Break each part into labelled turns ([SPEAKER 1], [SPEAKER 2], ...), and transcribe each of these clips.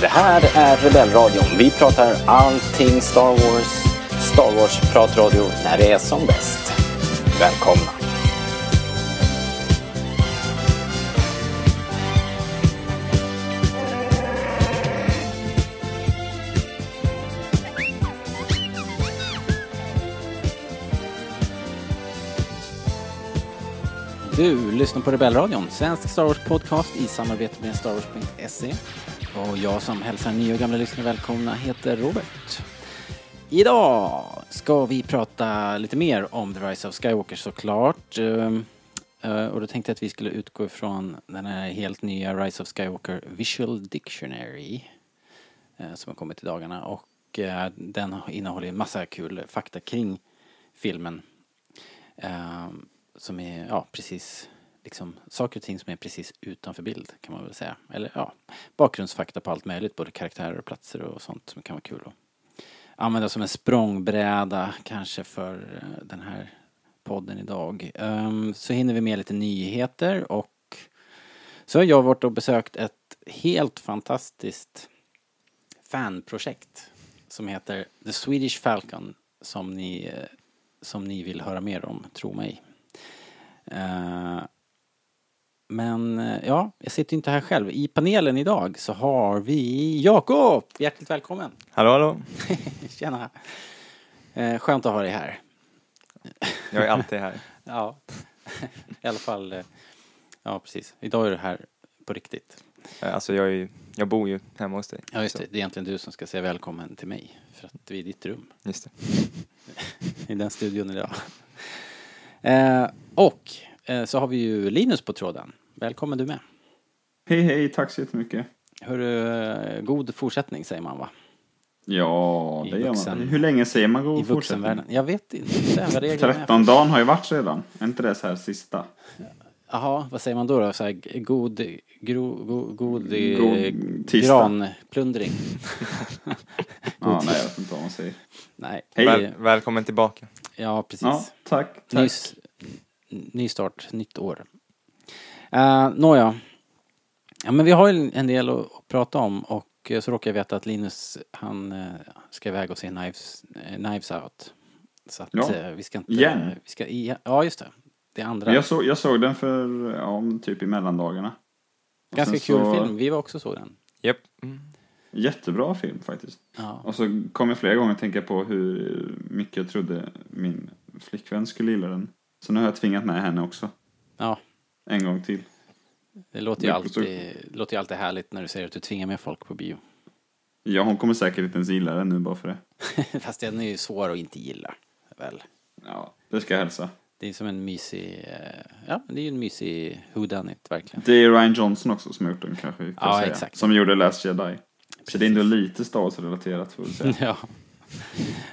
[SPEAKER 1] Det här är Rebellradion. Vi pratar allting Star Wars. Star Wars-pratradio när det är som bäst. Välkomna! Du lyssnar på Rebellradion, svensk Star Wars-podcast i samarbete med Star Wars.se. Och jag som hälsar nya och gamla lyssnare välkomna heter Robert. Idag ska vi prata lite mer om The Rise of Skywalker såklart. Ehm, eh, Och då tänkte jag att vi skulle utgå ifrån den här helt nya Rise of Skywalker Visual Dictionary eh, som har kommit i dagarna. Och eh, den innehåller en massa kul fakta kring filmen. Eh, som är, ja precis, liksom saker och ting som är precis utanför bild kan man väl säga. Eller ja, bakgrundsfakta på allt möjligt, både karaktärer och platser och sånt som kan vara kul att använda som en språngbräda kanske för eh, den här podden idag. Ehm, så hinner vi med lite nyheter och så har jag varit och besökt ett helt fantastiskt fanprojekt som heter The Swedish Falcon som ni, eh, som ni vill höra mer om, tro mig. Eh, Men eh, ja, jag sitter ju inte här själv. I panelen idag så har vi Jakob! Hjärtligt välkommen!
[SPEAKER 2] Hallå, hallå.
[SPEAKER 1] Tjena! Eh, Skönt att ha dig här.
[SPEAKER 2] Jag är alltid här.
[SPEAKER 1] Ja, i alla fall. eh, Ja, precis. Idag är du här på riktigt.
[SPEAKER 2] Eh, Alltså, jag, är, ju- jag bor ju hemma hos dig.
[SPEAKER 1] Ja, just
[SPEAKER 2] Så,
[SPEAKER 1] det. Det är egentligen du som ska säga välkommen till mig. För att vi är i ditt rum.
[SPEAKER 2] Just det.
[SPEAKER 1] i den studion idag. Eh, och eh, så har vi ju Linus på tråden. Välkommen du med.
[SPEAKER 3] Hej hej, tack så jättemycket.
[SPEAKER 1] Hur, eh, god fortsättning säger man va?
[SPEAKER 3] Ja,
[SPEAKER 1] I
[SPEAKER 3] det gör
[SPEAKER 1] vuxen-
[SPEAKER 3] man. Hur länge säger man
[SPEAKER 1] I
[SPEAKER 3] god
[SPEAKER 1] vuxenvärlden. Jag vet inte vad reglerna är. för-
[SPEAKER 3] 13 dagen har ju varit redan. Är inte det så här sista?
[SPEAKER 1] Jaha, vad säger man då? då? Så här, g- god gro, go, god, eh,
[SPEAKER 3] God tisdag.
[SPEAKER 1] granplundring.
[SPEAKER 3] Ja, nej, jag vet inte vad man säger.
[SPEAKER 1] Nej.
[SPEAKER 3] Hej.
[SPEAKER 1] det-
[SPEAKER 2] Väl, välkommen tillbaka.
[SPEAKER 1] Ja, precis.
[SPEAKER 3] Ja, tack. tack.
[SPEAKER 1] Nyss, n- ny start, nytt år. Eh, Nåja. Ja, men vi har ju en del att att prata om och eh, så råkar jag veta att Linus, han eh, ska iväg och se Knives, eh, Knives Out. Så att
[SPEAKER 3] Ja.
[SPEAKER 1] eh, vi ska inte...
[SPEAKER 3] Igen.
[SPEAKER 1] Vi ska, i- ja, just det. Det andra.
[SPEAKER 3] Jag, såg, jag såg den för, ja, om typ i mellandagarna. Och
[SPEAKER 1] Ganska
[SPEAKER 3] sen
[SPEAKER 1] kul
[SPEAKER 3] så-
[SPEAKER 1] film. Vi var också så den.
[SPEAKER 2] Japp. Mm.
[SPEAKER 3] Jättebra film faktiskt.
[SPEAKER 1] Ja.
[SPEAKER 3] Och så kom jag flera gånger att tänka på hur mycket jag trodde min flickvän skulle gilla den. Så nu har jag tvingat med henne också.
[SPEAKER 1] ja.
[SPEAKER 3] En gång till.
[SPEAKER 1] Det låter ju,
[SPEAKER 3] Det är också-
[SPEAKER 1] alltid, låter ju alltid härligt när du säger att du tvingar med folk på bio.
[SPEAKER 3] Ja, hon kommer säkert inte ens gilla den nu bara för det.
[SPEAKER 1] Fast den är ju svår att inte gilla. Väl.
[SPEAKER 3] Ja, det ska jag hälsa.
[SPEAKER 1] Det är som en mysig, eh, ja det är ju en mysig whodunit verkligen.
[SPEAKER 3] Det är Ryan Johnson också som har gjort den kanske. Kan
[SPEAKER 1] Ja,
[SPEAKER 3] jag säga,
[SPEAKER 1] exakt.
[SPEAKER 3] Som gjorde Last Jedi. Så det är ändå lite Star Wars-relaterat får jag säga.
[SPEAKER 1] ja.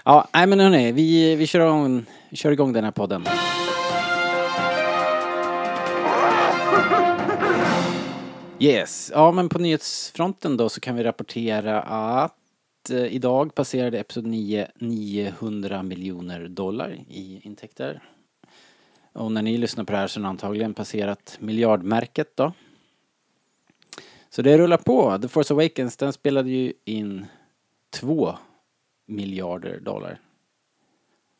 [SPEAKER 1] Ja, nej men hörni, vi, vi kör, igång, vi kör igång den här podden. Yes, ja men på nyhetsfronten då så kan vi rapportera att eh, idag passerade Episod 9 900 miljoner dollar i intäkter. Och när ni lyssnar på det här så har den antagligen passerat miljardmärket då. Så det rullar på. The Force Awakens, den spelade ju in två miljarder dollar.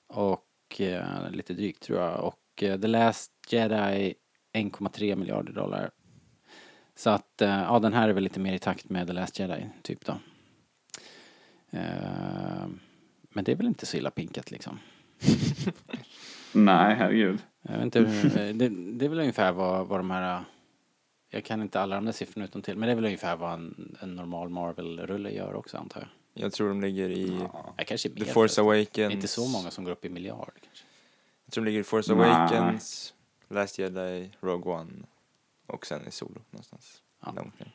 [SPEAKER 1] Och eh, lite drygt tror jag. Och eh, The Last Jedi 1,3 miljarder dollar. Så att, eh, ja den här är väl lite mer i takt med The Last Jedi, typ då. Eh, men det är väl inte så illa pinkat liksom.
[SPEAKER 3] Nej, herregud.
[SPEAKER 1] Jag vet inte, hur- eh, det, det är väl ungefär vad, vad de här... eh, Jag kan inte alla de där siffrorna utan till men det är väl ungefär vad en, en normal Marvel-rulle gör också antar jag.
[SPEAKER 2] Jag tror de ligger i
[SPEAKER 1] Jag kanske är mer
[SPEAKER 2] The Force
[SPEAKER 1] förresten. Det är
[SPEAKER 2] Awakens.
[SPEAKER 1] inte så många som går upp i miljard. Kanske.
[SPEAKER 2] Jag tror de ligger i Force
[SPEAKER 3] Nej.
[SPEAKER 2] Awakens, Last Jedi, Rogue One och sen i Solo någonstans.
[SPEAKER 1] Ja.
[SPEAKER 2] Där omkring.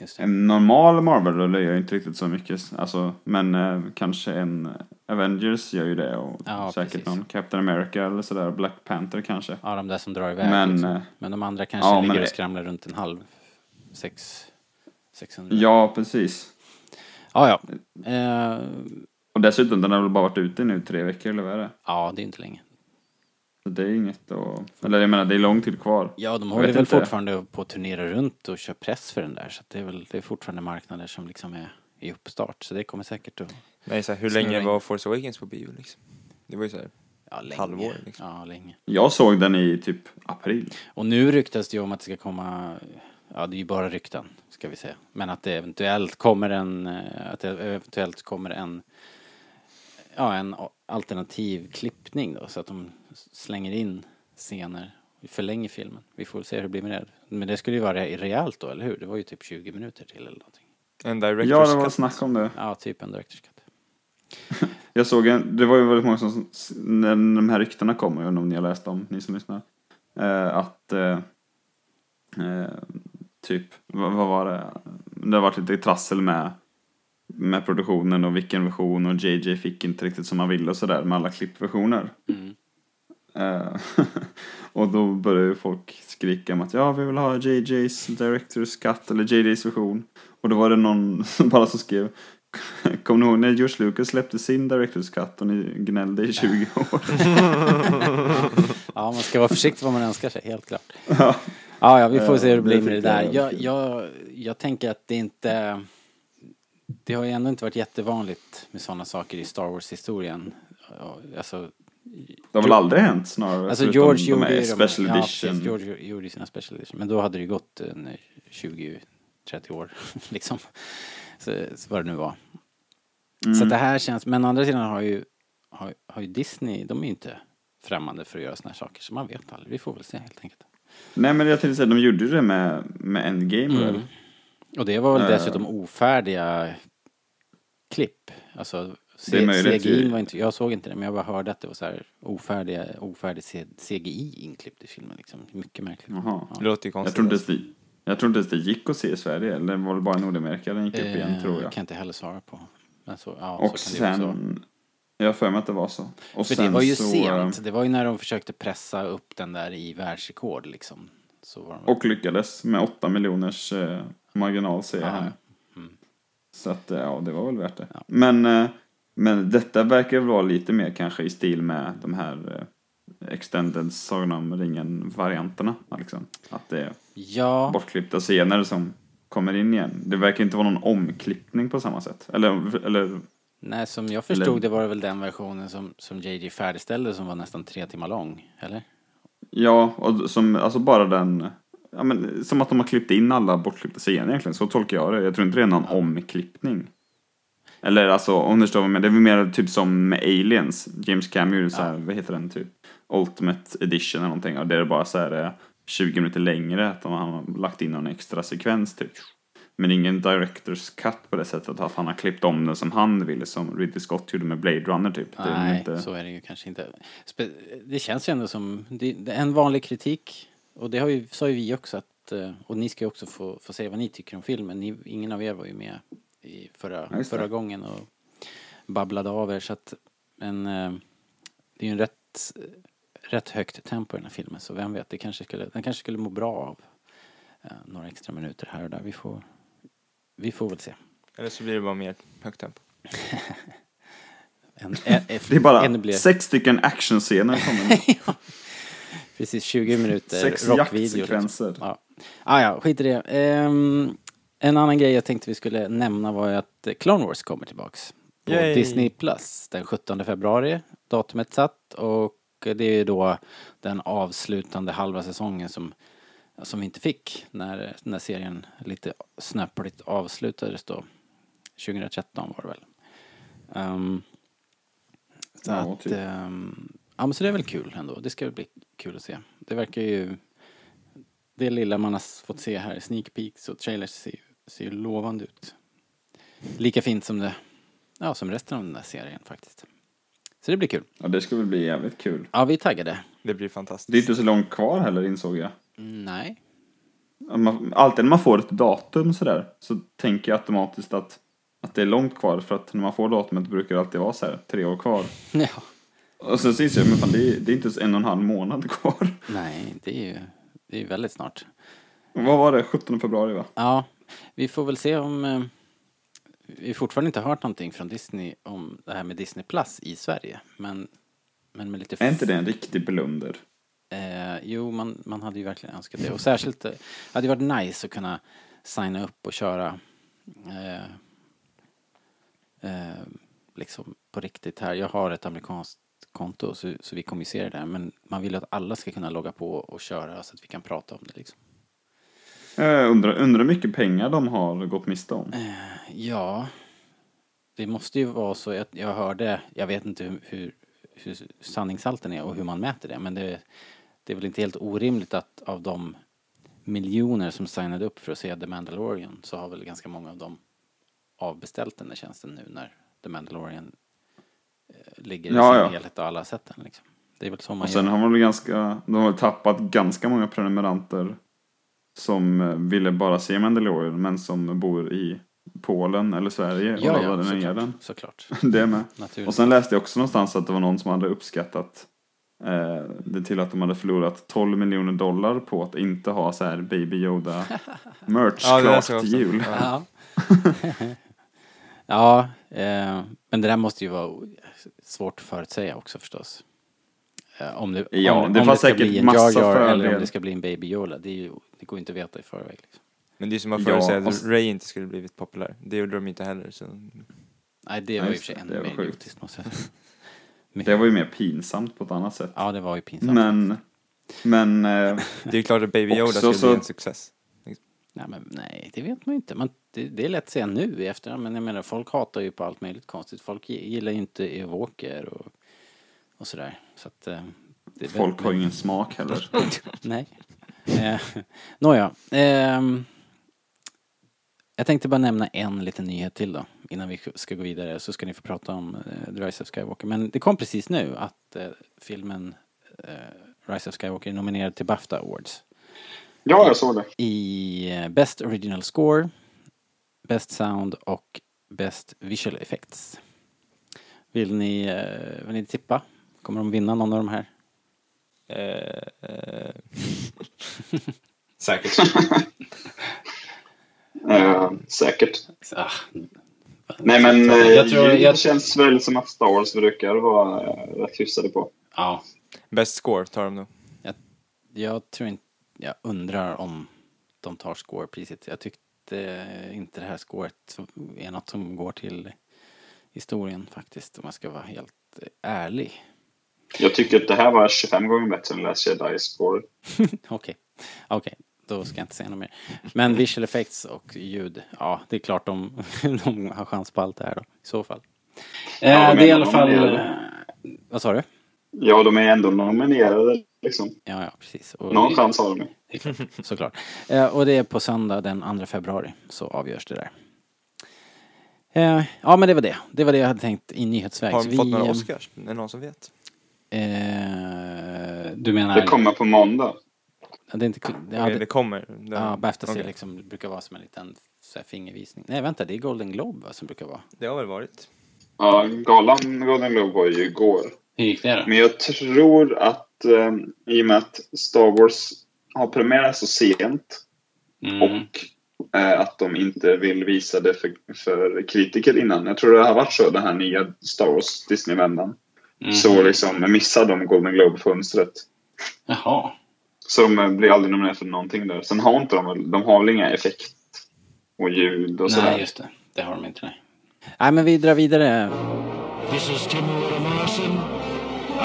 [SPEAKER 1] Just det.
[SPEAKER 3] En normal Marvel-rulle gör ju inte riktigt så mycket. Alltså, men eh, kanske en Avengers gör ju det. Och
[SPEAKER 1] Ja,
[SPEAKER 3] säkert
[SPEAKER 1] precis.
[SPEAKER 3] någon Captain America eller sådär. Black Panther kanske.
[SPEAKER 1] Ja, de där som drar iväg. Men,
[SPEAKER 3] Men,
[SPEAKER 1] liksom.
[SPEAKER 3] eh,
[SPEAKER 1] men de andra kanske
[SPEAKER 3] ja,
[SPEAKER 1] ligger
[SPEAKER 3] men
[SPEAKER 1] och
[SPEAKER 3] det-
[SPEAKER 1] skramlar runt en halv. Sex, 600.
[SPEAKER 3] Ja, precis.
[SPEAKER 1] ja. Ja. Eh,
[SPEAKER 3] Och dessutom, den har väl bara varit ute nu tre veckor eller vad är det?
[SPEAKER 1] ja, det är inte länge.
[SPEAKER 3] Så det är inget att... Eller jag menar, det är långt till kvar.
[SPEAKER 1] Ja, de
[SPEAKER 3] Jag
[SPEAKER 1] håller
[SPEAKER 3] vet
[SPEAKER 1] väl
[SPEAKER 3] inte.
[SPEAKER 1] fortfarande på att turnera runt och köra press för den där. Så att det är väl det är fortfarande marknader som liksom är i uppstart. Så det kommer säkert att...
[SPEAKER 2] Nej, så här, hur
[SPEAKER 1] Snurra
[SPEAKER 2] länge
[SPEAKER 1] in.
[SPEAKER 2] var Force Awakens på bio liksom? Det var ju så här,
[SPEAKER 1] Ja, länge.
[SPEAKER 2] halvår, liksom.
[SPEAKER 1] Ja, länge.
[SPEAKER 3] Jag såg den i typ april.
[SPEAKER 1] Och nu ryktas det ju om att det ska komma... Ja, det är ju bara rykten, ska vi säga. Men att det eventuellt kommer en... eh, Att det eventuellt kommer en... Ja, en a- alternativ klippning då. Så att de s- slänger in scener, förlänger filmen. Vi får väl se hur det blir med det. Men det skulle ju vara re- rejält då, eller hur? Det var ju typ 20 minuter till eller någonting.
[SPEAKER 2] en director's
[SPEAKER 3] Ja, det var
[SPEAKER 2] cut.
[SPEAKER 3] snack om det.
[SPEAKER 1] Ja, typ en director's cut.
[SPEAKER 3] Jag såg en, det var ju väldigt många som, när de här ryktena kom, jag undrar om ni har läst dem, ni som lyssnar. Eh, att, eh, eh, typ, vad, vad var det? Det har varit lite trassel med, med produktionen och vilken version och JJ fick inte riktigt som han ville och sådär med alla klippversioner.
[SPEAKER 1] Mm.
[SPEAKER 3] Eh, och då började ju folk skrika om att ja, vi vill ha JJ's Director's Cut eller JJ's version. Och då var det någon som bara som skrev Kommer ni ihåg när George Lucas släppte sin Director's Cut och ni gnällde i 20 år?
[SPEAKER 1] Ja, man ska vara försiktig vad man önskar sig, helt klart.
[SPEAKER 3] ja.
[SPEAKER 1] Ja, ja vi får
[SPEAKER 3] Eh,
[SPEAKER 1] se hur det blir
[SPEAKER 3] det
[SPEAKER 1] med det där.
[SPEAKER 3] tycker jag är
[SPEAKER 1] Jag,
[SPEAKER 3] kul.
[SPEAKER 1] jag, jag tänker att det inte... Det har ju ändå inte varit jättevanligt med sådana saker i Star Wars-historien. Ja, Alltså,
[SPEAKER 3] Det har väl aldrig hänt snarare?
[SPEAKER 1] alltså
[SPEAKER 3] förutom
[SPEAKER 1] George
[SPEAKER 3] de
[SPEAKER 1] gjorde
[SPEAKER 3] här
[SPEAKER 1] ju
[SPEAKER 3] Special
[SPEAKER 1] de, ja, precis,
[SPEAKER 3] edition.
[SPEAKER 1] George gjorde sina special edition. Men då hade det ju gått eh, en 20-30 år, liksom. Så, så vad det nu var.
[SPEAKER 3] Mm.
[SPEAKER 1] Så att det här känns, men å andra sidan har ju, har, har ju Disney, de är ju inte främmande för att göra såna här saker. Så man vet aldrig, vi får väl se helt enkelt.
[SPEAKER 3] Nej men jag tänkte säga, de gjorde ju det med, med
[SPEAKER 1] Mm.
[SPEAKER 3] Endgame väl?
[SPEAKER 1] Och det var väl
[SPEAKER 3] Eh.
[SPEAKER 1] dessutom ofärdiga klipp. Alltså,
[SPEAKER 3] Det är möjligt.
[SPEAKER 1] CGI var inte, jag såg inte det, men jag bara hörde att det var så här ofärdiga, ofärdig C- CGI inklippt i filmen. Liksom. Mycket märkligt.
[SPEAKER 3] Jaha.
[SPEAKER 2] Det låter ju
[SPEAKER 3] Jag
[SPEAKER 2] konstigt.
[SPEAKER 3] tror, inte ens det, jag tror inte ens det gick att se i Sverige, eller det var väl bara i Nordamerika den gick upp igen
[SPEAKER 1] Eh,
[SPEAKER 3] tror jag.
[SPEAKER 1] Kan inte heller svara på. Men så, ja,
[SPEAKER 3] Och
[SPEAKER 1] så kan det ju också vara.
[SPEAKER 3] sen, jag har för mig att det var så. Och
[SPEAKER 1] För
[SPEAKER 3] sen
[SPEAKER 1] det var ju
[SPEAKER 3] så,
[SPEAKER 1] sent. Det var ju när de försökte pressa upp den där i världsrekord liksom. Så var de
[SPEAKER 3] Och lyckades med 8 miljoners eh, marginal säger
[SPEAKER 1] Ja, Mm.
[SPEAKER 3] han.
[SPEAKER 1] ja.
[SPEAKER 3] Så att eh, ja, det var väl värt det. Men, eh, men detta verkar väl vara lite mer kanske i stil med de här eh, extended Sagan om ringen-varianterna. Liksom. Att det är
[SPEAKER 1] ja.
[SPEAKER 3] bortklippta scener som kommer in igen. Det verkar inte vara någon omklippning på samma sätt. Eller, eller
[SPEAKER 1] Nej, som jag
[SPEAKER 3] Eller-
[SPEAKER 1] förstod det var det väl den versionen som, som JJ färdigställde som var nästan tre timmar lång, eller?
[SPEAKER 3] Ja, och som, alltså bara den... Ja, men, som att de har klippt in alla bortklippta scener egentligen, så tolkar jag det. Jag tror inte det är någon omklippning. Eller alltså, om du förstår vad jag menar, det är väl mer typ som med Aliens. James Cameron gjorde så här, vad heter den typ? Ultimate Edition eller någonting. Och det är bara så här eh, 20 minuter längre, att de har lagt in någon extra sekvens typ. Men ingen director's cut på det sättet att han har klippt om den som han ville, som Ridley Scott gjorde med Blade Runner typ. Det är
[SPEAKER 1] Nej,
[SPEAKER 3] inte-
[SPEAKER 1] så är det ju kanske inte. Spe- Det känns ju ändå som, det det är en vanlig kritik, och det har ju, sa ju vi också att, eh, och ni ska ju också få, få säga vad ni tycker om filmen, ni, ingen av er var ju med i
[SPEAKER 3] Ja,
[SPEAKER 1] förra,
[SPEAKER 3] just det.
[SPEAKER 1] förra gången och babblade av er, så att, men eh, det är ju en rätt, rätt högt tempo i den här filmen, så vem vet, det kanske skulle, den kanske skulle må bra av eh, några extra minuter här och där, vi får, vi får väl se.
[SPEAKER 2] Eller så blir det bara mer högt tempo.
[SPEAKER 1] En, en,
[SPEAKER 3] Det är bara
[SPEAKER 1] ännu blir-
[SPEAKER 3] sex stycken actionscener kommer nu.
[SPEAKER 1] Precis, 20 minuter liksom.
[SPEAKER 3] Sex
[SPEAKER 1] rockvideo.
[SPEAKER 3] jaktsekvenser.
[SPEAKER 1] Ja. Ah, ja, skit i det. Ehm, en annan grej jag tänkte vi skulle nämna var ju att Clone Wars kommer tillbaks. På
[SPEAKER 2] Yay.
[SPEAKER 1] Disney Plus den 17 februari, datumet satt. Och det är ju då den avslutande halva säsongen som, som vi inte fick när, när serien lite snöpligt avslutades då. 2013 var det väl. Ehm, så
[SPEAKER 3] Ja,
[SPEAKER 1] att,
[SPEAKER 3] typ.
[SPEAKER 1] ehm, ja men så det är väl kul ändå. Det ska väl bli kul att se. Det verkar ju, det lilla man har s- fått se här, sneak peeks och trailers ser, ju- ser ju lovande ut. Lika fint som det, ja som resten av den där serien faktiskt. Så det blir kul.
[SPEAKER 3] Ja, det ska väl bli jävligt kul.
[SPEAKER 1] Ja, vi är taggade.
[SPEAKER 2] Det blir fantastiskt.
[SPEAKER 3] Det är inte så långt kvar heller, insåg jag.
[SPEAKER 1] Mm, Nej.
[SPEAKER 3] Man, alltid när man får ett datum sådär, så tänker jag automatiskt att, att det är långt kvar, för att när man får datumet brukar det alltid vara så här, tre år kvar.
[SPEAKER 1] Ja.
[SPEAKER 3] Och sen så inser jag, men fan, det är, det är inte ens en och en halv månad kvar.
[SPEAKER 1] Nej, det är ju, det är ju väldigt snart.
[SPEAKER 3] Vad var det? 17 februari, va?
[SPEAKER 1] Ja, vi får väl se om... eh, Vi har fortfarande inte hört någonting från Disney om det här med Disney Plus i Sverige. Men Men med lite...
[SPEAKER 3] Är inte det en riktig blunder?
[SPEAKER 1] Eh, jo, man, man hade ju verkligen önskat det. Och särskilt, eh, det hade ju varit nice att kunna signa upp och köra eh, eh, liksom på riktigt här. Jag har ett amerikanskt konto så, så vi kommunicerar där. Men man vill ju att alla ska kunna logga på och köra så att vi kan prata om det liksom.
[SPEAKER 3] Jag Eh, undrar, undrar hur mycket pengar de har gått miste om.
[SPEAKER 1] Ja, det måste ju vara så. Jag, jag hörde, jag vet inte hur, hur, hur sanningshalten är och hur man mäter det, men det, det är väl inte helt orimligt att av de miljoner som signade upp för att se The Mandalorian så har väl ganska många av dem avbeställt den där tjänsten nu när The Mandalorian eh, ligger i
[SPEAKER 3] Ja,
[SPEAKER 1] sin
[SPEAKER 3] ja.
[SPEAKER 1] helhet och alla har sett den liksom. Det är väl så man
[SPEAKER 3] Och sen
[SPEAKER 1] gör.
[SPEAKER 3] har man väl ganska, de har väl tappat ganska många prenumeranter som eh, ville bara se Mandalorian men som bor i Polen eller Sverige och laddade ner den.
[SPEAKER 1] såklart, såklart.
[SPEAKER 3] Det med.
[SPEAKER 1] Naturligt.
[SPEAKER 3] Och sen läste jag också någonstans att det var någon som hade uppskattat eh, det till att de hade förlorat 12 miljoner dollar på att inte ha så här Baby Yoda merch
[SPEAKER 2] Ja, det
[SPEAKER 3] klart
[SPEAKER 2] läste jag
[SPEAKER 3] till
[SPEAKER 2] också.
[SPEAKER 3] jul.
[SPEAKER 2] Ja.
[SPEAKER 1] Ja. ja, eh, men det där måste ju vara o- svårt att förutsäga också förstås. Eh, om det,
[SPEAKER 3] Ja,
[SPEAKER 1] om,
[SPEAKER 3] det
[SPEAKER 1] om
[SPEAKER 3] var
[SPEAKER 1] det ska
[SPEAKER 3] säkert
[SPEAKER 1] bli en Jar
[SPEAKER 3] massa
[SPEAKER 1] Jar eller om
[SPEAKER 3] fördelar.
[SPEAKER 1] det ska bli en Baby Yoda. Det, är ju, det går ju inte att veta i förväg. Liksom.
[SPEAKER 2] Men det är som man
[SPEAKER 3] Ja, alltså-
[SPEAKER 2] förutsäger
[SPEAKER 3] och
[SPEAKER 2] att
[SPEAKER 3] s-
[SPEAKER 2] Ray inte skulle blivit populär. Det gjorde de inte heller. Så.
[SPEAKER 1] Nej, det
[SPEAKER 3] Ja,
[SPEAKER 1] var ju i och
[SPEAKER 3] just
[SPEAKER 1] för sig
[SPEAKER 3] det.
[SPEAKER 1] ännu
[SPEAKER 3] Det var
[SPEAKER 1] mer
[SPEAKER 3] sjukt.
[SPEAKER 1] idiotiskt måste jag säga. Mycket.
[SPEAKER 3] Det var ju mer pinsamt på ett annat sätt.
[SPEAKER 1] Ja, det var ju pinsamt.
[SPEAKER 3] Men, men eh,
[SPEAKER 2] Det är ju klart att Baby Yoda
[SPEAKER 3] Också
[SPEAKER 2] skulle
[SPEAKER 3] så-
[SPEAKER 2] bli en success.
[SPEAKER 1] Nej, men, nej, det vet man ju inte. Man, det, det är lätt att säga nu i efterhand, men jag menar folk hatar ju på allt möjligt konstigt. Folk gi- gillar ju inte Evoker och, och sådär. Så att, eh, det är väl-
[SPEAKER 3] folk har ju ingen smak heller.
[SPEAKER 1] Nej. Eh, Nåja. ehm, jag tänkte bara nämna en liten nyhet till då. Innan vi ska gå vidare så ska ni få prata om eh, The Rise of Skywalker. Men det kom precis nu att eh, filmen eh, Rise of Skywalker är nominerad till Bafta Awards.
[SPEAKER 4] Ja, jag såg det.
[SPEAKER 1] I eh, Best Original Score, Best Sound och Best Visual Effects. Vill ni, eh, vill ni tippa? Kommer de vinna någon av de här?
[SPEAKER 2] Eh, eh,
[SPEAKER 5] Säkert.
[SPEAKER 4] Eh, säkert.
[SPEAKER 1] Ah,
[SPEAKER 4] Nej, men eh,
[SPEAKER 1] Jag tror-
[SPEAKER 4] det
[SPEAKER 1] jag-
[SPEAKER 4] känns väl som att Star Wars brukar vara eh, rätt hyfsade på.
[SPEAKER 1] Ja,
[SPEAKER 2] best score tar de nog.
[SPEAKER 1] Jag tror inte, jag undrar om de tar scorepriset. Jag tyckte inte det här scoret är något som går till historien faktiskt om jag ska vara helt ärlig.
[SPEAKER 4] Jag tycker att det här var 25 gånger bättre än Last Jedi Spore.
[SPEAKER 1] Okej, okej. Då ska jag inte säga något mer. Men visual effects och ljud, ja det är klart de, de har chans på allt det här då, i så fall. eh,
[SPEAKER 4] men
[SPEAKER 1] det är i alla
[SPEAKER 4] de
[SPEAKER 1] fall...
[SPEAKER 4] är-
[SPEAKER 1] eh, Vad sa du?
[SPEAKER 4] Ja, de är ändå nominerade liksom.
[SPEAKER 1] Ja, ja, precis. Och
[SPEAKER 4] Någon
[SPEAKER 1] vi-
[SPEAKER 4] chans har de ju.
[SPEAKER 1] Det är klart, såklart. Eh, och det är på söndag den 2 februari så avgörs det där. Eh, ja men det var det. Det var det jag hade tänkt i nyhetsväg.
[SPEAKER 2] Har
[SPEAKER 1] Så
[SPEAKER 2] de fått några
[SPEAKER 1] eh,
[SPEAKER 2] Oscars? Är det någon som vet?
[SPEAKER 1] Eh, du menar?
[SPEAKER 4] Det kommer på måndag.
[SPEAKER 1] Det är inte... kl- Det
[SPEAKER 2] Ja, det,
[SPEAKER 1] hade,
[SPEAKER 2] kommer. Det,
[SPEAKER 1] ja, Baftas är
[SPEAKER 2] okej.
[SPEAKER 1] liksom, brukar vara som en liten så här, fingervisning. Nej vänta, det är Golden Globe va, som brukar vara.
[SPEAKER 2] det har väl varit.
[SPEAKER 4] Ja, galan Golden Globe var ju igår.
[SPEAKER 1] Hur gick det då?
[SPEAKER 4] Men jag tror att eh, i och med att Star Wars har premiär så sent
[SPEAKER 1] Mm.
[SPEAKER 4] och eh, att de inte vill visa det för, för kritiker innan. Jag tror det har varit så den här nya Star Wars Disney-vändan.
[SPEAKER 1] Mm.
[SPEAKER 4] Så liksom missar de Golden Globe-fönstret.
[SPEAKER 1] Jaha.
[SPEAKER 4] Så de eh, blir aldrig nominerade för någonting där. Sen har inte de väl, de har väl inga effekt och ljud och sådär.
[SPEAKER 1] Nej just det, det har de inte. Nej. nej men vi drar vidare.
[SPEAKER 6] This is Timur Morrison.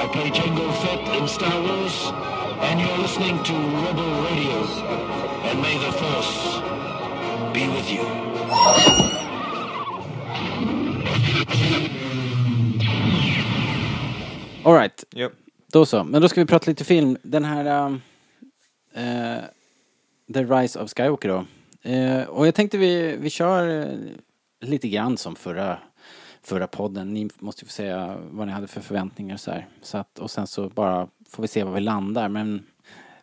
[SPEAKER 6] I play Jango Fett in Star Wars, and you're listening to Rebel Radio. And may the Force be with you.
[SPEAKER 1] Alright,
[SPEAKER 2] Ja.
[SPEAKER 1] Då så, men då ska vi prata lite film. Den här... um, eh, The Rise of Skywalker då. Eh, och jag tänkte vi, vi kör eh, lite grann som förra, förra podden. Ni måste ju få säga vad ni hade för förväntningar och så här. Så att, och sen så bara får vi se var vi landar. Men,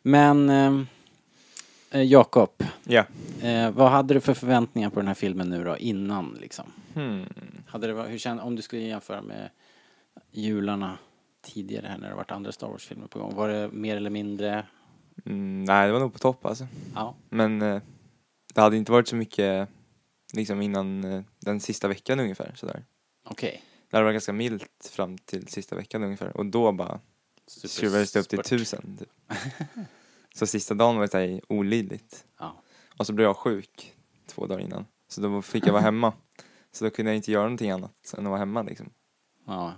[SPEAKER 1] men ehm, eh, Jakob,
[SPEAKER 2] ja.
[SPEAKER 1] eh, vad hade du för förväntningar på den här filmen nu då, innan liksom?
[SPEAKER 2] Hmm.
[SPEAKER 1] Hade det var, hur kände, om du skulle jämföra med jularna tidigare här när det varit andra Star Wars-filmer på gång, var det mer eller mindre?
[SPEAKER 2] Mm, nej, det var nog på topp alltså.
[SPEAKER 1] Ja.
[SPEAKER 2] Men eh, det hade inte varit så mycket liksom innan eh, den sista veckan ungefär. Sådär.
[SPEAKER 1] Okej.
[SPEAKER 2] Det Det hade varit ganska milt fram till sista veckan ungefär och då bara
[SPEAKER 3] Typ
[SPEAKER 2] skruvades det upp till tusen. Typ. så sista dagen var det så här olidligt.
[SPEAKER 1] Ja.
[SPEAKER 2] Och så blev jag sjuk två dagar innan. Så då fick jag vara hemma. Så då kunde jag inte göra någonting annat än att vara hemma liksom.
[SPEAKER 1] ja.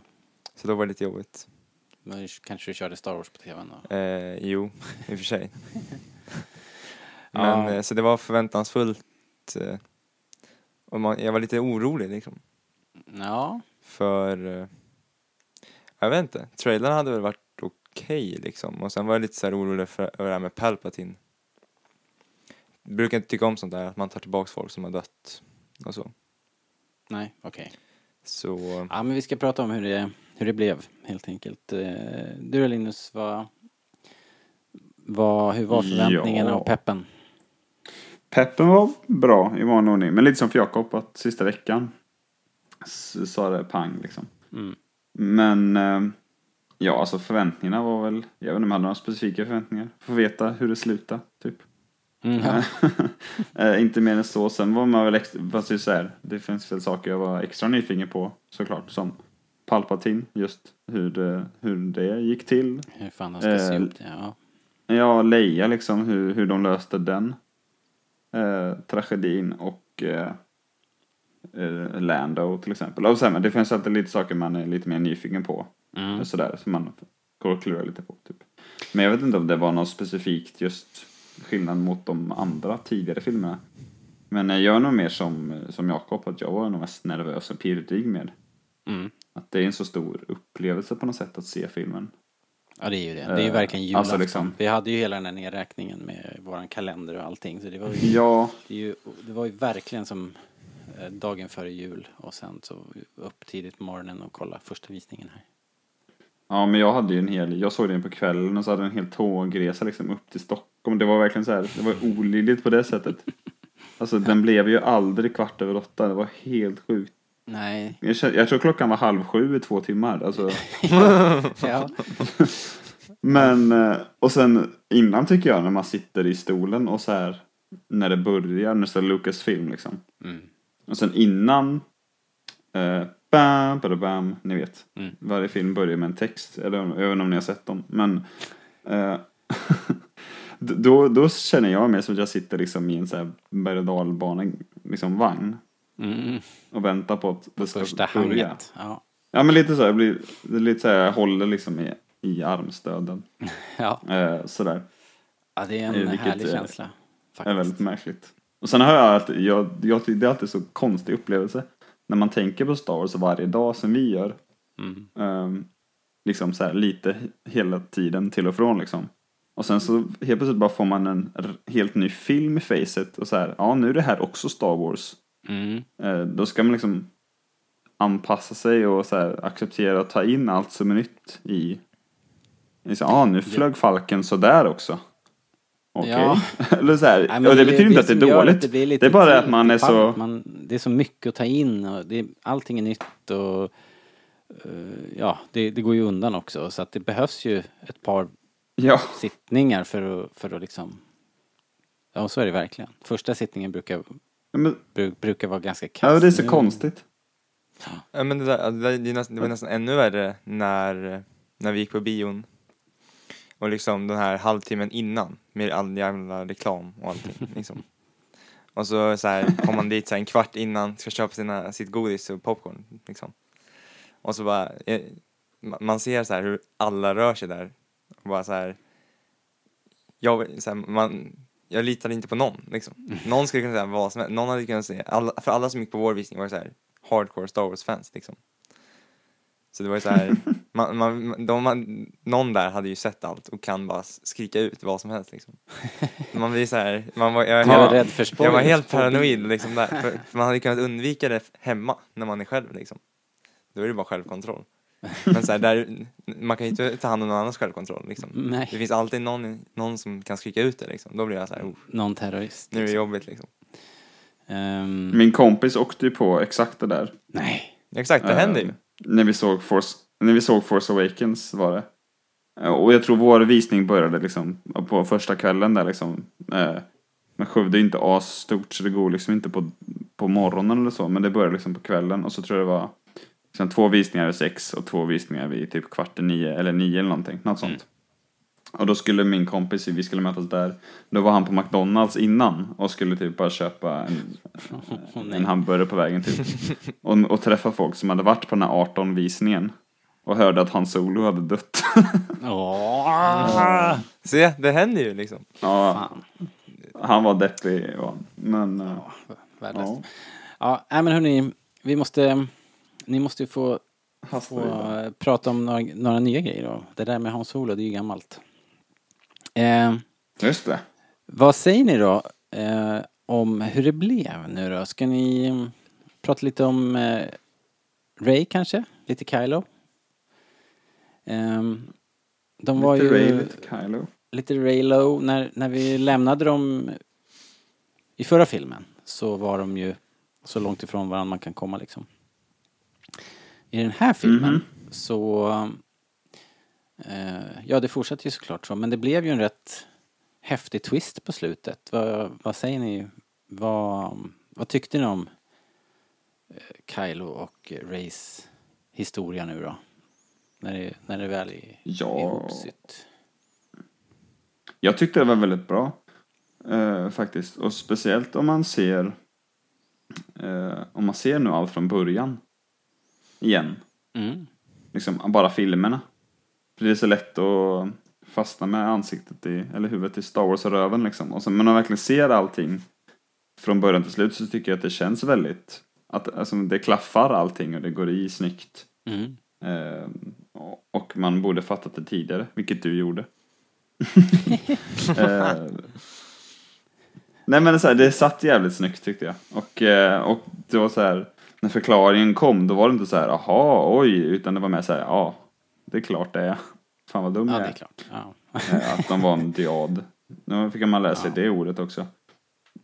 [SPEAKER 2] Så då var det lite jobbigt.
[SPEAKER 1] Men kanske du körde Star Wars på tvn då?
[SPEAKER 2] Eh, jo, i och för sig. Men,
[SPEAKER 1] Ja.
[SPEAKER 2] eh, Så det var förväntansfullt. Eh, och man, jag var lite orolig liksom.
[SPEAKER 1] Ja.
[SPEAKER 2] För, eh, jag vet inte, trailern hade väl varit okej liksom. Och sen var jag lite så här orolig för, över det här med Palpatine. Jag brukar inte tycka om sånt där, att man tar tillbaks folk som har dött och så.
[SPEAKER 1] Nej, okej.
[SPEAKER 2] Så,
[SPEAKER 1] Ja, men vi ska prata om hur det, hur det blev, helt enkelt. Eh, Du då, Linus, vad, vad, hur var förväntningarna
[SPEAKER 3] Ja.
[SPEAKER 1] och peppen?
[SPEAKER 3] Peppen var bra i vanlig ordning, men lite som för Jakob att sista veckan s- sa det pang liksom.
[SPEAKER 1] Mm.
[SPEAKER 3] Men eh, ja, alltså förväntningarna var väl, jag vet inte om jag hade några specifika förväntningar. Få veta hur det slutar, typ.
[SPEAKER 1] Mm, ja.
[SPEAKER 3] Eh, inte mer än så. Sen var man väl extra, fast det är så här, det finns väl saker jag var extra nyfiken på såklart. Som Palpatine, just hur det, hur det gick till.
[SPEAKER 1] Hur fan de ska se
[SPEAKER 3] Eh,
[SPEAKER 1] upp det? Ja.
[SPEAKER 3] Ja, Leia liksom, hur, hur de löste den eh, tragedin och eh, eh, Lando till exempel. Och sen, men det finns alltid lite saker man är lite mer nyfiken på.
[SPEAKER 1] Mm.
[SPEAKER 3] Och sådär, som man går och klurar lite på. Typ. Men jag vet inte om det var något specifikt just skillnad mot de andra tidigare filmerna. Men eh, jag är nog mer som, eh, som Jakob, att jag var nog mest nervös och pirrig med.
[SPEAKER 1] Mm.
[SPEAKER 3] Att det är en så stor upplevelse på något sätt att se filmen.
[SPEAKER 1] ja, det är ju det. Det är ju
[SPEAKER 3] eh,
[SPEAKER 1] verkligen
[SPEAKER 3] alltså
[SPEAKER 1] julafton.
[SPEAKER 3] liksom-
[SPEAKER 1] Vi hade ju hela den här nedräkningen med våran kalender och allting. Så det var ju,
[SPEAKER 3] Ja,
[SPEAKER 1] det är ju, det var ju verkligen som eh, dagen före jul och sen så upp tidigt på morgonen och kolla första visningen här.
[SPEAKER 3] ja men jag hade ju en hel, jag såg den på kvällen och så hade jag en hel tågresa liksom upp till Stockholm. Det var verkligen så här, det var olidligt på det sättet. Alltså den blev ju aldrig kvart över åtta, det var helt sjukt.
[SPEAKER 1] Nej,
[SPEAKER 3] Jag, känner, jag tror klockan var halv sju i två timmar. Alltså.
[SPEAKER 1] ja.
[SPEAKER 3] Men, eh, och sen innan tycker jag när man sitter i stolen och så här när det börjar, när det står Lucasfilm liksom.
[SPEAKER 1] Mm.
[SPEAKER 3] Och sen innan, eh, bam, bada bam, ni vet.
[SPEAKER 1] Mm.
[SPEAKER 3] Varje film börjar med en text, eller om- även om ni har sett dem. Men eh, d- då, då känner jag mig som att jag sitter liksom i en så här berg och dalbane, liksom vagn.
[SPEAKER 1] Mm.
[SPEAKER 3] Och väntar på att det ska
[SPEAKER 1] Första
[SPEAKER 3] börja.
[SPEAKER 1] hanget. Ja.
[SPEAKER 3] Ja men lite så, här, jag blir det är lite så här, jag håller liksom i, i armstöden.
[SPEAKER 1] ja.
[SPEAKER 3] Eh, sådär.
[SPEAKER 1] Ja, det är en
[SPEAKER 3] Eh, vilket
[SPEAKER 1] härlig
[SPEAKER 3] är-
[SPEAKER 1] känsla.
[SPEAKER 3] är
[SPEAKER 1] Faktiskt.
[SPEAKER 3] väldigt märkligt. Och sen har jag alltid, jag, jag, tycker det är alltid så konstig upplevelse. När man tänker på Star Wars varje dag som vi gör.
[SPEAKER 1] Mm.
[SPEAKER 3] ehm, liksom så här lite he- hela tiden till och från liksom. Och sen så helt plötsligt bara får man en r- helt ny film i facet och så här, ja nu är det här också Star Wars.
[SPEAKER 1] Mm.
[SPEAKER 3] Eh, då ska man liksom anpassa sig och så här, acceptera och ta in allt som är nytt i... Liksom, ah, nu flög falken så där också. Okej.
[SPEAKER 1] Ja.
[SPEAKER 3] Eller så här,
[SPEAKER 1] Nej, men
[SPEAKER 3] och det, betyder inte att det
[SPEAKER 1] som
[SPEAKER 3] är
[SPEAKER 1] gör
[SPEAKER 3] dåligt.
[SPEAKER 1] det
[SPEAKER 3] Det,
[SPEAKER 1] blir lite
[SPEAKER 3] är bara det att
[SPEAKER 1] tilt
[SPEAKER 3] man
[SPEAKER 1] i
[SPEAKER 3] är så...
[SPEAKER 1] fallet. Man, det är så mycket att ta in och det, är- allting är nytt och eh, ja, det, det går ju undan också. Så att det behövs ju ett par
[SPEAKER 3] Ja,
[SPEAKER 1] sittningar för att, för att liksom... Ja, så är det verkligen. Första sittningen brukar,
[SPEAKER 3] men,
[SPEAKER 1] bru, brukar vara ganska kass.
[SPEAKER 3] ja, det är så
[SPEAKER 1] Nu-
[SPEAKER 3] konstigt.
[SPEAKER 2] ja, men det, där, det, där, det, är nästan, det var nästan ännu värre när, när vi gick på bion. Och liksom den här halvtimmen innan med all jävla reklam och allting liksom. Och så, så här, kom man dit så här, en kvart innan, ska köpa sina, sitt godis och popcorn liksom. Och så bara, eh, ma- man ser så här hur alla rör sig där. Och bara så här, jag, så här, man, jag litar inte på någon liksom. Någon skulle kunna säga vad som helst, någon hade kunnat säga, alla, för alla som gick på vår visning var så här hardcore Star Wars-fans liksom. Så det var ju så här, man, man, de, man, någon där hade ju sett allt och kan bara skrika ut vad som helst liksom. Man blir så här, man var, jag,
[SPEAKER 1] Man var
[SPEAKER 2] jag,
[SPEAKER 1] rädd för spoilers.
[SPEAKER 2] jag var helt paranoid liksom där, för, för man hade kunnat undvika det hemma när man är själv liksom. Då är det bara självkontroll. Men så här, där, man kan ju inte ta hand om någon annans självkontroll liksom.
[SPEAKER 1] Nej.
[SPEAKER 2] Det finns alltid någon, någon som kan skrika ut det liksom. Då blir jag så här, oh,
[SPEAKER 1] Någon terrorist.
[SPEAKER 2] nu är det jobbigt liksom.
[SPEAKER 1] Ehm,
[SPEAKER 3] Min kompis åkte ju på exakt det där.
[SPEAKER 1] nej.
[SPEAKER 2] Exakt, det
[SPEAKER 3] Eh,
[SPEAKER 2] händer ju.
[SPEAKER 3] När vi såg Force, när vi såg Force Awakens var det. Eh, Och jag tror vår visning började liksom på första kvällen där liksom. Eh, men Skövde är ju inte asstort så det går liksom inte på, på morgonen eller så. Men det började liksom på kvällen och så tror jag det var Sen två visningar vid sex och två visningar vid typ kvart i nio eller nio eller någonting. Något sånt. Och då skulle min kompis, vi skulle mötas där. Då var han på McDonalds innan och skulle typ bara köpa en, en hamburgare på vägen typ. Och, och träffa folk som hade varit på den här 18-visningen. Och hörde att Han Solo hade dött.
[SPEAKER 1] Åh,
[SPEAKER 2] Se, det händer ju liksom.
[SPEAKER 3] ja,
[SPEAKER 1] fan.
[SPEAKER 3] han var deppig. var han. Men, eh,
[SPEAKER 1] Värdelöst.
[SPEAKER 3] Ja.
[SPEAKER 1] Ja, nej, men hörni, vi måste, ni måste ju få, få eh, prata om några, några nya grejer då. Det där med Hans Solo, det är ju gammalt. Eh,
[SPEAKER 3] just det.
[SPEAKER 1] vad säger ni då eh, om hur det blev nu då? Ska ni mm, prata lite om eh, Ray kanske? Lite Kylo? Eh, de var
[SPEAKER 3] Lite
[SPEAKER 1] ju...
[SPEAKER 3] Ray, lite Kylo.
[SPEAKER 1] lite Raylo. När, när vi lämnade dem i förra filmen så var de ju så långt ifrån varandra man kan komma liksom. I den här filmen så... Eh, ja, det fortsatte ju såklart så, men det blev ju en rätt häftig twist på slutet. Vad, vad säger ni? Vad, vad tyckte ni om eh, Kylo och Rays historia nu då? När det, när det väl är
[SPEAKER 3] Ja.
[SPEAKER 1] ihopsytt.
[SPEAKER 3] Jag tyckte det var väldigt bra. eh, faktiskt. Och speciellt om man ser eh, om man ser nu allt från början. Igen.
[SPEAKER 1] Mm.
[SPEAKER 3] Liksom bara filmerna. För det är så lätt att fastna med ansiktet i, eller huvudet i Star Wars-röven liksom. Och sen, men om man verkligen ser allting från början till slut så tycker jag att det känns väldigt att alltså, det klaffar allting och det går i snyggt.
[SPEAKER 1] Mm.
[SPEAKER 3] Eh, och- och man borde fattat det tidigare, vilket du gjorde. eh, nej men så här, det satt jävligt snyggt tyckte jag. Och, eh, och det var så här, när förklaringen kom då var det inte så här, aha, oj, utan det var mer så här, ja, det är klart det är. Fan vad dum
[SPEAKER 1] Ja,
[SPEAKER 3] jag
[SPEAKER 1] det är
[SPEAKER 3] är.
[SPEAKER 1] klart. Ja.
[SPEAKER 3] Eh, att de var en diad. Nu fick man lära sig det ordet också.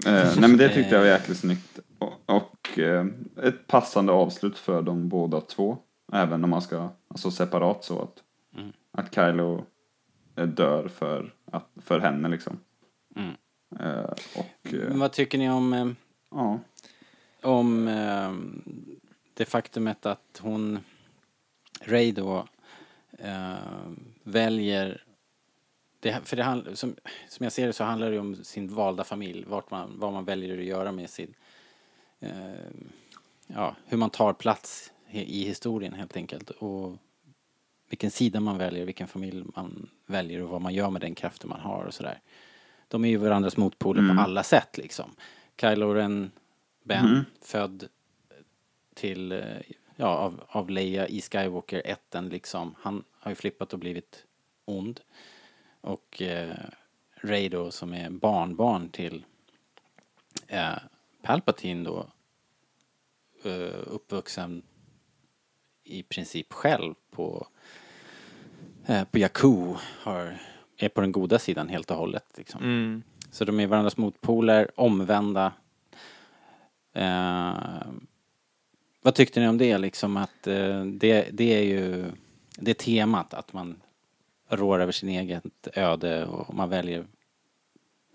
[SPEAKER 3] Eh, nej men det tyckte jag var jäkligt snyggt. Och, och eh, ett passande avslut för de båda två. Även om man ska, alltså separat så att,
[SPEAKER 1] Mm.
[SPEAKER 3] att Kylo eh, dör för, att, för henne liksom.
[SPEAKER 1] Mm.
[SPEAKER 3] Eh, och eh,
[SPEAKER 2] Mm.
[SPEAKER 1] Men vad tycker ni om, eh,
[SPEAKER 3] ja,
[SPEAKER 1] om eh, det faktumet att hon, Ray då, eh, väljer... Det, för det handl, som, som jag ser det så handlar det ju om sin valda familj, vart man, vad man väljer att göra med sin... Eh, ja, hur man tar plats he- i historien helt enkelt. Och vilken sida man väljer, vilken familj man väljer och vad man gör med den kraften man har och sådär. De är ju varandras motpoler på alla sätt liksom. Kylo Ren, Ben, född till, eh, ja, av, av Leia i Skywalker 1 liksom. Han har ju flippat och blivit ond. Och eh, Ray då som är barnbarn till eh, Palpatine då eh, uppvuxen i princip själv på, eh, på Jakku har, är på den goda sidan helt och hållet. Liksom.
[SPEAKER 2] Mm.
[SPEAKER 1] Så de är varandras motpoler, omvända. Eh, vad tyckte ni om det liksom att eh, det, det är ju det är temat att man rår över sin eget öde och man väljer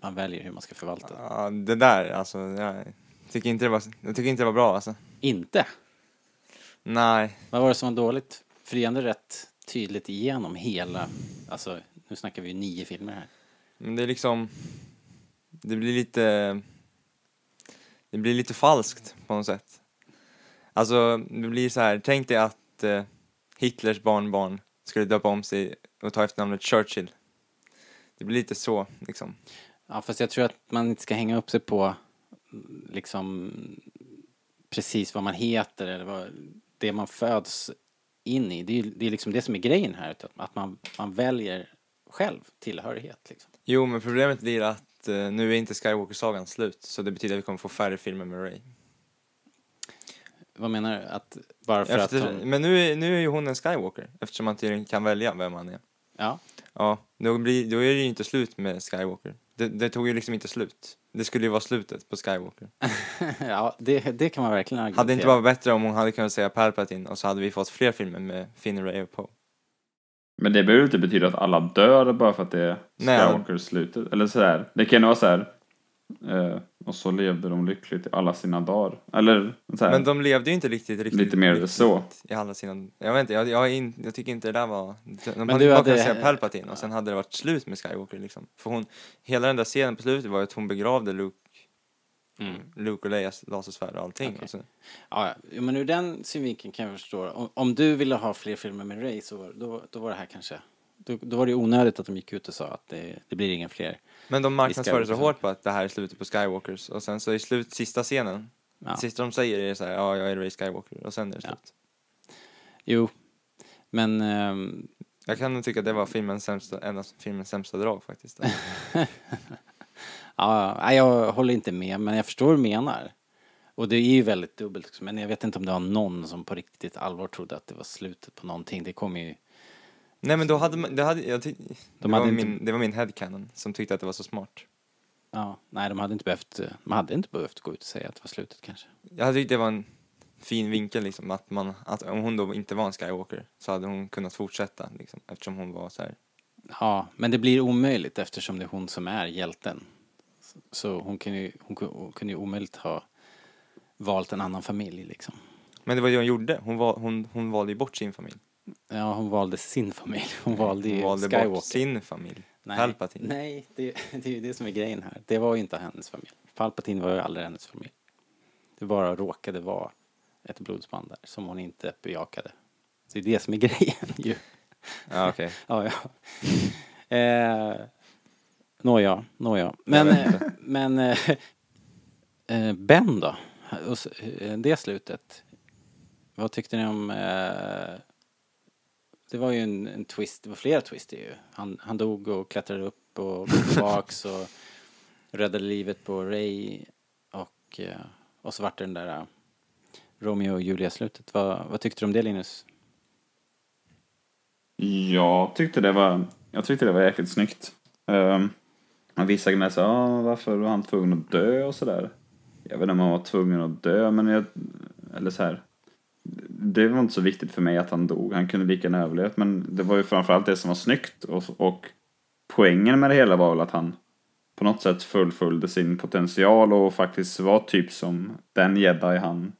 [SPEAKER 1] man väljer hur man ska förvalta det.
[SPEAKER 2] Ja, det där alltså, jag tycker inte det var, jag tycker inte det var bra alltså.
[SPEAKER 1] Inte!
[SPEAKER 2] Nej,
[SPEAKER 1] Vad var det som var dåligt? För det är ändå rätt tydligt igenom hela, alltså nu snackar vi ju nio filmer här.
[SPEAKER 2] men det är liksom, det blir lite, det blir lite falskt på något sätt. Alltså, det blir så här, tänk dig att eh, Hitlers barnbarn skulle döpa om sig och ta efternamnet Churchill. Det blir lite så, liksom.
[SPEAKER 1] Ja, fast jag tror att man inte ska hänga upp sig på mm, liksom precis vad man heter eller vad det man föds in i. Det är, ju- det är liksom det som är grejen här, att- att man, man väljer själv tillhörighet. Liksom.
[SPEAKER 2] Jo, men problemet blir att eh, nu är inte Skywalker-sagan slut, så det betyder att vi kommer få färre filmer med Ray.
[SPEAKER 1] Vad menar du? Att bara för
[SPEAKER 2] Efter,
[SPEAKER 1] att hon,
[SPEAKER 2] Men nu, är- nu är ju hon en Skywalker, eftersom man tydligen kan välja vem man är.
[SPEAKER 1] Ja,
[SPEAKER 2] Ja, då, blir, då är det ju inte slut med Skywalker. Det, det tog ju liksom inte slut. Det skulle ju vara slutet på Skywalker.
[SPEAKER 1] ja det, det kan man verkligen argumentera.
[SPEAKER 2] Hade det inte varit bättre om hon hade kunnat säga Palpatine och så hade vi fått fler filmer med Finn, Ray och Poe?
[SPEAKER 3] Men det behöver inte betyda att alla dör bara för att det är
[SPEAKER 2] Nej.
[SPEAKER 3] Skywalker slutet. Eller sådär. Det kan ju vara så här. Eh, och så levde de lyckligt i alla sina dagar. Eller så här,
[SPEAKER 2] Men de levde ju inte riktigt, riktigt
[SPEAKER 3] lite mer
[SPEAKER 2] riktigt
[SPEAKER 3] så.
[SPEAKER 2] i alla sina... Jag vet inte, jag, jag, är in, jag tycker inte det där var... De men
[SPEAKER 1] du
[SPEAKER 2] hade bara kunnat
[SPEAKER 1] hade-
[SPEAKER 2] säga Palpatine och sen hade det varit slut med Skywalker liksom. För hon, hela den där scenen på slutet var ju att hon begravde Luke,
[SPEAKER 1] Mm.
[SPEAKER 2] Luke och Leias lasersvärd och allting. alltså.
[SPEAKER 1] Okej.
[SPEAKER 2] Och så,
[SPEAKER 1] Ja, ja. Jo, men ur den synvinkeln kan jag förstå. Om, om du ville ha fler filmer med Ray så var, då, då var det här kanske... Då, då var det ju onödigt att de gick ut och sa att det, det blir inga fler.
[SPEAKER 2] men de marknadsförde så
[SPEAKER 1] Skywalker.
[SPEAKER 2] hårt på att det här är slutet på Skywalkers och sen så i slut, sista scenen,
[SPEAKER 1] Ja.
[SPEAKER 2] sista de säger är så här, ja jag är Ray Skywalker och sen är det
[SPEAKER 1] Ja.
[SPEAKER 2] slut.
[SPEAKER 1] Jo, men... ehm,
[SPEAKER 2] Jag kan nog tycka att det var filmens sämsta, en av filmens sämsta drag faktiskt.
[SPEAKER 1] Ja, nej, jag håller inte med, men jag förstår vad du menar. Och det är ju väldigt dubbelt också, men jag vet inte om det var någon som på riktigt allvar trodde att det var slutet på någonting. Det kom ju...
[SPEAKER 2] Nej men då hade man, det, hade, jag tyck, det,
[SPEAKER 1] hade
[SPEAKER 2] var
[SPEAKER 1] inte-
[SPEAKER 2] min, det var min headcanon som tyckte att det var så smart.
[SPEAKER 1] Ja, nej, de hade inte behövt, de hade inte behövt gå ut och säga att det var slutet kanske.
[SPEAKER 2] Jag tyckte det var en fin vinkel liksom, att, man, att om hon då inte var en Skywalker så hade hon kunnat fortsätta liksom, eftersom hon var så här.
[SPEAKER 1] Ja, men det blir omöjligt eftersom det är hon som är hjälten. Så hon kunde ju, hon ku- hon kunde ju omöjligt ha valt en annan familj liksom.
[SPEAKER 2] Men det var det hon gjorde, hon, val, hon, hon valde ju bort sin familj.
[SPEAKER 1] Ja, hon valde sin familj. Hon valde ju
[SPEAKER 2] Mm, Hon valde
[SPEAKER 1] Skywalker.
[SPEAKER 2] bort sin familj,
[SPEAKER 1] Nej,
[SPEAKER 2] Palpatine.
[SPEAKER 1] Nej, det, det är ju det som är grejen här. Det var ju inte hennes familj. Palpatine var ju aldrig hennes familj. Det bara råkade vara ett blodsband där som hon inte bejakade. Så det är det som är grejen ju.
[SPEAKER 2] Ja, okej.
[SPEAKER 1] Ja, ja. Eh, nåja, nåja. Men,
[SPEAKER 2] Jag vet
[SPEAKER 1] eh, men eh, eh, Ben då? Och så, eh, det slutet. Vad tyckte ni om... Eh, det var ju en, en twist, det var flera twister ju. Han, han dog och klättrade upp och kom tillbaks och räddade livet på Ray och, eh, och så vart det den där eh, Romeo och Julia-slutet. Vad, vad tyckte du om det Linus?
[SPEAKER 3] Jag tyckte det var, jag tyckte det var jäkligt snyggt. Um, vissa gnällde så ah, varför var han tvungen att dö och sådär. Jag vet inte om han var tvungen att dö, men jag, eller så här. Det var inte så viktigt för mig att han dog, han kunde lika gärna överlevt, men det var ju framförallt det som var snyggt och, och poängen med det hela var väl att han på något sätt fullföljde sin potential och faktiskt var typ som den jedi han,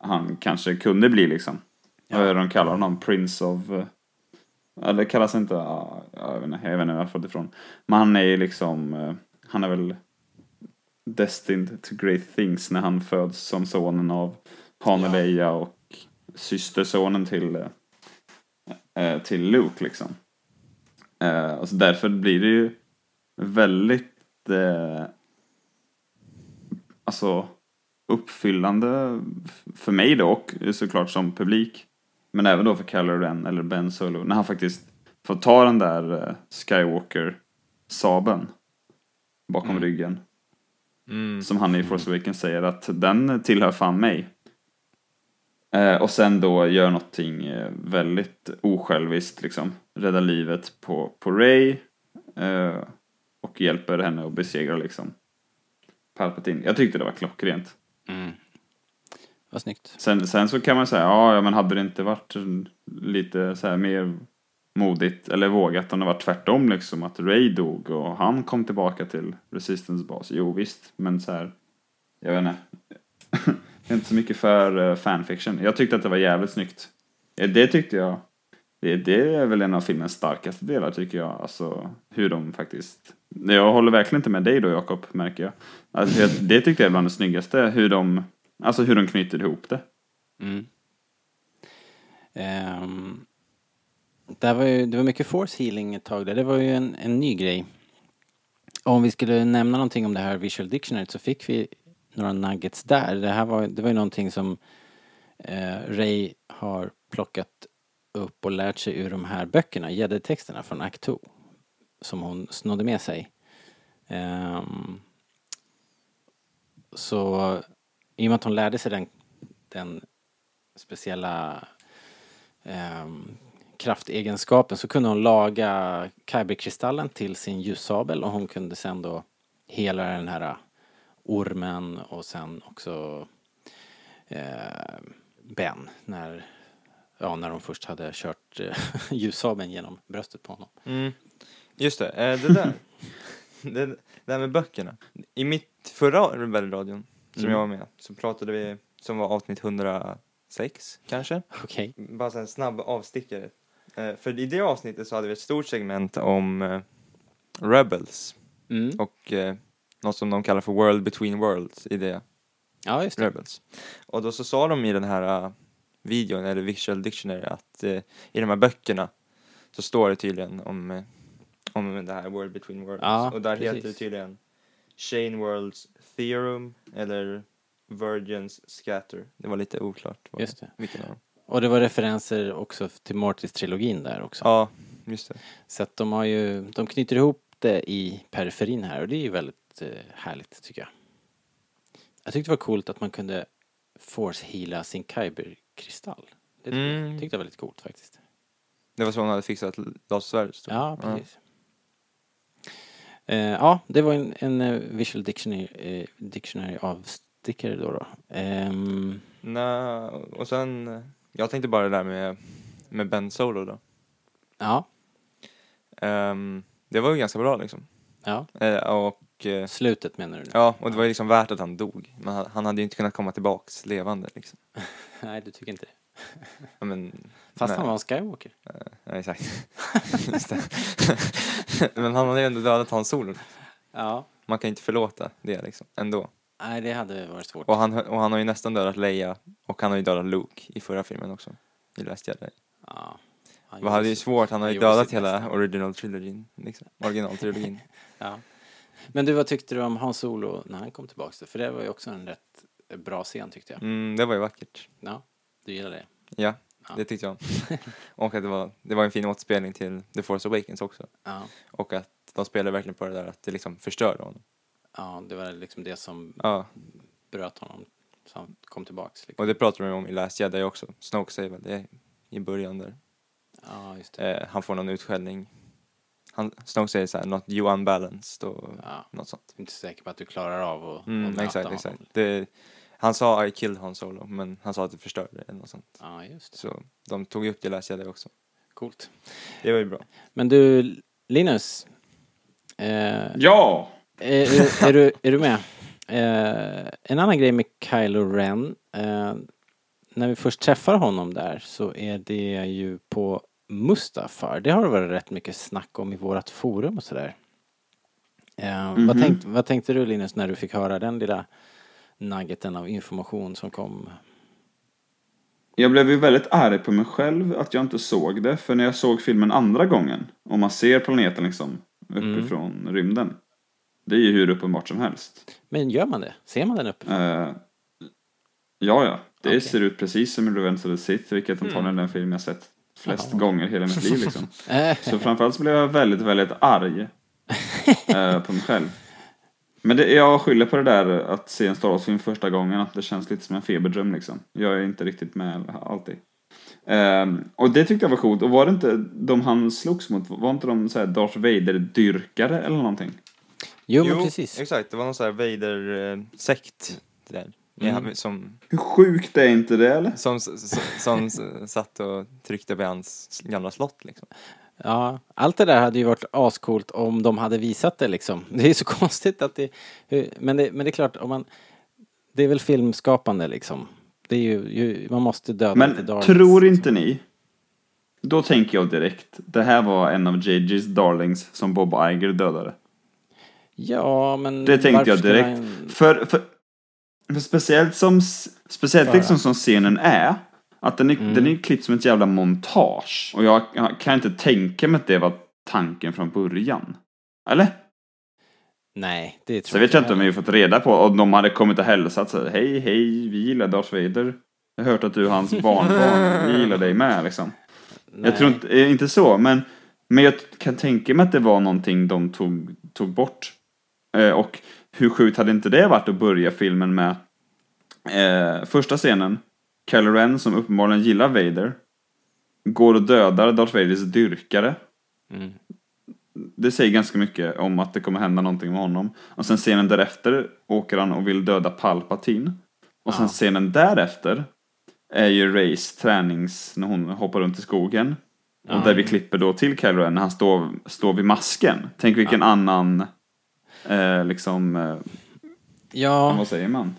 [SPEAKER 3] han kanske kunde bli liksom. Vad är det de kallar honom? Prince of... eh, Ja, det kallas inte... ja, Jag vet inte, jag vet inte var jag fått ifrån. Men han är ju liksom... eh, Han är väl destined to great things när han föds som sonen av Han och Leia och systersonen till, eh, eh, till Luke liksom. Eh, Och så därför blir det ju väldigt eh, alltså uppfyllande f- för mig då och såklart som publik. Men även då för Kylo Ren eller Ben Solo när han faktiskt får ta den där eh, Skywalker-sabeln bakom ryggen.
[SPEAKER 2] Mm.
[SPEAKER 3] Som han i Force Awakens säger att den tillhör fan mig. Eh, och sen då gör någonting eh, väldigt osjälviskt liksom. Räddar livet på, på Ray. Eh, och hjälper henne att besegra liksom Palpatine. Jag tyckte det var klockrent.
[SPEAKER 1] Vad snyggt.
[SPEAKER 3] Sen, sen så kan man säga, ja, ja men hade det inte varit lite så här mer modigt eller vågat om det var tvärtom liksom att Ray dog och han kom tillbaka till Resistance bas. Jo visst, men så här, jag vet inte. Jag är inte så mycket för eh, fanfiction. Jag tyckte att det var jävligt snyggt. Eh, Det tyckte jag. Det, det är väl en av filmens starkaste delar tycker jag. Alltså hur de faktiskt. Jag håller verkligen inte med dig då Jakob, märker jag. Alltså, jag det tyckte jag är bland det snyggaste. Hur de, alltså hur de knyter ihop det.
[SPEAKER 1] Mm. Ehm, det, var ju, det var mycket force healing ett tag där. Det var ju en, en ny grej. Och om vi skulle nämna någonting om det här visual dictionary så fick vi några nuggets där. Det här var, det var ju någonting som eh, Ray har plockat upp och lärt sig ur de här böckerna, gäddetexterna från Act 2. Som hon snodde med sig. Ehm, så i och med att hon lärde sig den, den speciella ehm, kraftegenskapen så kunde hon laga kyberkristallen till sin ljussabel och hon kunde sen då hela den här ormen och sen också eh, Ben när, ja, när de först hade kört eh, ljussabeln genom bröstet på honom.
[SPEAKER 2] Mm. Just det, eh, det där. det, det här med böckerna. I mitt förra Rebellradion, som
[SPEAKER 1] Mm.
[SPEAKER 2] jag var med, så pratade vi, som var avsnitt 106 kanske,
[SPEAKER 1] Okej.
[SPEAKER 2] bara så en snabb avstickare. Eh, för i det avsnittet så hade vi ett stort segment om eh, Rebels
[SPEAKER 1] Mm.
[SPEAKER 2] och eh, något som de kallar för World Between Worlds i det
[SPEAKER 1] Ja, just det.
[SPEAKER 2] Rebels. Och då så sa de i den här eh, videon, eller Visual Dictionary, att eh, i de här böckerna så står det tydligen om, eh, om det här World Between Worlds.
[SPEAKER 1] Ja,
[SPEAKER 2] och där heter det
[SPEAKER 1] precis.
[SPEAKER 2] tydligen Shane Worlds Theorem eller Virgins Scatter. Det var lite oklart vad,
[SPEAKER 1] Just det.
[SPEAKER 2] vilken av dem.
[SPEAKER 1] Och det var referenser också till Mortis-trilogin där också.
[SPEAKER 2] Ja, just det.
[SPEAKER 1] Så att de har ju, de knyter ihop det i periferin här och det är ju väldigt eh, härligt tycker jag. Jag tyckte det var coolt att man kunde force-heala sin kyberkristall. Det tyckte
[SPEAKER 2] Mm.
[SPEAKER 1] jag tyckte jag var lite coolt faktiskt.
[SPEAKER 2] Det var så hon hade fixat lasersvärdet. stod det.
[SPEAKER 1] Ja, precis. Ja, ja det var en, en eh, visual dictionary, eh, dictionary avstickare då. då. Ehm,
[SPEAKER 2] Nä, och sen, eh, jag tänkte bara det där med, med Ben Solo då.
[SPEAKER 1] ja,
[SPEAKER 2] Ehm, det var ju ganska bra liksom.
[SPEAKER 1] ja.
[SPEAKER 2] Eh, och eh,
[SPEAKER 1] Slutet menar du nu?
[SPEAKER 2] Ja, och det var ju liksom värt att han dog. Men han, han hade ju inte kunnat komma tillbaks levande liksom.
[SPEAKER 1] Nej, du tycker inte det.
[SPEAKER 2] Ja, men,
[SPEAKER 1] Fast
[SPEAKER 2] nej,
[SPEAKER 1] han var en skywalker.
[SPEAKER 2] Ja, exakt. Just det. men han hade ju ändå dödat hans Solo.
[SPEAKER 1] Ja.
[SPEAKER 2] Man kan inte förlåta det liksom, ändå.
[SPEAKER 1] Nej, det hade varit svårt.
[SPEAKER 2] Och han, och han har ju nästan dödat Leia och han har ju dödat Luke i förra filmen också. I Last Jedi.
[SPEAKER 1] Ja. Han
[SPEAKER 2] Han hade
[SPEAKER 1] gjorde
[SPEAKER 2] ju
[SPEAKER 1] sitt-
[SPEAKER 2] svårt, han har ju
[SPEAKER 1] gjorde
[SPEAKER 2] dödat
[SPEAKER 1] sitt bästa.
[SPEAKER 2] hela original trilogin. Liksom. Originaltrilogin.
[SPEAKER 1] Ja. Men du, vad tyckte du om Hans Solo när han kom tillbaks? då? För det var ju också en rätt bra scen tyckte jag.
[SPEAKER 2] Mm, det var ju vackert.
[SPEAKER 1] Ja, du gillar det?
[SPEAKER 2] Ja,
[SPEAKER 1] Ja.
[SPEAKER 2] det tyckte jag om. och att det var, det var en fin återspelning till The Force Awakens också.
[SPEAKER 1] Ja.
[SPEAKER 2] Och att de spelar verkligen på det där att det liksom förstörde honom.
[SPEAKER 1] Ja, det var liksom det som
[SPEAKER 2] Ja,
[SPEAKER 1] bröt honom. Så han kom tillbaks. Liksom.
[SPEAKER 2] och det pratar de om i Last Jedi också. Snoke säger väl det i början där.
[SPEAKER 1] Ja, just det.
[SPEAKER 2] Eh, han får någon utskällning. Han, Snoke säger så här, not you unbalanced och
[SPEAKER 1] Ja.
[SPEAKER 2] något sånt.
[SPEAKER 1] Jag är inte säker på att du klarar av att att
[SPEAKER 2] Mm,
[SPEAKER 1] möta
[SPEAKER 2] exakt,
[SPEAKER 1] honom.
[SPEAKER 2] exakt. Det, han sa I killed Han Solo, men han sa att det förstörde det eller något sånt.
[SPEAKER 1] Ja, just det.
[SPEAKER 2] Så de tog ju upp det i Last Jedi också.
[SPEAKER 1] Coolt.
[SPEAKER 2] Det var ju bra.
[SPEAKER 1] Men du, Linus. Eh,
[SPEAKER 3] Ja!
[SPEAKER 1] Är, är, är, du, är du med? Eh, en annan grej med Kylo Ren. Eh, när vi först träffar honom där så är det ju på Mustafar. Det har det varit rätt mycket snack om i vårat forum och sådär. Eh, vad, tänkt, vad tänkte du Linus när du fick höra den lilla nuggeten av information som kom?
[SPEAKER 3] Jag blev ju väldigt arg på mig själv att jag inte såg det. För när jag såg filmen andra gången och man ser planeten liksom uppifrån rymden. Det är ju hur uppenbart som helst.
[SPEAKER 1] Men gör man det? Ser man den uppe?
[SPEAKER 3] Eh, ja, ja. Det
[SPEAKER 1] Okej.
[SPEAKER 3] ser ut precis som i Revenge of the Sith, vilket antagligen är den film jag sett flest gånger i hela mitt liv. Liksom.
[SPEAKER 1] Eh,
[SPEAKER 3] Så framförallt så blev jag väldigt, väldigt arg eh, på mig själv. Men det, jag skyller på det där att se en Star Wars-film första gången, att det känns lite som en feberdröm liksom. Jag är inte riktigt med alltid. Ehm, och det tyckte jag var coolt. Och var det inte de han slogs mot, var inte de så här Darth Vader-dyrkare eller någonting?
[SPEAKER 1] jo men precis.
[SPEAKER 2] exakt. Det var någon sån här Vader-sekt där.
[SPEAKER 1] Mm.
[SPEAKER 2] Ja, som,
[SPEAKER 3] Hur sjukt är inte det eller?
[SPEAKER 2] som, som, som, satt och tryckte på hans gamla slott liksom.
[SPEAKER 1] Ja, allt det där hade ju varit ascoolt om de hade visat det liksom. Det är ju så konstigt att det... hur- Men det, men det är klart, om man... Det är väl filmskapande liksom. Det är ju, ju man måste döda lite
[SPEAKER 3] Men
[SPEAKER 1] darlings.
[SPEAKER 3] tror inte ni? Då tänker jag direkt, det här var en av JJ's darlings som Bob Iger dödade.
[SPEAKER 1] Ja, men...
[SPEAKER 3] Det tänkte
[SPEAKER 1] varför
[SPEAKER 3] jag
[SPEAKER 1] skulle
[SPEAKER 3] direkt.
[SPEAKER 1] han-
[SPEAKER 3] För, för, för speciellt som, speciellt liksom som scenen är, att den är, den är ju klippt som ett jävla montage. Och jag, jag kan inte tänka mig att det var tanken från början. Eller?
[SPEAKER 1] Nej, det tror
[SPEAKER 3] Så vet jag inte om vi har fått reda på om de hade kommit och hälsat så här, Hej, hej, vi gillar Darth Vader. Jag har hört att du är hans barnbarn. Vi gillar dig med liksom.
[SPEAKER 1] Nej.
[SPEAKER 3] Jag tror inte, eh, inte så, men, men jag kan tänka mig att det var någonting de tog, tog bort. Eh, och hur sjukt hade inte det varit att börja filmen med eh, första scenen, Kylo Ren som uppenbarligen gillar Vader, går och dödar Darth Vaders dyrkare.
[SPEAKER 1] Mm.
[SPEAKER 3] Det säger ganska mycket om att det kommer hända någonting med honom. Och sen scenen därefter åker han och vill döda Palpatine. Och sen
[SPEAKER 1] Ja.
[SPEAKER 3] scenen därefter är ju Rays tränings, när hon hoppar runt i skogen. Och där vi klipper då till Kylo Ren när han står, står vid masken. Tänk vilken annan eh, liksom, eh,
[SPEAKER 1] Ja,
[SPEAKER 3] vad säger man?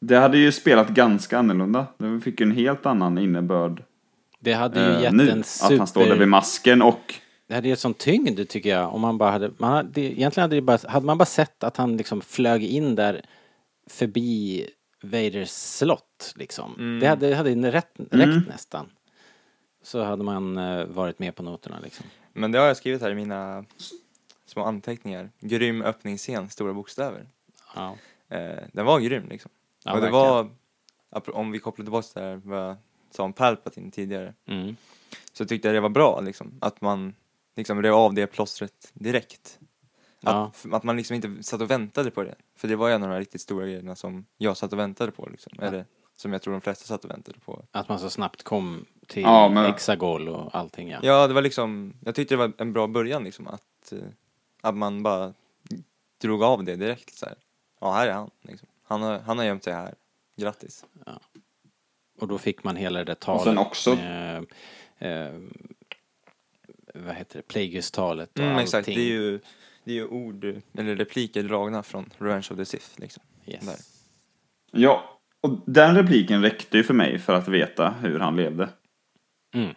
[SPEAKER 3] Det hade ju spelat ganska annorlunda. Det fick ju en helt annan innebörd
[SPEAKER 1] det hade ju
[SPEAKER 3] eh,
[SPEAKER 1] gett
[SPEAKER 3] nu.
[SPEAKER 1] en
[SPEAKER 3] Att han står där vid
[SPEAKER 1] super...
[SPEAKER 3] masken och
[SPEAKER 1] Det hade gett sån tyngd tycker jag om man bara hade... Man hade egentligen hade, det bara, hade man bara sett att han liksom flög in där förbi Vaders slott liksom.
[SPEAKER 2] Mm.
[SPEAKER 1] Det hade, det hade rätt, räckt nästan. Så hade man eh, varit med på noterna liksom.
[SPEAKER 2] Men det har jag skrivit här i mina små anteckningar. Grym öppningsscen, stora bokstäver.
[SPEAKER 1] Ja.
[SPEAKER 2] Eh, den var grym liksom.
[SPEAKER 1] Ja,
[SPEAKER 2] och det
[SPEAKER 1] verkligen.
[SPEAKER 2] var, apro- om vi kopplar tillbaka till det här vad jag sa om Palpatine tidigare,
[SPEAKER 1] Mm.
[SPEAKER 2] så tyckte jag det var bra liksom. Att man liksom rev av det plåstret direkt. Att,
[SPEAKER 1] Ja.
[SPEAKER 2] f- att man liksom inte satt och väntade på det. För det var ju en av de här riktigt stora grejerna som jag satt och väntade på liksom. Eller som jag tror de flesta satt och väntade på.
[SPEAKER 1] Att man så snabbt kom till
[SPEAKER 3] Ja, men-
[SPEAKER 1] Exagol och allting ja.
[SPEAKER 2] Ja, det var liksom, jag tyckte det var en bra början liksom att, eh, att man bara drog av det direkt så här. Ja, här är han liksom. Han har, han har gömt sig här. Grattis.
[SPEAKER 1] Mm, Och då fick man hela det där talet.
[SPEAKER 3] Och sen också-
[SPEAKER 1] med, eh, vad heter det? Plagueis-talet och
[SPEAKER 2] Mm,
[SPEAKER 1] allting.
[SPEAKER 2] exakt, det är ju, det är ju ord, eller repliker dragna från Revenge of the Sith liksom.
[SPEAKER 1] Yes.
[SPEAKER 2] Där.
[SPEAKER 3] Ja, och den repliken räckte ju för mig för att veta hur han levde.
[SPEAKER 1] Mm.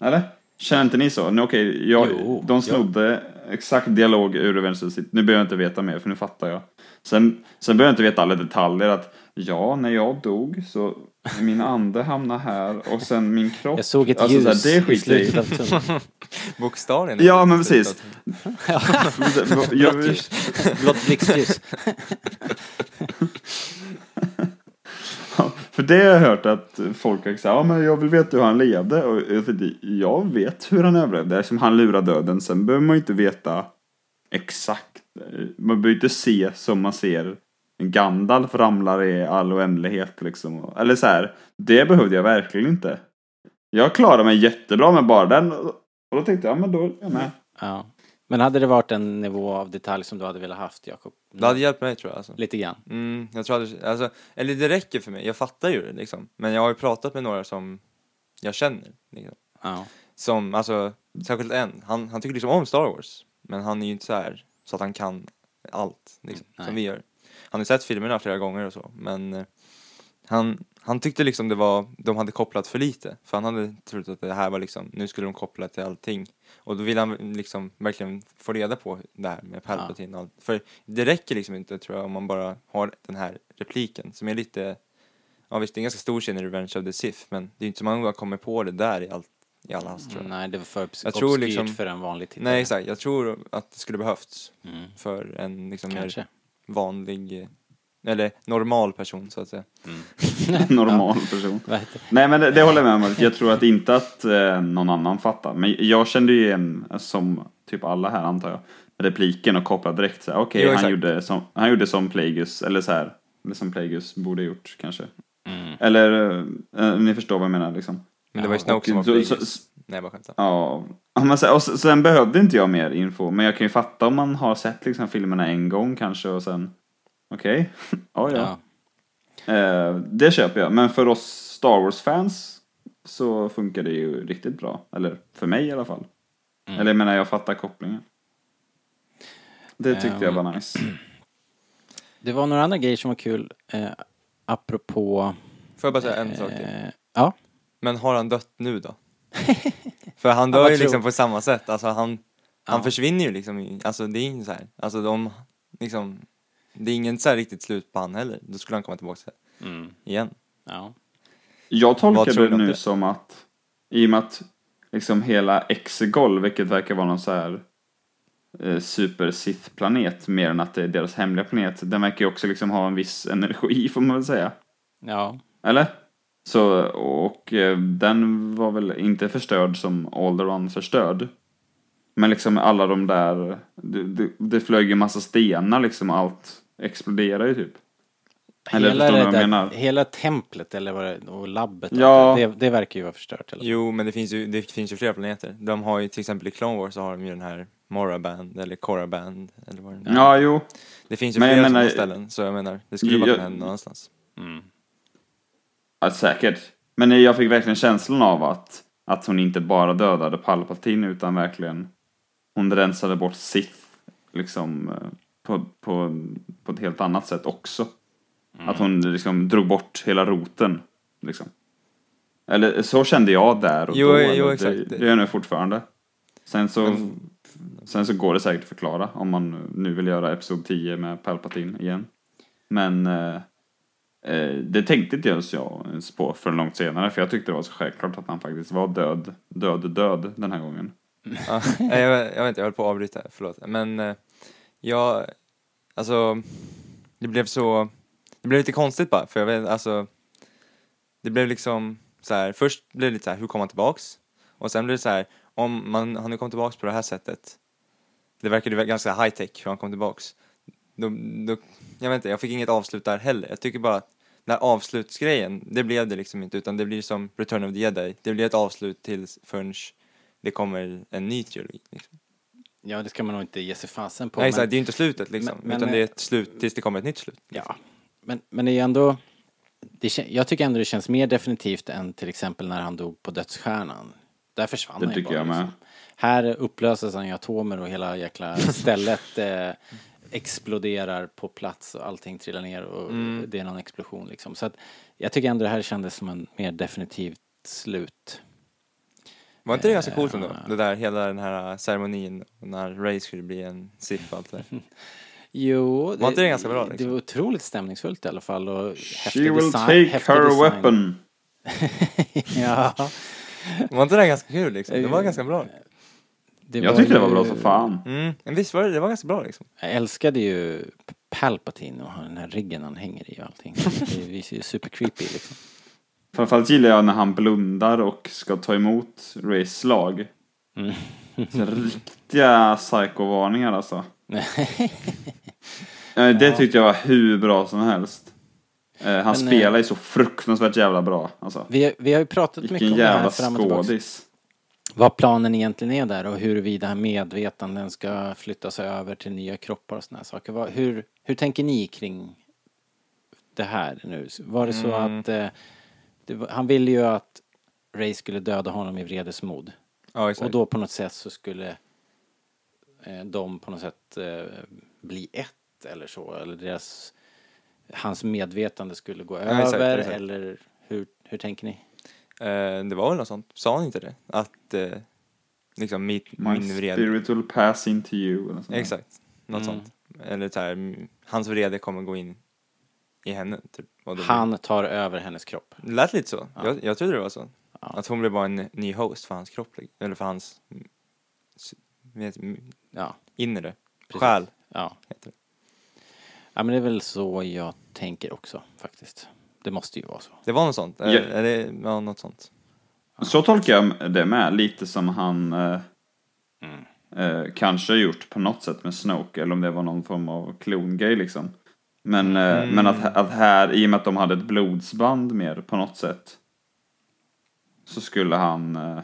[SPEAKER 3] Eller? Känner inte ni så? Nu, okej, jag,
[SPEAKER 1] Jo,
[SPEAKER 3] de snodde exakt dialog ur Revenge of the Sith. Nu behöver jag inte veta mer, för nu fattar jag. Sen, sen behöver jag inte veta alla detaljer. Att ja, när jag dog så min ande hamnade här och sen min kropp.
[SPEAKER 1] Jag såg ett
[SPEAKER 3] Alltså,
[SPEAKER 1] ljus
[SPEAKER 3] så här, det
[SPEAKER 1] i
[SPEAKER 3] skiter jag i.
[SPEAKER 1] slutet av tunneln.
[SPEAKER 2] Bokstavligen.
[SPEAKER 3] Ja, men precis. Jag,
[SPEAKER 1] Blått ljus. Blått blixtljus.
[SPEAKER 3] Ja, För det har jag hört att folk har sagt, ja men jag vill veta hur han levde. Och jag tänkte, jag vet hur han överlevde. Eftersom han lurade döden. Sen behöver man ju inte veta exakt. Man behöver ju inte se som man ser en Gandalf ramlar i all oändlighet liksom. Eller så här, det behövde jag verkligen inte. Jag klarade mig jättebra med bara den. Och då tänkte jag, ja men då är jag med.
[SPEAKER 1] Ja. Men hade det varit en nivå av detalj som du hade velat haft, Jakob?
[SPEAKER 2] Det hade hjälpt mig tror jag alltså.
[SPEAKER 1] Lite grann.
[SPEAKER 2] Mm, jag tror aldrig, alltså, eller det räcker för mig, jag fattar ju det liksom. Men jag har ju pratat med några som jag känner. Liksom.
[SPEAKER 1] Ja.
[SPEAKER 2] Som, alltså, särskilt en, han, han tycker liksom om Star Wars. Men han är ju inte så här så att han kan allt, liksom,
[SPEAKER 1] Mm, Nej.
[SPEAKER 2] som vi gör. Han har ju sett filmerna flera gånger och så, men eh, han, han tyckte liksom det var, de hade kopplat för lite. För han hade trott att det här var liksom, nu skulle de koppla till allting. Och då vill han liksom verkligen få reda på det här med Palpatine och allt. För det räcker liksom inte tror jag om man bara har den här repliken som är lite, ja visst det är en ganska stor scen i Revenge of the Sith men det är ju inte som att man bara kommer på det där i allt, i all hast tror jag.
[SPEAKER 1] Nej, det var för
[SPEAKER 2] Jag
[SPEAKER 1] jag
[SPEAKER 2] tror
[SPEAKER 1] obskyrt
[SPEAKER 2] liksom-
[SPEAKER 1] för en vanlig tittare.
[SPEAKER 2] Nej exakt, jag tror att det skulle behövts
[SPEAKER 1] Mm.
[SPEAKER 2] för en liksom mer
[SPEAKER 1] Kanske.
[SPEAKER 2] vanlig, eh, eller normal person så att säga.
[SPEAKER 3] Normal person.
[SPEAKER 1] Vad heter det?
[SPEAKER 3] Nej men det, det håller jag med om. Jag tror att inte att eh, någon annan fattar. Men jag kände ju igen, som typ alla här antar jag, repliken och kopplade direkt så här, okej
[SPEAKER 2] Jo,
[SPEAKER 3] han,
[SPEAKER 2] exakt.
[SPEAKER 3] gjorde som, han gjorde som Plagueis, eller så här, eller som Plagueis borde gjort kanske. Eller, eh, ni förstår vad jag menar liksom.
[SPEAKER 2] Mm. Men det var ju
[SPEAKER 1] Mm. Ja,
[SPEAKER 2] Snoke som var
[SPEAKER 3] och- så-
[SPEAKER 2] Plagueis.
[SPEAKER 3] så-
[SPEAKER 2] Nej jag bara skämtar.
[SPEAKER 3] Ja, ja, men så, och så, sen behövde inte jag mer info, men jag kan ju fatta om man har sett liksom filmerna en gång kanske och sen, okej, ja ja.
[SPEAKER 1] Ja.
[SPEAKER 3] Eh, det köper jag, men för oss Star Wars-fans så funkar det ju riktigt bra. Eller för mig i alla fall.
[SPEAKER 2] Mm.
[SPEAKER 3] Eller jag menar, jag fattar kopplingen.
[SPEAKER 2] Eh,
[SPEAKER 3] Det tyckte jag var nice.
[SPEAKER 1] Det var några andra grejer som var kul, eh, apropå...
[SPEAKER 2] Får jag bara säga en sak till?
[SPEAKER 1] Eh, ja.
[SPEAKER 2] Men har han dött nu då? För han
[SPEAKER 1] vad
[SPEAKER 2] dör ju
[SPEAKER 1] tror-
[SPEAKER 2] liksom på samma sätt, alltså han, han försvinner ju liksom, i- alltså det är ju så här, alltså de, liksom, det är ingen så här riktigt slut på han heller, då skulle han komma tillbaka så här.
[SPEAKER 3] Mm.
[SPEAKER 2] igen.
[SPEAKER 1] ja.
[SPEAKER 3] Jag
[SPEAKER 2] Vad tror
[SPEAKER 3] tolkar
[SPEAKER 2] du
[SPEAKER 3] det
[SPEAKER 2] om
[SPEAKER 3] nu
[SPEAKER 2] det?
[SPEAKER 3] som att i och med att liksom hela Exegol, vilket verkar vara någon så här eh, super sith planet mer än att det är deras hemliga planet, den verkar ju också liksom ha en viss energi får man väl säga.
[SPEAKER 1] Ja.
[SPEAKER 3] Eller? Så, och eh, den var väl inte förstörd som Alderaan förstörd. Men liksom alla de där, det, det, det flög ju massa stenar liksom och allt exploderade ju typ. Eller
[SPEAKER 1] hela,
[SPEAKER 3] förstår du
[SPEAKER 1] det
[SPEAKER 3] vad jag
[SPEAKER 1] där,
[SPEAKER 3] menar?
[SPEAKER 1] hela templet eller vad det, och labbet,
[SPEAKER 3] Ja.
[SPEAKER 1] det, det verkar ju vara förstört. Eller?
[SPEAKER 2] Jo, men det finns, ju, det finns ju flera planeter. De har ju till exempel i Clone Wars så har de ju den här Moraband eller Koraband eller vad det nu är.
[SPEAKER 3] Ja, jo.
[SPEAKER 2] Det finns ju
[SPEAKER 3] Men jag
[SPEAKER 2] flera sådana
[SPEAKER 3] menar-
[SPEAKER 2] ställen, så jag menar, det skulle ju bara
[SPEAKER 3] Jag-
[SPEAKER 2] kunna hända någon annanstans.
[SPEAKER 3] Ja, säkert. Men jag fick verkligen känslan av att, att hon inte bara dödade Palpatine utan verkligen hon rensade bort Sith liksom eh, på, på, på ett helt annat sätt också.
[SPEAKER 2] Mm.
[SPEAKER 3] Att hon liksom drog bort hela roten. Liksom. Eller så kände jag där och
[SPEAKER 2] Jo,
[SPEAKER 3] då.
[SPEAKER 2] jo,
[SPEAKER 3] eller det,
[SPEAKER 2] exakt.
[SPEAKER 3] det gör jag nu fortfarande. Sen så,
[SPEAKER 2] Men-
[SPEAKER 3] sen så går det säkert att förklara om man nu vill göra Episod 10 med Palpatine igen. Men eh, eh, det tänkte inte ens jag ens på förrän långt senare. För jag tyckte det var så självklart att han faktiskt var död, död, död den här gången.
[SPEAKER 2] Ja, nej, jag, jag vet inte, jag höll på att avbryta, förlåt. Men eh, jag, alltså, det blev så, det blev lite konstigt bara, för jag vet, alltså, det blev liksom så här, först blev det lite så här, hur kom han tillbaks? Och sen blev det så här, om man, han nu kom tillbaks på det här sättet, det verkade väl ganska high tech hur han kom tillbaks. Då, då, jag vet inte, jag fick inget avslut där heller. Jag tycker bara att den här avslutsgrejen, det blev det liksom inte, utan det blir som Return of the Jedi, det blir ett avslut tills förrän det kommer en ny teori. Liksom.
[SPEAKER 1] Ja, det ska man nog inte ge sig fasen på.
[SPEAKER 2] Nej,
[SPEAKER 1] men-
[SPEAKER 2] så här, det är ju inte slutet liksom,
[SPEAKER 1] men- men-
[SPEAKER 2] utan det är ett slut tills det kommer ett nytt slut.
[SPEAKER 1] Ja, Liksom. men, men det är ju ändå... Det, kän- jag tycker ändå det känns mer definitivt än till exempel när han dog på Dödsstjärnan. Där försvann
[SPEAKER 3] Det
[SPEAKER 1] han ju
[SPEAKER 3] tycker
[SPEAKER 1] bara. liksom.
[SPEAKER 3] jag med.
[SPEAKER 1] Här upplöses han i atomer och hela jäkla stället eh, exploderar på plats och allting trillar ner och
[SPEAKER 3] Mm.
[SPEAKER 1] det är någon explosion liksom. Så att jag tycker ändå det här kändes som en mer definitivt slut.
[SPEAKER 2] Var inte det ganska coolt ändå? Det där, hela den här eh, ceremonin, och när Ray skulle bli en Sith och allt det där.
[SPEAKER 1] Jo,
[SPEAKER 2] Var inte det ganska bra,
[SPEAKER 1] det
[SPEAKER 2] liksom?
[SPEAKER 1] var otroligt stämningsfullt i alla fall och liksom häftig
[SPEAKER 3] She will
[SPEAKER 1] design-
[SPEAKER 3] take
[SPEAKER 1] häftig
[SPEAKER 3] her
[SPEAKER 1] design.
[SPEAKER 3] weapon.
[SPEAKER 1] ja,
[SPEAKER 2] Var inte det ganska kul liksom? Det var ganska bra.
[SPEAKER 1] det
[SPEAKER 3] Jag tyckte det var
[SPEAKER 1] ju-
[SPEAKER 3] bra som fan.
[SPEAKER 2] Mm, men visst var det, det var ganska bra liksom.
[SPEAKER 1] Jag älskade ju Palpatine och han- den här riggen han hänger i och allting. Det visar ju super creepy liksom.
[SPEAKER 3] Framförallt gillar jag när han blundar och ska ta emot Rays slag.
[SPEAKER 1] Mm.
[SPEAKER 3] Så riktiga psykovarningar alltså. Eh, Det tyckte jag var hur bra som helst. Eh, Han spelar ju så fruktansvärt jävla bra. Alltså.
[SPEAKER 1] Vi, vi har ju pratat mycket
[SPEAKER 3] Vilken
[SPEAKER 1] om det här
[SPEAKER 3] jävla
[SPEAKER 1] fram och tillbaka.
[SPEAKER 3] skådis.
[SPEAKER 1] Vad planen egentligen är där och huruvida medvetanden ska flyttas över till nya kroppar och såna här saker. Vad, hur, hur tänker ni kring det här nu? Var det så
[SPEAKER 3] Mm.
[SPEAKER 1] att eh, det, var- han ville ju att Ray skulle döda honom i vredesmod.
[SPEAKER 2] Ja,
[SPEAKER 1] Och
[SPEAKER 2] exakt.
[SPEAKER 1] då på något sätt så skulle eh, de på något sätt eh, bli ett eller så. Eller deras, hans medvetande skulle gå över.
[SPEAKER 2] exakt, exakt.
[SPEAKER 1] Eller hur, hur tänker ni?
[SPEAKER 2] Eh, det var väl något sånt, sa han inte det? Att, eh, liksom, mitt,
[SPEAKER 3] My
[SPEAKER 2] min vrede.
[SPEAKER 3] spirit will pass into you. eller sånt där.
[SPEAKER 2] Exakt, något sånt. Eller så här, mm, hans vrede kommer gå in i henne, typ. Och då blir-
[SPEAKER 1] Han tar över hennes kropp.
[SPEAKER 2] Det lät lite så. Jag, jag trodde det var så. Att hon blev bara en ny host för hans kropp, li- eller för hans mm, s- vet, mm,
[SPEAKER 1] Ja,
[SPEAKER 2] inre
[SPEAKER 1] Precis.
[SPEAKER 2] själ.
[SPEAKER 1] ja.
[SPEAKER 2] Heter det.
[SPEAKER 1] ja, men det är väl så jag tänker också faktiskt. Det måste ju vara så.
[SPEAKER 2] det var något sånt,
[SPEAKER 3] Ja.
[SPEAKER 2] eller, eller ja, något sånt.
[SPEAKER 3] Så tolkar jag det med, lite som han eh,
[SPEAKER 2] Mm.
[SPEAKER 3] eh, kanske gjort på något sätt med Snoke, eller om det var någon form av klongrej liksom. Men, eh,
[SPEAKER 2] Mm.
[SPEAKER 3] men att, att här, i och med att de hade ett blodsband mer på något sätt, så skulle han, eh,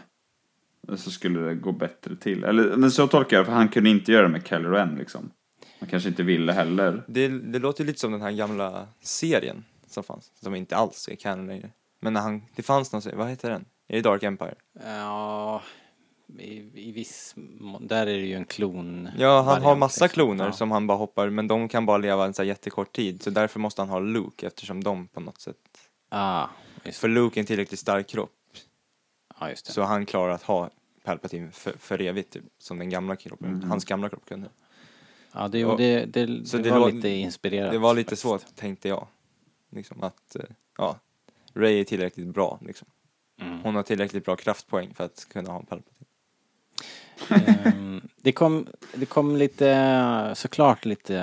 [SPEAKER 3] så skulle det gå bättre till. Eller, men så tolkar jag det, för han kunde inte göra det med Kylo Ren liksom. Han kanske inte ville heller.
[SPEAKER 2] Det, det låter ju lite som den här gamla serien som fanns, som inte alls är canon längre. Men när han, det fanns någon serie, vad heter den? Är det Dark Empire?
[SPEAKER 1] Ja, i, i viss mån. Där är det ju en klon.
[SPEAKER 2] Ja, han har
[SPEAKER 1] variant,
[SPEAKER 2] massa
[SPEAKER 1] liksom.
[SPEAKER 2] kloner
[SPEAKER 1] Ja.
[SPEAKER 2] som han bara hoppar, men de kan bara leva en så här jättekort tid, så därför måste han ha Luke eftersom de på något sätt,
[SPEAKER 1] Ah, just,
[SPEAKER 2] för Luke är en tillräckligt stark kropp
[SPEAKER 1] ja, just det.
[SPEAKER 2] Så han klarar att ha Palpatine för, för evigt, typ, som den gamla kroppen, hans gamla kropp kunde.
[SPEAKER 1] Ja, det,
[SPEAKER 2] Och-
[SPEAKER 1] det, det, det,
[SPEAKER 2] så det
[SPEAKER 1] var
[SPEAKER 2] lå-
[SPEAKER 1] lite inspirerat.
[SPEAKER 2] Det var lite
[SPEAKER 1] faktiskt.
[SPEAKER 2] så, tänkte jag. Liksom att, eh, ja, Ray är tillräckligt bra, liksom.
[SPEAKER 1] Mm.
[SPEAKER 2] Hon har tillräckligt bra kraftpoäng för att kunna ha en Palpatine.
[SPEAKER 1] Ehm, det, kom, det kom lite, såklart lite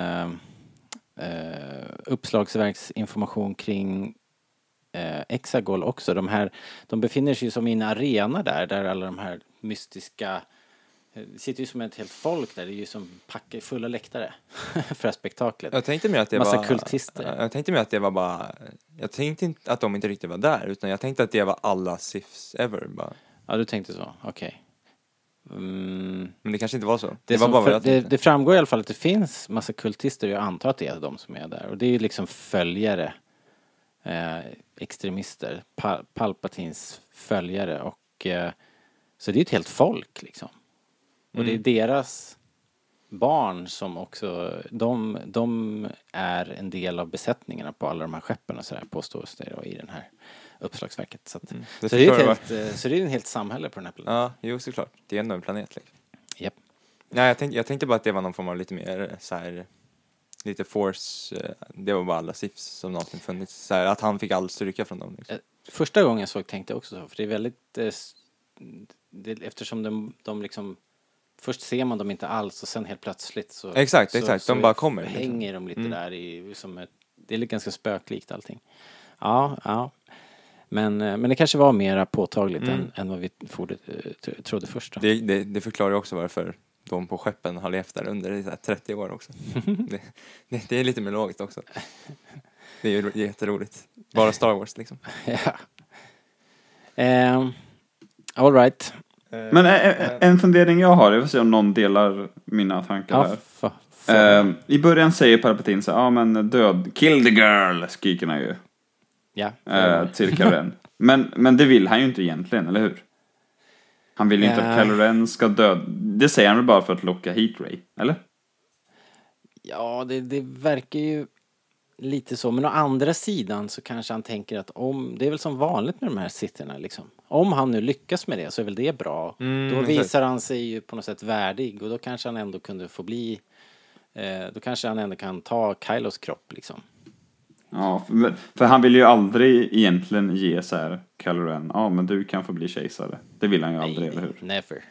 [SPEAKER 1] eh, uppslagsverksinformation kring eh, Exagol också. De, här, de befinner sig ju som i en arena där, där alla de här mystiska eh, det sitter ju som ett helt folk där, det är ju som packar fulla läktare för det här spektaklet.
[SPEAKER 2] Jag tänkte mer att det
[SPEAKER 1] Massa
[SPEAKER 2] var...
[SPEAKER 1] kultister.
[SPEAKER 2] Jag tänkte mer att det var bara... Jag tänkte inte att de inte riktigt var där, utan jag tänkte att det var alla Siths ever, bara.
[SPEAKER 1] Ja, du tänkte så, okej. Mm.
[SPEAKER 2] Men det kanske inte var så. Det,
[SPEAKER 1] Det,
[SPEAKER 2] var
[SPEAKER 1] som
[SPEAKER 2] bara
[SPEAKER 1] för-
[SPEAKER 2] vad jag
[SPEAKER 1] det,
[SPEAKER 2] tänkte.
[SPEAKER 1] det framgår i alla fall att det finns massa kultister och jag antar att det är de som är där. Och det är ju liksom följare, eh, extremister, pa, Palpatins följare.
[SPEAKER 2] Mm.
[SPEAKER 1] Och, eh, så det är ju ett helt folk liksom. Och det är deras barn som också, de, de är en del av besättningarna på alla de här skeppen och sådär påstås det då i den här uppslagsverket. Så, att,
[SPEAKER 2] Mm. det
[SPEAKER 1] så, det är ett
[SPEAKER 2] förstår jag
[SPEAKER 1] helt, eh, så det är en helt samhälle på den här planeten.
[SPEAKER 2] Ja, jo såklart. Det är ändå en planet liksom.
[SPEAKER 1] Japp.
[SPEAKER 2] Nej, jag, tänkte, jag tänkte bara att det var någon form av lite mer eh, så här, lite force, eh, det var bara alla SIFs som någonsin funnits. Så här, att han fick all styrka från dem. Liksom.
[SPEAKER 1] Eh, Första gången jag såg tänkte jag också så, för det är väldigt, eh, s- det, eftersom de, de liksom, först ser man dem inte alls och sen helt plötsligt Eh, så
[SPEAKER 2] Exakt,
[SPEAKER 1] så,
[SPEAKER 2] exakt.
[SPEAKER 1] så
[SPEAKER 2] De bara kommer, liksom.
[SPEAKER 1] Hänger de lite där i, som ett, det är lite ganska spöklikt allting. Ja, ja. Men, eh, men det kanske var mera påtagligt än, än vad vi forde, eh, tro- trodde först då.
[SPEAKER 2] Mm. Det, det, det förklarar ju också varför de på skeppen har levt där under i så här 30 år också. det, det, det är lite mer logiskt också. Det är ju ro- jätteroligt. Bara Star Wars liksom.
[SPEAKER 1] ja. Eh, all right.
[SPEAKER 3] Men eh, eh, en fundering jag har, jag får se om någon delar mina tankar
[SPEAKER 1] Ja,
[SPEAKER 3] här.
[SPEAKER 1] fa, fa.
[SPEAKER 3] Eh, I början säger Palpatine så ja ah, men död, kill the girl, skriker han ju
[SPEAKER 1] ja.
[SPEAKER 3] eh, till Kylo Ren. men, men det vill han ju inte egentligen, eller hur? Han vill ju inte
[SPEAKER 1] Ja.
[SPEAKER 3] att Kylo Ren ska dö. Det säger han väl bara för att locka hit Ray, eller?
[SPEAKER 1] Ja, det, det verkar ju lite så. Men å andra sidan så kanske han tänker att om, det är väl som vanligt med de här sitterna liksom. Om han nu lyckas med det så är väl det bra.
[SPEAKER 2] Mm,
[SPEAKER 1] då
[SPEAKER 2] exakt.
[SPEAKER 1] visar han sig ju på något sätt värdig och då kanske han ändå kunde få bli, eh, då kanske han ändå kan ta Kylos kropp liksom.
[SPEAKER 3] Ja, för, för han vill ju aldrig egentligen ge så här Kylo Ren, ja ah, men du kan få bli kejsare. Det vill han ju aldrig, eller hur?
[SPEAKER 1] Never.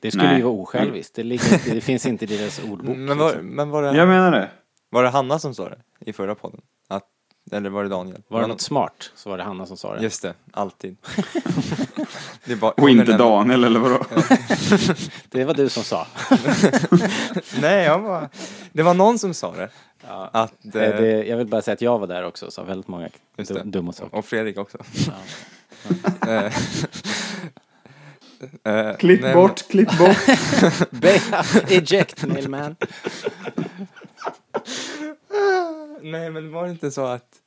[SPEAKER 1] Det skulle
[SPEAKER 3] Nej.
[SPEAKER 1] ju vara osjälviskt. Det, ligger inte, det finns inte i deras ordbok.
[SPEAKER 2] Men var,
[SPEAKER 1] liksom.
[SPEAKER 2] men var, det,
[SPEAKER 3] Jag menar det.
[SPEAKER 2] var det Hanna som sa det i förra podden? Att, eller var det Daniel?
[SPEAKER 1] Var det
[SPEAKER 2] någon-
[SPEAKER 1] något smart så var det Hanna som sa det.
[SPEAKER 2] Just det, alltid. det är bara,
[SPEAKER 3] Och inte
[SPEAKER 2] dagen.
[SPEAKER 3] Daniel eller vadå?
[SPEAKER 1] Det var du som sa.
[SPEAKER 2] Nej, jag bara, det var någon som sa det. Att, eh,
[SPEAKER 1] Eh, Det, jag vill bara säga att jag var där också och sa väldigt många
[SPEAKER 2] Just
[SPEAKER 1] du-
[SPEAKER 2] det.
[SPEAKER 1] dumma saker.
[SPEAKER 2] Och Fredrik också. Eh, eh,
[SPEAKER 3] Klipp
[SPEAKER 2] nej, men-
[SPEAKER 3] bort, klipp bort.
[SPEAKER 1] Eject mailman.
[SPEAKER 2] Nej, men var det inte så att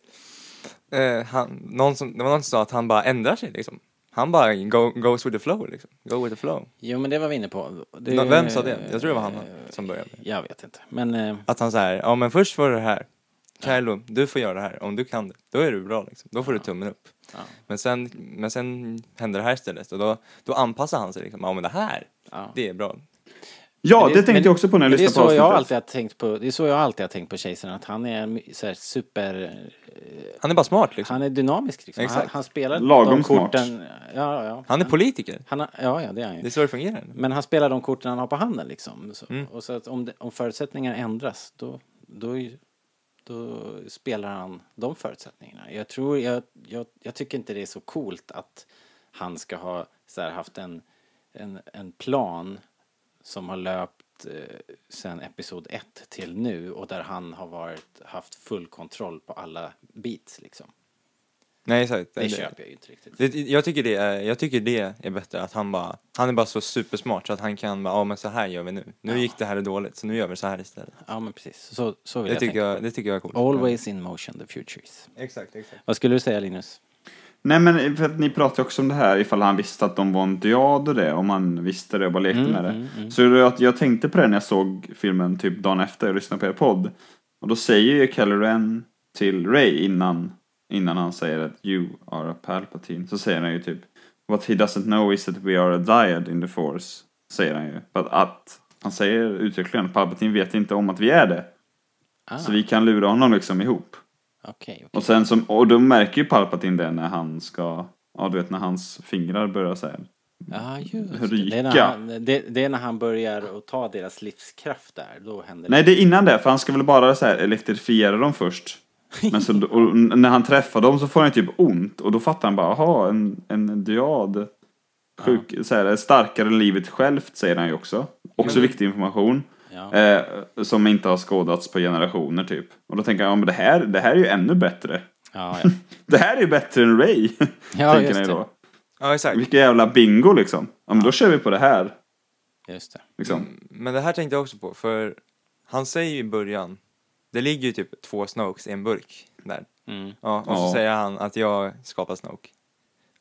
[SPEAKER 2] eh, han, någon som, det var någon som sa att han bara ändrar sig liksom? Han bara go, goes with the flow liksom. Go with the flow.
[SPEAKER 1] Jo, men det var vi inne på. Det,
[SPEAKER 2] Nå- Vem sa det? Jag tror det var Hanna som började.
[SPEAKER 1] Jag vet inte. Men eh,
[SPEAKER 2] Att han så här, ja men först var det här. Kylo, du får göra det här. Om du kan det, då är du bra liksom. Då får du tummen upp.
[SPEAKER 1] Ja.
[SPEAKER 2] Men, sen, men sen händer det här istället och då, då anpassar han sig liksom. Ja men det här,
[SPEAKER 1] Ja.
[SPEAKER 2] det är bra.
[SPEAKER 3] Ja,
[SPEAKER 1] men
[SPEAKER 3] det tänkte
[SPEAKER 1] men-
[SPEAKER 3] jag också på när jag
[SPEAKER 1] men det är
[SPEAKER 3] lyssnade på
[SPEAKER 1] så jag
[SPEAKER 3] avsnittet.
[SPEAKER 1] alltid har tänkt på. Det är så jag alltid har tänkt på kejsaren. Att han är en my- så här, super...
[SPEAKER 2] Han är bara smart liksom.
[SPEAKER 1] Han är dynamisk liksom. Han,
[SPEAKER 2] Exakt.
[SPEAKER 1] han spelar
[SPEAKER 3] Lagom
[SPEAKER 1] de
[SPEAKER 3] smart.
[SPEAKER 1] korten... Ja, ja.
[SPEAKER 2] Han är politiker.
[SPEAKER 1] Han har, ja, ja, det är han
[SPEAKER 2] Det är
[SPEAKER 1] ju.
[SPEAKER 2] så det fungerar.
[SPEAKER 1] Men han spelar de korten han har på handen liksom. Så, Och så att om, det, om förutsättningarna ändras, då, då, är- då spelar han de förutsättningarna. Jag tror, jag, jag, jag tycker inte det är så coolt att han ska ha så här, haft en, en, en plan som har löpt eh, sen episod 1 till nu och där han har varit, haft full kontroll på alla beats liksom.
[SPEAKER 2] Nej exakt.
[SPEAKER 1] Det, köper jag ju inte riktigt.
[SPEAKER 2] Det, jag, tycker det är, jag tycker det är bättre att han bara, han är bara så supersmart så att han kan bara, ja men så här gör vi nu. Nu gick det här dåligt så nu gör vi så här istället.
[SPEAKER 1] Ja men precis, så, så vill
[SPEAKER 2] Det
[SPEAKER 1] jag,
[SPEAKER 2] tycker
[SPEAKER 1] tänka.
[SPEAKER 2] jag, det tycker jag är coolt.
[SPEAKER 1] Always in motion the futures.
[SPEAKER 2] Ja. Exakt, exakt.
[SPEAKER 1] Vad skulle du säga Linus?
[SPEAKER 3] Nej men för att ni pratade också om det här ifall han visste att de var en dyad och det, om han visste det och bara lekte med det. Så det var att jag tänkte på det när jag såg filmen typ dagen efter jag lyssnade på er podd. Och då säger ju Kylo Ren till Ray innan, innan han säger att you are a Palpatine. Så säger han ju typ What he doesn't know is that we are a dyad in the force. Säger han ju. För att, att han säger uttryckligen Palpatine vet inte om att vi är det.
[SPEAKER 1] Ah.
[SPEAKER 3] Så vi kan lura honom liksom ihop.
[SPEAKER 1] Okej, okej.
[SPEAKER 3] Och, sen som, och då märker ju Palpatine det när han ska, ja du vet när hans fingrar börjar så här.
[SPEAKER 1] Ja, just det.
[SPEAKER 3] Rika.
[SPEAKER 1] Det är, när han, det, det är när han börjar att ta deras livskraft där. Då händer
[SPEAKER 3] Nej det är innan det, för han ska väl bara så här elektrifiera dem först. Men så, och n- när han träffar dem så får han typ ont och då fattar han bara, aha en, en diad. Sjuk, så här, starkare än livet självt säger han ju också. Också viktig information.
[SPEAKER 1] Ja.
[SPEAKER 3] Eh, som inte har skådats på generationer typ. Och då tänker jag, ja men det här, det här är ju ännu bättre.
[SPEAKER 1] Ja, ja.
[SPEAKER 3] Det här är ju bättre än Ray. tänker
[SPEAKER 1] just
[SPEAKER 3] han
[SPEAKER 1] det.
[SPEAKER 3] ju då.
[SPEAKER 2] Ja exakt.
[SPEAKER 3] Vilken jävla bingo liksom. Ja, men då kör vi på det här.
[SPEAKER 1] Just det.
[SPEAKER 3] Liksom.
[SPEAKER 2] Men det här tänkte jag också på för han säger ju i början, det ligger ju typ två Snokes i en burk där.
[SPEAKER 1] Mm.
[SPEAKER 2] Ja, och så
[SPEAKER 3] Ja.
[SPEAKER 2] säger han att jag skapar Snoke.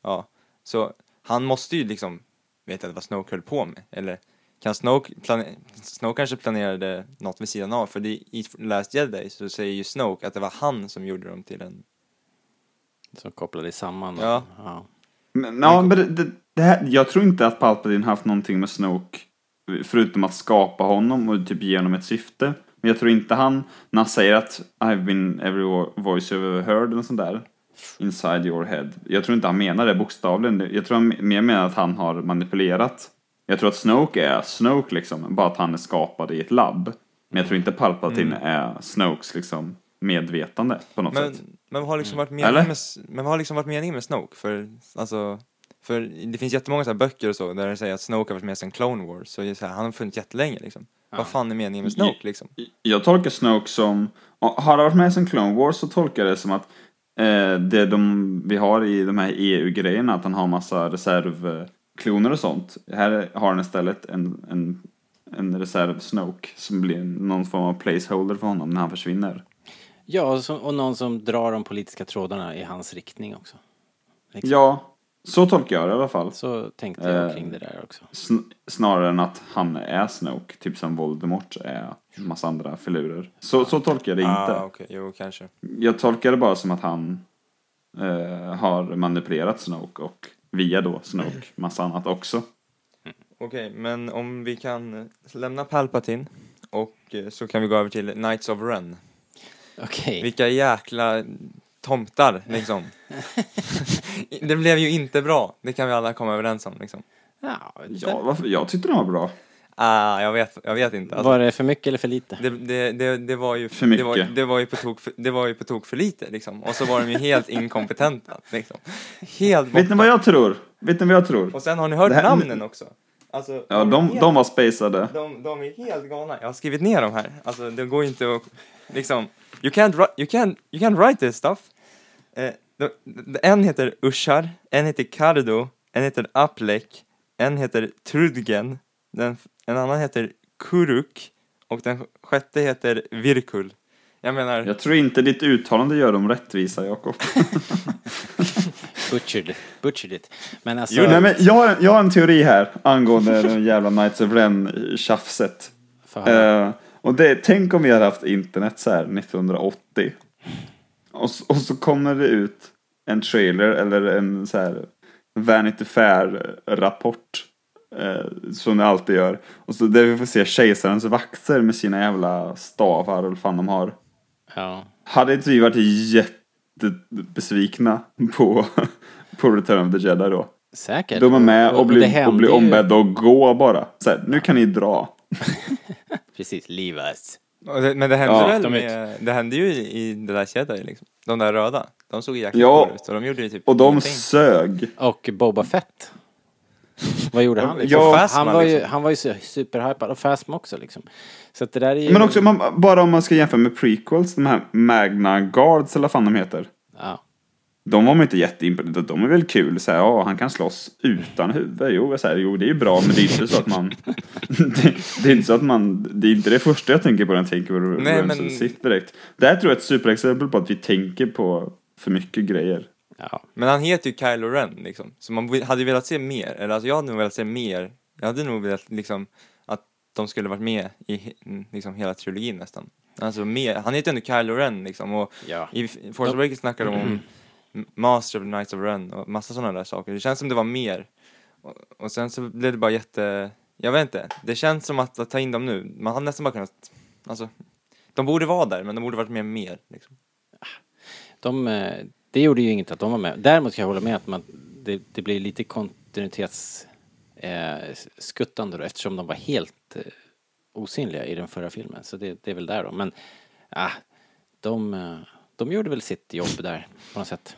[SPEAKER 2] Ja, så han måste ju liksom veta vad Snoke höll på med. Eller Kan Snoke, plane- Snoke kanske planerade något vid sidan av, för det, i Last Jedi så säger ju Snoke att det var han som gjorde dem till en...
[SPEAKER 1] Så kopplade det samman.
[SPEAKER 2] Ja.
[SPEAKER 1] ja.
[SPEAKER 3] Men, ja, men det, det, det här, jag tror inte att Palpatine haft någonting med Snoke förutom att skapa honom och typ ge honom ett syfte. Men jag tror inte han, när han säger att I've been every wo- voice you've ever heard eller sånt där inside your head. Jag tror inte han menar det bokstavligen. Jag tror han mer menar att han har manipulerat. Jag tror att Snoke är Snoke liksom, bara att han är skapad i ett labb. Men jag tror inte Palpatine är Snokes liksom medvetande på något
[SPEAKER 2] Men,
[SPEAKER 3] sätt.
[SPEAKER 2] men vad har liksom varit meningen
[SPEAKER 3] Mm. Eller?
[SPEAKER 2] med, S- men vad har liksom varit meningen med Snoke? För, alltså, för det finns jättemånga så här böcker och så där det säger att Snoke har varit med sedan Clone Wars, så, det är så här, han har funnits jättelänge liksom. Vad fan är meningen med Snoke liksom?
[SPEAKER 3] Jag tolkar Snoke som, har det varit med som Clone Wars så tolkar jag det som att eh, det de, vi har i de här EU-grejerna, att han har massa reservkloner och sånt. Här har han istället en, en, en reserv Snoke som blir någon form av placeholder för honom när han försvinner.
[SPEAKER 1] ja och, så, och någon som drar de politiska trådarna i hans riktning också. Liksom.
[SPEAKER 3] Ja, så tolkar jag det i alla fall.
[SPEAKER 1] Så tänkte jag
[SPEAKER 3] Eh.
[SPEAKER 1] kring det där också.
[SPEAKER 3] Sn- snarare än att han är Snoke, typ som Voldemort är en massa andra filurer. Så, så tolkar jag det inte.
[SPEAKER 2] Ah, okej, Jo, kanske.
[SPEAKER 3] Jag tolkar det bara som att han eh, har manipulerat Snoke och via då Snoke massa annat också.
[SPEAKER 2] Okej, men om vi kan eh, lämna Palpatine och eh, så kan vi gå över till Knights of Ren.
[SPEAKER 1] Okej.
[SPEAKER 2] Vilka jäkla tomtar liksom. det blev ju inte bra, det kan vi alla komma överens om liksom.
[SPEAKER 1] Ja,
[SPEAKER 3] Ja, varför? Jag tyckte den var bra.
[SPEAKER 2] Ah, jag vet, jag vet inte. Alltså,
[SPEAKER 1] Var det för mycket eller för lite?
[SPEAKER 2] det, det, det, det var ju
[SPEAKER 3] För
[SPEAKER 2] det var,
[SPEAKER 3] mycket.
[SPEAKER 2] det var ju på tok för, det var ju på tok för lite liksom. Och så var de ju helt inkompetenta liksom. Helt
[SPEAKER 3] Vet ni
[SPEAKER 2] borta.
[SPEAKER 3] vad jag tror? Vet ni vad jag tror?
[SPEAKER 2] Och sen har ni hört
[SPEAKER 3] Det här-
[SPEAKER 2] namnen också. Alltså,
[SPEAKER 3] Ja,
[SPEAKER 2] är
[SPEAKER 3] de,
[SPEAKER 2] helt-
[SPEAKER 3] de var spacade.
[SPEAKER 2] De, de är helt galna. Jag har skrivit ner dem här. Alltså, det går ju inte att... Liksom, you can't, wri- you can't, you can't write this stuff. Eh, de, de, en heter Ushar, en heter Cardo, en heter Aplek, en heter Trudgen, den, en annan heter Kuruk och den sjätte heter Virkul. Jag menar...
[SPEAKER 3] Jag tror inte ditt uttalande gör dem rättvisa, Jakob.
[SPEAKER 1] Butchered, butchered it. Men alltså,
[SPEAKER 3] Jo, nej, men jag, har, jag har en teori här angående den jävla Knights of Ren-tjafset.
[SPEAKER 1] för
[SPEAKER 3] Eh, och det, tänk om vi hade haft internet så här 1980. Och, s- och så kommer det ut en trailer eller en så här Vanity Fair-rapport. Eh, som det alltid gör. Och så där vi får se kejsarens vakter med sina jävla stavar och vad fan de har.
[SPEAKER 1] ja.
[SPEAKER 3] Hade inte vi varit jättebesvikna på, på Return of the Jedi då?
[SPEAKER 1] Säkert.
[SPEAKER 3] De är med och
[SPEAKER 1] det
[SPEAKER 3] blir, och
[SPEAKER 1] hände
[SPEAKER 3] blir
[SPEAKER 1] ju-
[SPEAKER 3] ombedda att gå bara. Så här, nu kan ni dra.
[SPEAKER 1] Precis, leave us.
[SPEAKER 2] och det- Men det hände,
[SPEAKER 3] Ja,
[SPEAKER 2] väl
[SPEAKER 1] de är-
[SPEAKER 2] med, det hände ju i, i det där Jedi, liksom. De där röda. De såg ju jäkligt
[SPEAKER 3] Ja.
[SPEAKER 2] coola ut och de gjorde ju typ
[SPEAKER 3] Och de
[SPEAKER 2] ingenting.
[SPEAKER 3] sög.
[SPEAKER 1] Och Boba Fett. Vad gjorde han? Liksom?
[SPEAKER 3] Ja,
[SPEAKER 1] han,
[SPEAKER 2] Phasma,
[SPEAKER 1] var ju,
[SPEAKER 2] liksom.
[SPEAKER 1] han var ju så superhypad. Och Phasma också liksom. Så att det där är ju...
[SPEAKER 3] Men också, man, bara om man ska jämföra med prequels, de här Magna Guards eller vad fan de heter.
[SPEAKER 1] Ja.
[SPEAKER 3] De var man inte jätteimponerade De är väl kul, så här, ja, han kan slåss utan huvud. Jo, så här, jo, det är ju bra, men det är inte så att man... det, det är inte så att man... Det är inte det första jag tänker på när jag tänker på
[SPEAKER 2] Nej,
[SPEAKER 3] Revenge
[SPEAKER 2] men-
[SPEAKER 3] men... Sith direkt. Det här tror jag är ett superexempel på att vi tänker på för mycket grejer.
[SPEAKER 1] ja.
[SPEAKER 2] Men han heter ju Kylo Ren liksom, så man vill- hade ju velat se mer, eller alltså jag hade nog velat se mer, jag hade nog velat liksom att de skulle varit med i he- mm, liksom hela trilogin nästan. Alltså mer, han heter ju ändå Kylo Ren liksom och
[SPEAKER 1] Ja.
[SPEAKER 2] i F- Force Awakens snackar de om M- Master of the Knights of Ren och massa sådana där saker, det känns som det var mer. Och, och sen så blev det bara jätte, jag vet inte, det känns som att, att ta in dem nu, man hade nästan bara kunnat, alltså de borde vara där men de borde varit med mer liksom.
[SPEAKER 1] De, eh, det gjorde ju inget att de var med. Däremot kan jag hålla med att man, det, det blir lite kontinuitetskuttande eh, skuttande då eftersom de var helt eh, osynliga i den förra filmen. Så det, det är väl där då. Men ah, de, eh, de gjorde väl sitt jobb där på något sätt.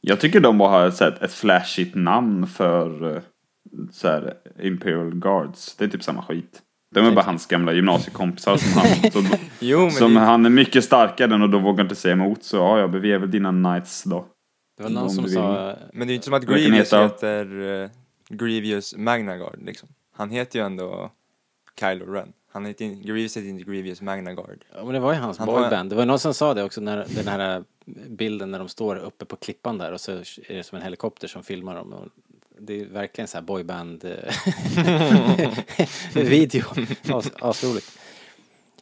[SPEAKER 3] Jag tycker de bara har så här, ett flashigt namn för eh, så här, Imperial Guards. Det är typ samma skit. De är bara hans gamla gymnasiekompisar som han, så,
[SPEAKER 2] Jo, men
[SPEAKER 3] som
[SPEAKER 2] det-
[SPEAKER 3] han är mycket starkare än och då vågar inte säga emot. Så ja, jag beger väl dina knights då.
[SPEAKER 1] Det var någon
[SPEAKER 3] Om
[SPEAKER 1] som
[SPEAKER 3] du
[SPEAKER 1] sa...
[SPEAKER 2] Men det är ju inte som att
[SPEAKER 3] Vad kan
[SPEAKER 2] Grievous
[SPEAKER 3] heta?
[SPEAKER 2] heter uh, Grievous Magnagard liksom. Han heter ju ändå Kylo Ren. Han heter in, Grievous heter inte Grievous Magnagard.
[SPEAKER 1] Ja, men det var ju hans
[SPEAKER 2] Han har-
[SPEAKER 1] boyband. Det var någon som sa det också, när, den här bilden när de står uppe på klippan där och så är det som en helikopter som filmar dem. Och det är verkligen så här eh, boyband-video. Asroligt.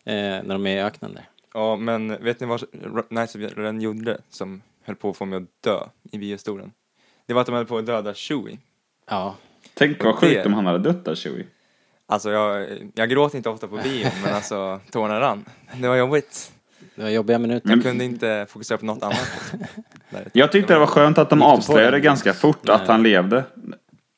[SPEAKER 1] Eh, när de är i öknen där.
[SPEAKER 2] Ja, men vet ni vad R- Knights of Ren gjorde som höll på att få mig att dö i biostolen? Det var att de höll på att döda Chewie.
[SPEAKER 1] Ja,
[SPEAKER 3] Tänk vad
[SPEAKER 2] Det-
[SPEAKER 3] sjukt om han hade dött där, Chewie.
[SPEAKER 2] Alltså jag, jag gråter inte ofta på bio, men alltså tårarna rann. Det var jobbigt.
[SPEAKER 1] det var jobbiga minuter.
[SPEAKER 2] Jag kunde inte fokusera på något annat. Där.
[SPEAKER 3] Jag tyckte det var skönt att de
[SPEAKER 1] Gick du på
[SPEAKER 3] avslöjade
[SPEAKER 1] den?
[SPEAKER 3] ganska fort att
[SPEAKER 1] Nej.
[SPEAKER 3] han levde.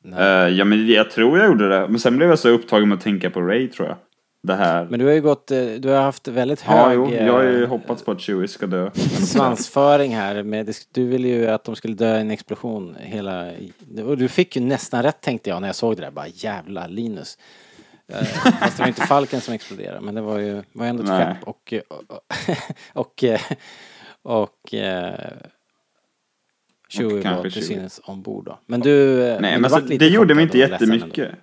[SPEAKER 1] Nej.
[SPEAKER 3] Eh, ja, men jag tror jag gjorde det. Men sen blev jag så upptagen med att tänka på Ray, tror jag. Det här.
[SPEAKER 1] Men du har ju gått, eh, du har haft väldigt
[SPEAKER 3] ja,
[SPEAKER 1] hög
[SPEAKER 3] jo,
[SPEAKER 1] eh,
[SPEAKER 3] jag har ju hoppats på att Chewie ska dö.
[SPEAKER 1] svansföring här. Med, det- du ville ju att de skulle dö i en explosion hela... Och du fick ju nästan rätt tänkte jag när jag såg det där. Bara jävla Linus. Eh, Fast det var inte falken som exploderade men det var ju var ju ändå ett
[SPEAKER 3] Nej.
[SPEAKER 1] skepp och... eh, Och... Och... eh, och eh, Chewie var
[SPEAKER 3] kanske
[SPEAKER 1] till
[SPEAKER 3] Chewie.
[SPEAKER 1] synes ombord då. Men du... eh,
[SPEAKER 3] Nej,
[SPEAKER 1] du
[SPEAKER 3] men alltså,
[SPEAKER 1] vart lite
[SPEAKER 3] det gjorde mig inte
[SPEAKER 1] chockad och ledsen ändå.
[SPEAKER 3] jättemycket.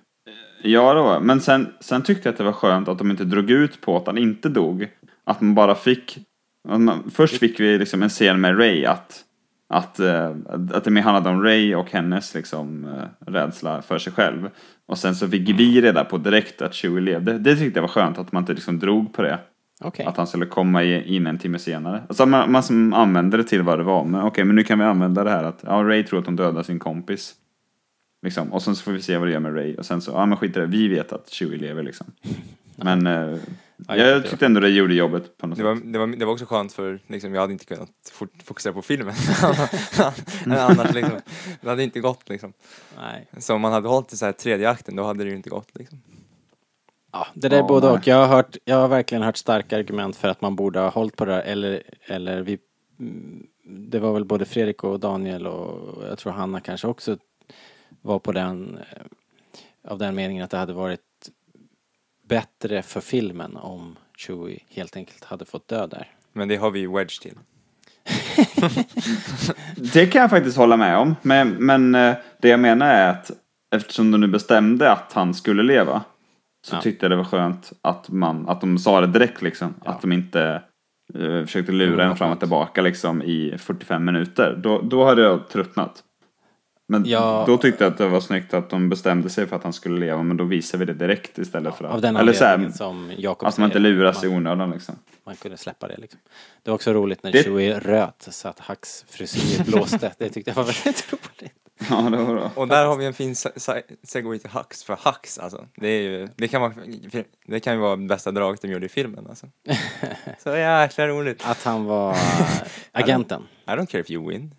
[SPEAKER 3] Ja, det var Men sen, sen tyckte jag att det var skönt att de inte drog ut på att han inte dog. Att man bara fick... att Man, först fick vi liksom en scen med Ray att... Att, eh, att det mer handlade om Ray och hennes liksom, eh, rädsla för sig själv. Och sen så fick vi reda på direkt att Chewie levde. Det tyckte jag var skönt att man inte liksom drog på det.
[SPEAKER 1] Okej.
[SPEAKER 3] Att han skulle komma i- in en timme senare. Alltså man, man som använde det till vad det var. Men okej, men nu kan vi använda det här att ja, Ray tror att hon dödar sin kompis. Liksom. Och sen så får vi se vad det gör med Ray. Och sen så, ja men skit i det, vi vet att Chewie lever liksom. Men eh,
[SPEAKER 1] jag
[SPEAKER 3] jag
[SPEAKER 1] tyckte
[SPEAKER 3] tyckte ändå det gjorde jobbet på något
[SPEAKER 2] Det var,
[SPEAKER 3] sätt.
[SPEAKER 2] det, var, det var också skönt för liksom, jag hade inte kunnat fort- fokusera på filmen. Annars, liksom, det hade inte gått liksom.
[SPEAKER 1] Nej.
[SPEAKER 2] Så om man hade hållit till så här tredje akten, då hade det ju inte gått liksom.
[SPEAKER 1] Ja, det där är
[SPEAKER 3] Ja,
[SPEAKER 1] både
[SPEAKER 3] nej.
[SPEAKER 1] och. Jag har, hört, jag har verkligen hört starka argument för att man borde ha hållit på det där. Eller, eller vi, mm, det var väl både Fredrik och Daniel och jag tror Hanna kanske också var på den, eh, av den meningen att det hade varit bättre för filmen om Chewie helt enkelt hade fått dö där.
[SPEAKER 2] Men det har vi ju wedge till.
[SPEAKER 3] Det kan jag faktiskt hålla med om. Men, men eh, det jag menar är att eftersom de nu bestämde att han skulle leva. Så
[SPEAKER 1] Ja.
[SPEAKER 3] tyckte jag det var skönt att, man, att de sa det direkt liksom. Att de inte eh, försökte lura en fram och tillbaka liksom i 45 minuter. Då, då hade jag tröttnat. Men
[SPEAKER 1] Ja.
[SPEAKER 3] då tyckte jag att det var snyggt att de bestämde sig för att han skulle leva. Men då visade vi det direkt istället för att...
[SPEAKER 1] Av den
[SPEAKER 3] eller så här,
[SPEAKER 1] anledningen som Jakob
[SPEAKER 3] att man inte
[SPEAKER 1] säger.
[SPEAKER 3] luras i onödan liksom.
[SPEAKER 1] Man kunde släppa det liksom. Det var också roligt när
[SPEAKER 3] Det-
[SPEAKER 1] Chewie röt så att Hacks frisyr blåste. Det tyckte jag var väldigt roligt.
[SPEAKER 3] Ja, det var bra.
[SPEAKER 2] Och där har vi en fin se- se- segway till Hux, för Hux alltså, det, är ju, det, kan vara, det kan ju vara bästa draget de gjorde i filmen alltså. Så jäkla roligt.
[SPEAKER 1] Att han var agenten.
[SPEAKER 2] I don't care if you win.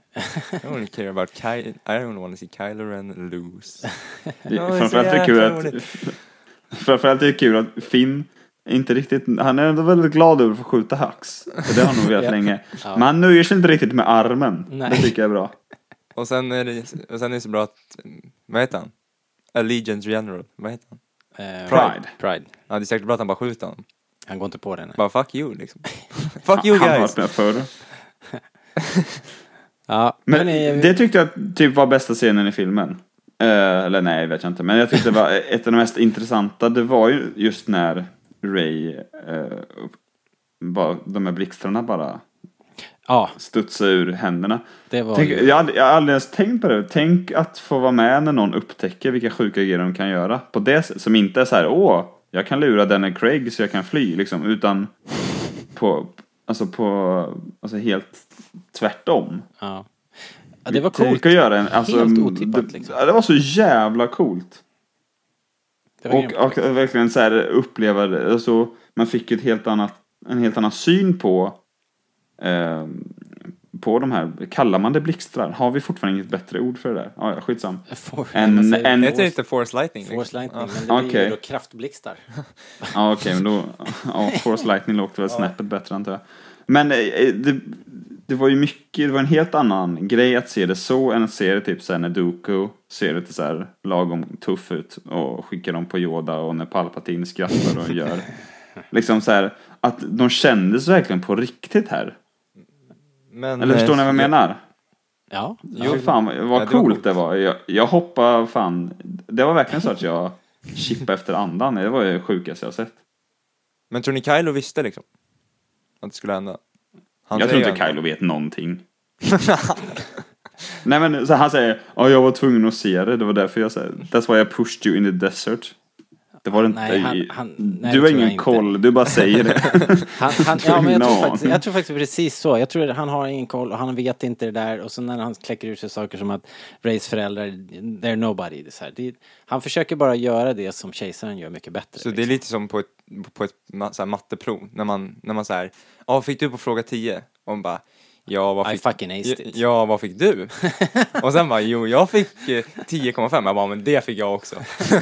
[SPEAKER 2] I only care about Ky- I don't want to see Kylo Ren lose.
[SPEAKER 3] Det-
[SPEAKER 2] Ja, det är
[SPEAKER 3] Framförallt
[SPEAKER 2] så
[SPEAKER 3] är det kul
[SPEAKER 2] jäkla
[SPEAKER 3] att... Framförallt är det kul att Finn inte riktigt... Han är ändå väldigt glad över att få skjuta Hux. För det har han nog velat
[SPEAKER 1] Ja.
[SPEAKER 3] länge.
[SPEAKER 1] Ja.
[SPEAKER 3] Men han nöjer sig inte riktigt med armen.
[SPEAKER 1] Nej.
[SPEAKER 3] Det tycker jag är bra.
[SPEAKER 2] Och sen är det, och sen är det så bra att, mm, vad heter han? Allegiance General, vad heter han?
[SPEAKER 1] Eh,
[SPEAKER 3] Pride.
[SPEAKER 1] Pride.
[SPEAKER 2] Ja, det är säkert bra att han bara skjuter honom.
[SPEAKER 1] Han går inte på den.
[SPEAKER 2] Bara fuck you liksom. fuck you
[SPEAKER 3] han har
[SPEAKER 2] guys!
[SPEAKER 3] varit med förr.
[SPEAKER 1] Ja,
[SPEAKER 3] Men
[SPEAKER 1] eh,
[SPEAKER 3] det tyckte jag typ var bästa scenen i filmen. Eh, eller nej, vet jag inte. Men jag tyckte det var ett av de mest intressanta. Det var ju just när Ray... eh, upp- bara, de här blixtarna bara
[SPEAKER 1] ja,
[SPEAKER 3] studsade ur händerna.
[SPEAKER 1] det var
[SPEAKER 3] Tänk,
[SPEAKER 1] ju...
[SPEAKER 3] jag, har aldrig, jag har aldrig ens tänkt på det. Tänk att få vara med när någon upptäcker vilka sjuka grejer de kan göra. På det sätt- som inte är så här, åh, jag kan lura Daniel Craig så jag kan fly, liksom. Utan på, alltså på, alltså helt tvärtom.
[SPEAKER 1] Ja. Ja, det var coolt.
[SPEAKER 3] Tänk att göra en, alltså,
[SPEAKER 1] Helt otippat,
[SPEAKER 3] det,
[SPEAKER 1] liksom.
[SPEAKER 3] ja, det var så jävla coolt.
[SPEAKER 1] Det var
[SPEAKER 3] Och,
[SPEAKER 1] grymt.
[SPEAKER 3] och verkligen så här uppleva det. Alltså, man fick ett helt annat, en helt annan syn på eh, på de här, kallar man det blixtrar? Har vi fortfarande inget bättre ord för det där? Ja, ja, skitsam.
[SPEAKER 1] For-
[SPEAKER 3] en-
[SPEAKER 1] vad säger
[SPEAKER 3] en-
[SPEAKER 1] du?
[SPEAKER 2] Heter det inte Force Lightning? liksom?
[SPEAKER 1] Force lightning,
[SPEAKER 2] Ja.
[SPEAKER 1] men det blir ju
[SPEAKER 3] Okej.
[SPEAKER 1] då kraftblixtar.
[SPEAKER 3] Ja, okej, men då... Ja, Force Lightning låter väl snäppet bättre, antar jag. Men eh, eh, det, det var ju mycket... Det var en helt annan grej att se det så än att se det typ såhär när Dooku ser lite såhär lagom tuff ut och skickar dem på Yoda och när Palpatine skrattar och gör... Liksom så här att de kändes verkligen på riktigt här.
[SPEAKER 2] Men, eh,
[SPEAKER 3] Eller förstår ni vad jag menar?
[SPEAKER 1] Ja,
[SPEAKER 3] Jo, fan vad
[SPEAKER 2] Ja,
[SPEAKER 3] vad
[SPEAKER 2] det var
[SPEAKER 3] coolt
[SPEAKER 2] coolt.
[SPEAKER 3] det var. Jag, jag hoppade fan... Det var verkligen så att jag chippade efter andan. Det var ju det sjukaste jag sett.
[SPEAKER 2] Men tror ni Kylo visste liksom? Att det skulle hända? Han
[SPEAKER 3] jag
[SPEAKER 2] säger
[SPEAKER 3] tror inte
[SPEAKER 2] ju ändå-
[SPEAKER 3] Kylo vet någonting. Nej men så han säger, ja jag var tvungen att se det, det var därför jag sa, that's why I pushed you in the desert. Det var det inte.
[SPEAKER 1] Nej, han- han- nej,
[SPEAKER 3] du
[SPEAKER 1] det
[SPEAKER 3] har
[SPEAKER 1] tror jag
[SPEAKER 3] ingen
[SPEAKER 1] inte.
[SPEAKER 3] koll, du bara säger det.
[SPEAKER 1] Han, han, ja, men jag, tror
[SPEAKER 3] Ingen
[SPEAKER 1] faktiskt,
[SPEAKER 3] aning.
[SPEAKER 1] jag tror faktiskt precis så. Jag tror att han har ingen koll och han vet inte det där. Och så när han kläcker ur sig saker som att Rays föräldrar, they're nobody. Det är så här. Det, han försöker bara göra det som kejsaren gör mycket bättre.
[SPEAKER 2] Så det är
[SPEAKER 1] liksom.
[SPEAKER 2] lite som på ett, på ett ma- så här matteprov, när man, när man säger ja fick du på fråga 10? Och man bara, ja vad
[SPEAKER 1] I
[SPEAKER 2] fick,
[SPEAKER 1] fucking aced it."
[SPEAKER 2] ja, vad fick du? och sen bara, jo jag fick eh, 10,5, jag bara, men det fick jag också.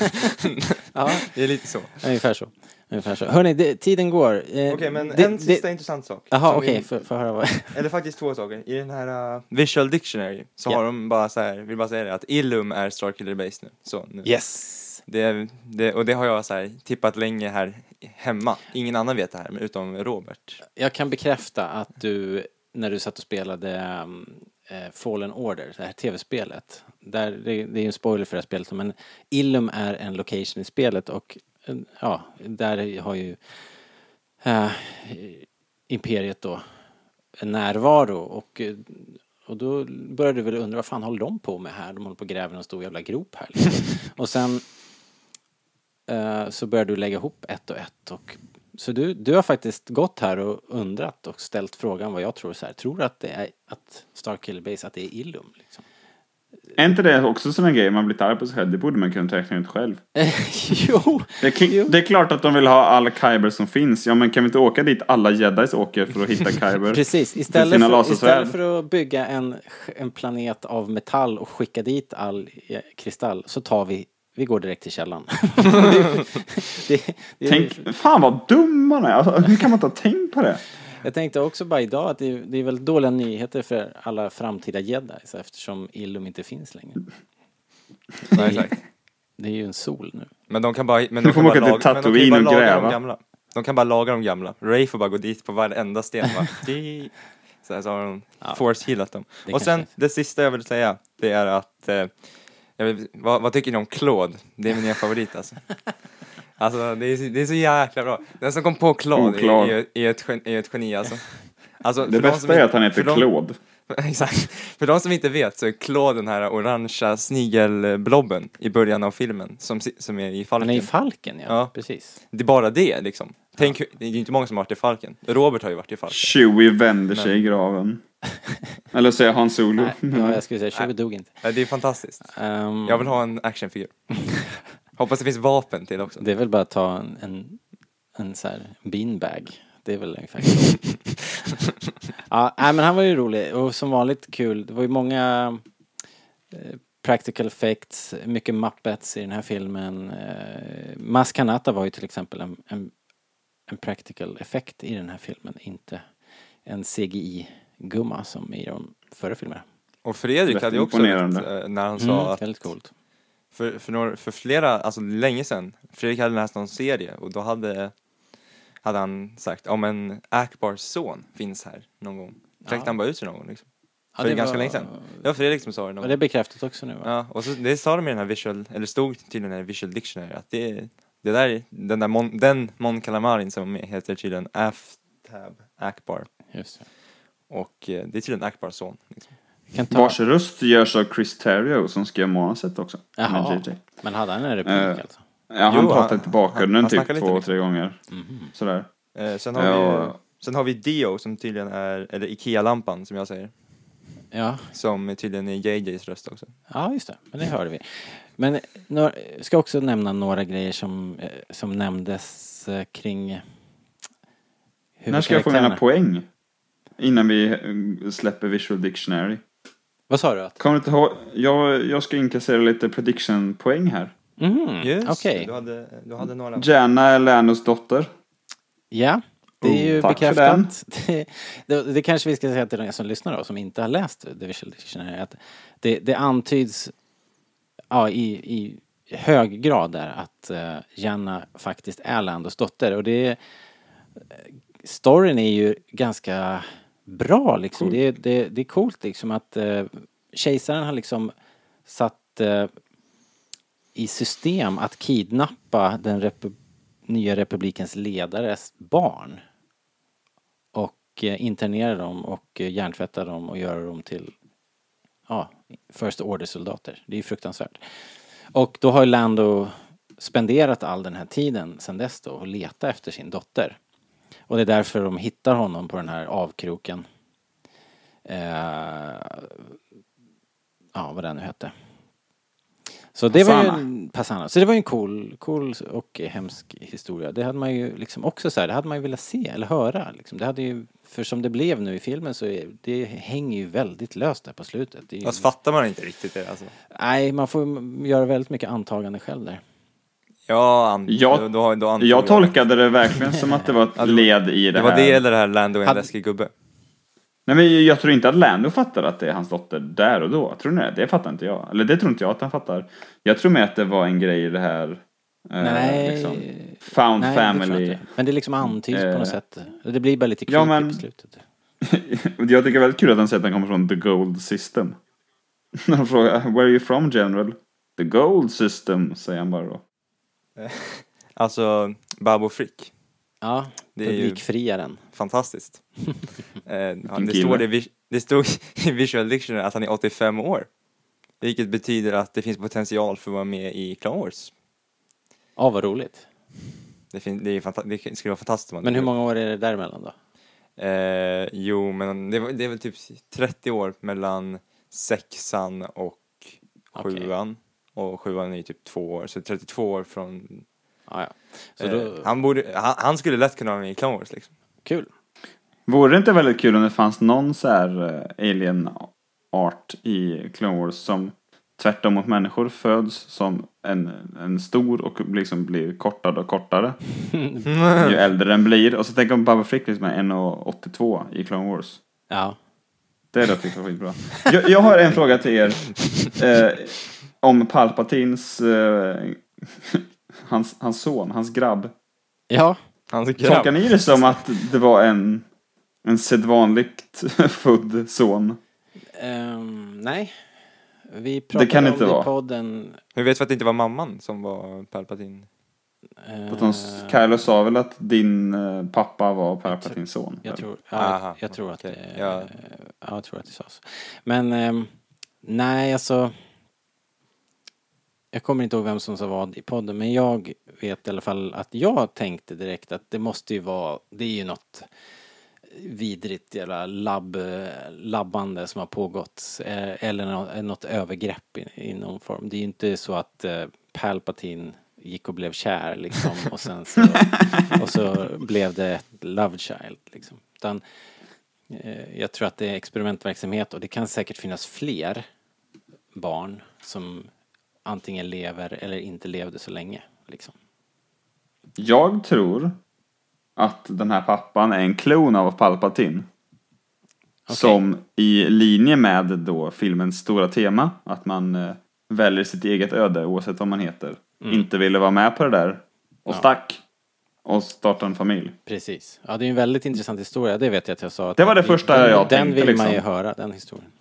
[SPEAKER 1] Ja,
[SPEAKER 2] Det är lite så.
[SPEAKER 1] ungefär så. Ungefär så. Hörni, det, tiden går. Eh,
[SPEAKER 2] Okej, men
[SPEAKER 1] det-
[SPEAKER 2] en
[SPEAKER 1] det-
[SPEAKER 2] sista intressant sak.
[SPEAKER 1] Jaha,
[SPEAKER 2] som vi-
[SPEAKER 1] okej, får får höra vad...
[SPEAKER 2] Eller faktiskt två saker. I den här uh, Visual Dictionary så
[SPEAKER 1] Ja.
[SPEAKER 2] har de bara så här, vill bara säga det, att Illum är Starkiller Base nu. Så nu.
[SPEAKER 1] Yes!
[SPEAKER 2] Det, är- det, och det har jag så här tippat länge här hemma. Ingen annan vet det här, men utom Robert.
[SPEAKER 1] Jag kan bekräfta att du, när du satt och spelade ehm, eh, Fallen Order, det här tv-spelet, där, det, det är ju en spoiler för det här spelet, men Illum är en location i spelet och eh, ja, där har ju eh, Imperiet då en närvaro och, eh, och då började du väl undra vad fan håller de på med här? De håller på och gräver en stor jävla grop här liksom. Och sen eh, så börjar du lägga ihop ett och ett. Och, så du, du har faktiskt gått här och undrat och ställt frågan vad jag tror så här. Tror du att det är att Star Killer Base, att det är Illum? Liksom?
[SPEAKER 3] är inte det också sån en grej man blir arg på sig själv? Det borde man kunna räkna ut själv.
[SPEAKER 1] jo!
[SPEAKER 3] Det är, kli- det är klart att de vill ha all Kyber som finns. Ja men kan vi inte åka dit alla jedis åker för att hitta Kyber?
[SPEAKER 1] Precis,
[SPEAKER 3] För
[SPEAKER 1] istället
[SPEAKER 3] sina
[SPEAKER 1] för,
[SPEAKER 3] lasersvärd.
[SPEAKER 1] istället för att bygga en, en planet av metall och skicka dit all eh, kristall så tar vi, vi går direkt till källan. det, det,
[SPEAKER 3] Tänk, fan vad dum man är! Alltså, hur kan man inte ha tänkt på det?
[SPEAKER 1] Jag tänkte också bara idag att det är, det är väldigt dåliga nyheter för alla framtida jedis eftersom Illum inte finns längre.
[SPEAKER 2] Nej, exakt.
[SPEAKER 1] Det är ju en sol nu.
[SPEAKER 2] Men de kan bara, men
[SPEAKER 3] Nu
[SPEAKER 2] de
[SPEAKER 3] får
[SPEAKER 2] kan
[SPEAKER 3] man
[SPEAKER 2] bara
[SPEAKER 3] åka till
[SPEAKER 2] laga, men de kan ju
[SPEAKER 3] Tatooine
[SPEAKER 2] bara
[SPEAKER 3] och
[SPEAKER 2] laga de
[SPEAKER 3] gräva.
[SPEAKER 2] gamla. De kan bara laga de gamla. Ray får bara gå dit på varenda sten bara, "Di." så, här, så har de force healat dem.
[SPEAKER 1] Det
[SPEAKER 2] och
[SPEAKER 1] kanske
[SPEAKER 2] sen
[SPEAKER 1] är.
[SPEAKER 2] det sista jag vill säga, det är att eh, jag vill, vad, vad tycker ni om Claude? Det är min nya favorit alltså. Alltså det är, så- det är så jäkla bra. Den som kom på Claude är,
[SPEAKER 3] Oklart.
[SPEAKER 2] är, är, ett, gen- är ett geni alltså. alltså för
[SPEAKER 3] Det
[SPEAKER 2] de som
[SPEAKER 3] bästa är
[SPEAKER 2] inte-
[SPEAKER 3] att han heter
[SPEAKER 2] för de-
[SPEAKER 3] Claude.
[SPEAKER 2] Exakt. För de som inte vet så är Claude den här orangea snigelblobben i början av filmen som, si- som är i
[SPEAKER 1] Han
[SPEAKER 2] Falken.
[SPEAKER 1] är i Falken, ja.
[SPEAKER 2] Ja.
[SPEAKER 1] Precis.
[SPEAKER 2] det är bara det liksom. Tänk, hur- det är ju inte många som har varit i Falken. Robert har ju varit i Falken.
[SPEAKER 3] Chewie vänder sig i graven. Eller säger han Solo.
[SPEAKER 1] Nej, ja, jag skulle säga Tjuve dog inte.
[SPEAKER 2] Ja, Det är fantastiskt.
[SPEAKER 1] Ehm,
[SPEAKER 2] Jag vill ha en actionfigur. Hoppas det finns vapen till också.
[SPEAKER 1] Det är väl bara att ta en, en, en så här beanbag. Det är väl ungefär så. ja, nej, men han var ju rolig och som vanligt kul. Det var ju många eh, practical effects, mycket Muppets i den här filmen. Eh, Maskanata var ju till exempel en, en, en practical effect i den här filmen, inte en CGI-gumma som i de förra filmerna.
[SPEAKER 2] Och Fredrik
[SPEAKER 3] Rätt
[SPEAKER 2] hade ju också
[SPEAKER 3] imponerande.
[SPEAKER 2] rätt, eh, när han sa
[SPEAKER 1] Mm,
[SPEAKER 2] att
[SPEAKER 1] väldigt coolt.
[SPEAKER 2] för, för, några, för flera, alltså länge sedan, Fredrik hade läst någon serie och då hade, hade han sagt om en Akbars son finns här någon gång. Räckte han bara ut sig någon gång liksom.
[SPEAKER 1] Ja,
[SPEAKER 2] för
[SPEAKER 1] det
[SPEAKER 2] ganska
[SPEAKER 1] var-
[SPEAKER 2] länge sedan. Det var Fredrik som sa det någon
[SPEAKER 1] Och
[SPEAKER 2] gång.
[SPEAKER 1] det är bekräftat också nu va?
[SPEAKER 2] Ja, och så, det sa de i den här visual, eller stod tydligen i den här visual dictionary att det, det där, den där Mon, den Mon Calamarin som heter tydligen Aftab Akbar
[SPEAKER 1] Just det.
[SPEAKER 2] och eh, det är tydligen Akbars son. Liksom.
[SPEAKER 1] Vi Kan ta...
[SPEAKER 3] Vars röst görs av Chris Terrio som skrev manuset också.
[SPEAKER 1] Jaha.
[SPEAKER 3] Med JJ.
[SPEAKER 1] Men hade han en replik
[SPEAKER 3] Eh,
[SPEAKER 1] alltså?
[SPEAKER 3] Ja,
[SPEAKER 2] Jo,
[SPEAKER 3] han pratar
[SPEAKER 2] han-
[SPEAKER 3] till bakgrunden
[SPEAKER 2] han
[SPEAKER 3] typ
[SPEAKER 2] snackar lite
[SPEAKER 3] två,
[SPEAKER 2] liksom.
[SPEAKER 3] tre gånger.
[SPEAKER 1] Mhm.
[SPEAKER 3] Sådär.
[SPEAKER 2] Eh, sen, har vi,
[SPEAKER 3] Ja.
[SPEAKER 2] sen har vi Dio som tydligen är, eller Ikea-lampan som jag säger,
[SPEAKER 1] Ja.
[SPEAKER 2] som är tydligen är JJs röst också.
[SPEAKER 1] ja, just det. Men det hörde vi. Men eh, några, ska också nämna några grejer som, eh, som nämndes eh, kring eh,
[SPEAKER 3] När ska jag få mina
[SPEAKER 1] huvudkaraktärerna.
[SPEAKER 3] poäng? Innan vi eh, släpper Visual Dictionary.
[SPEAKER 1] Vad sa du? Att?
[SPEAKER 3] Kommer du inte ihåg? Jag, jag ska inkassera lite prediction-poäng här.
[SPEAKER 1] Mm,
[SPEAKER 2] Just det,
[SPEAKER 1] Okej.
[SPEAKER 2] du, hade, du hade några.
[SPEAKER 3] Jana är Lanos dotter.
[SPEAKER 1] Ja, det är ju
[SPEAKER 3] Oh, tack för
[SPEAKER 1] bekräftat. Det, det, det kanske vi ska säga till de som lyssnar då, som inte har läst The Visual Dictionary, att det, det antyds ja, i, i hög grad där att uh, Janna faktiskt är Landos dotter. Och det är, storyn är ju ganska bra liksom. Det, är- det, det är coolt liksom att eh, kejsaren har liksom satt eh, i system att kidnappa den repu- nya republikens ledares barn. Och eh, internera dem och eh, hjärntvätta dem och göra dem till ja, First Order-soldater. Det är ju fruktansvärt. Och då har ju Lando spenderat all den här tiden sedan dess då och leta efter sin dotter. Och det är därför de hittar honom på den här avkroken. Eh, ja, vad den nu hette. Så det var ju en Passana. Så det var ju en cool, cool och hemsk historia. Det hade man ju liksom också så här, det hade man ju velat se eller höra. Liksom. Det hade ju, för som det blev nu i filmen så är, det hänger ju väldigt löst där på slutet. Det är ju,
[SPEAKER 2] Fast fattar man inte riktigt det alltså.
[SPEAKER 1] nej, man får ju göra väldigt mycket antagande själv där.
[SPEAKER 2] Ja, an-
[SPEAKER 3] Jag-
[SPEAKER 2] då, då, då antog
[SPEAKER 3] Jag tolkade det verkligen som att det var ett led i det,
[SPEAKER 2] Det var
[SPEAKER 3] här.
[SPEAKER 2] det eller det här Lando är en
[SPEAKER 1] Hade-
[SPEAKER 2] läskig gubbe.
[SPEAKER 3] Nej men jag tror inte att Lando fattar att det är hans dotter där och då. Tror ni det? Det fattar inte jag. Eller det tror inte jag att han fattar. Jag tror mer att det var en grej i det här... eh,
[SPEAKER 1] Nej.
[SPEAKER 3] found
[SPEAKER 1] Nej, det tror jag
[SPEAKER 3] family.
[SPEAKER 1] inte. Men det liksom antyds på
[SPEAKER 3] Eh.
[SPEAKER 1] något sätt. Det blir bara lite creepy
[SPEAKER 3] Ja, men-
[SPEAKER 1] på slutet.
[SPEAKER 3] jag tycker det är väldigt kul att han säger att han kommer från the gold system. När de frågar where are you from general? The gold system, säger han bara då.
[SPEAKER 2] Alltså, Babo Frick.
[SPEAKER 1] Ja,
[SPEAKER 2] Det är ju-
[SPEAKER 1] publikfriaren.
[SPEAKER 2] Fantastiskt. eh, ja, det,
[SPEAKER 3] kille.
[SPEAKER 2] står det, i vis- det stod i Visual Dictionary att han är 85 år. Vilket betyder att det finns potential för att vara med i Clone Wars.
[SPEAKER 1] Ja, vad roligt.
[SPEAKER 2] Det, fin- det, är fanta- det skulle vara fantastiskt om han
[SPEAKER 1] Men hur
[SPEAKER 2] dog.
[SPEAKER 1] många år är det däremellan då?
[SPEAKER 2] Eh, jo, men det, var- det är väl typ 30 år mellan sexan och
[SPEAKER 1] Okej.
[SPEAKER 2] sjuan. Och sjuan är ju typ två år, så 32 år från...
[SPEAKER 1] Ja, ja. Så
[SPEAKER 2] Eh,
[SPEAKER 1] då,
[SPEAKER 2] han, borde, han, han skulle lätt kunna vara med i Clone Wars liksom.
[SPEAKER 1] kul.
[SPEAKER 3] Vore det inte väldigt kul om det fanns någon så här eh, alien art i Clone Wars som tvärtom mot människor föds som en, en stor och liksom blir kortare och kortare ju äldre den blir. Och så tänk om Baba Frick liksom är 1,82 i Clone Wars.
[SPEAKER 1] Ja.
[SPEAKER 3] Det hade jag tyckt var skitbra. Jag, jag har en fråga till er. Eh, om Palpatins, eh, hans, hans son, hans grabb.
[SPEAKER 1] Ja.
[SPEAKER 2] Han
[SPEAKER 3] Tolkar ni det som att det var en, en sedvanligt född son?
[SPEAKER 1] ehm, nej. Vi pratade
[SPEAKER 3] kan
[SPEAKER 1] om
[SPEAKER 3] inte
[SPEAKER 1] det i
[SPEAKER 3] vara.
[SPEAKER 1] podden.
[SPEAKER 2] Hur vet vi att det inte var mamman som var Palpatine?
[SPEAKER 1] eh,
[SPEAKER 3] Att de, Kylo sa väl att din eh, pappa var Palpatins son?
[SPEAKER 1] jag, tror, ja,
[SPEAKER 2] Mm. Aha,
[SPEAKER 1] jag tror att
[SPEAKER 2] okej.
[SPEAKER 1] det...
[SPEAKER 2] Ja.
[SPEAKER 1] Ja. jag tror att det sades. Men ehm, nej, alltså... Jag kommer inte ihåg vem som sa vad i podden, men jag vet i alla fall att jag tänkte direkt att det måste ju vara, det är ju något vidrigt jävla labb, labbande som har pågått eh, eller något, något övergrepp i, i någon form. Det är ju inte så att eh, Palpatine gick och blev kär liksom och sen så, och så blev det ett love child liksom. Utan, eh, jag tror att det är experimentverksamhet och det kan säkert finnas fler barn som antingen lever eller inte levde så länge. Liksom.
[SPEAKER 3] Jag tror att den här pappan är en klon av Palpatine. Som i linje med då filmens stora tema, att man eh, väljer sitt eget öde oavsett vad man heter.
[SPEAKER 1] Mm.
[SPEAKER 3] Inte ville vara med på det där och stack och startade en familj.
[SPEAKER 1] Precis. Ja, det är en väldigt intressant historia, det vet jag att jag sa. Att
[SPEAKER 3] Det var det första
[SPEAKER 1] den,
[SPEAKER 3] jag
[SPEAKER 1] Den
[SPEAKER 3] tänkte,
[SPEAKER 1] vill man ju
[SPEAKER 3] liksom.
[SPEAKER 1] höra, den historien.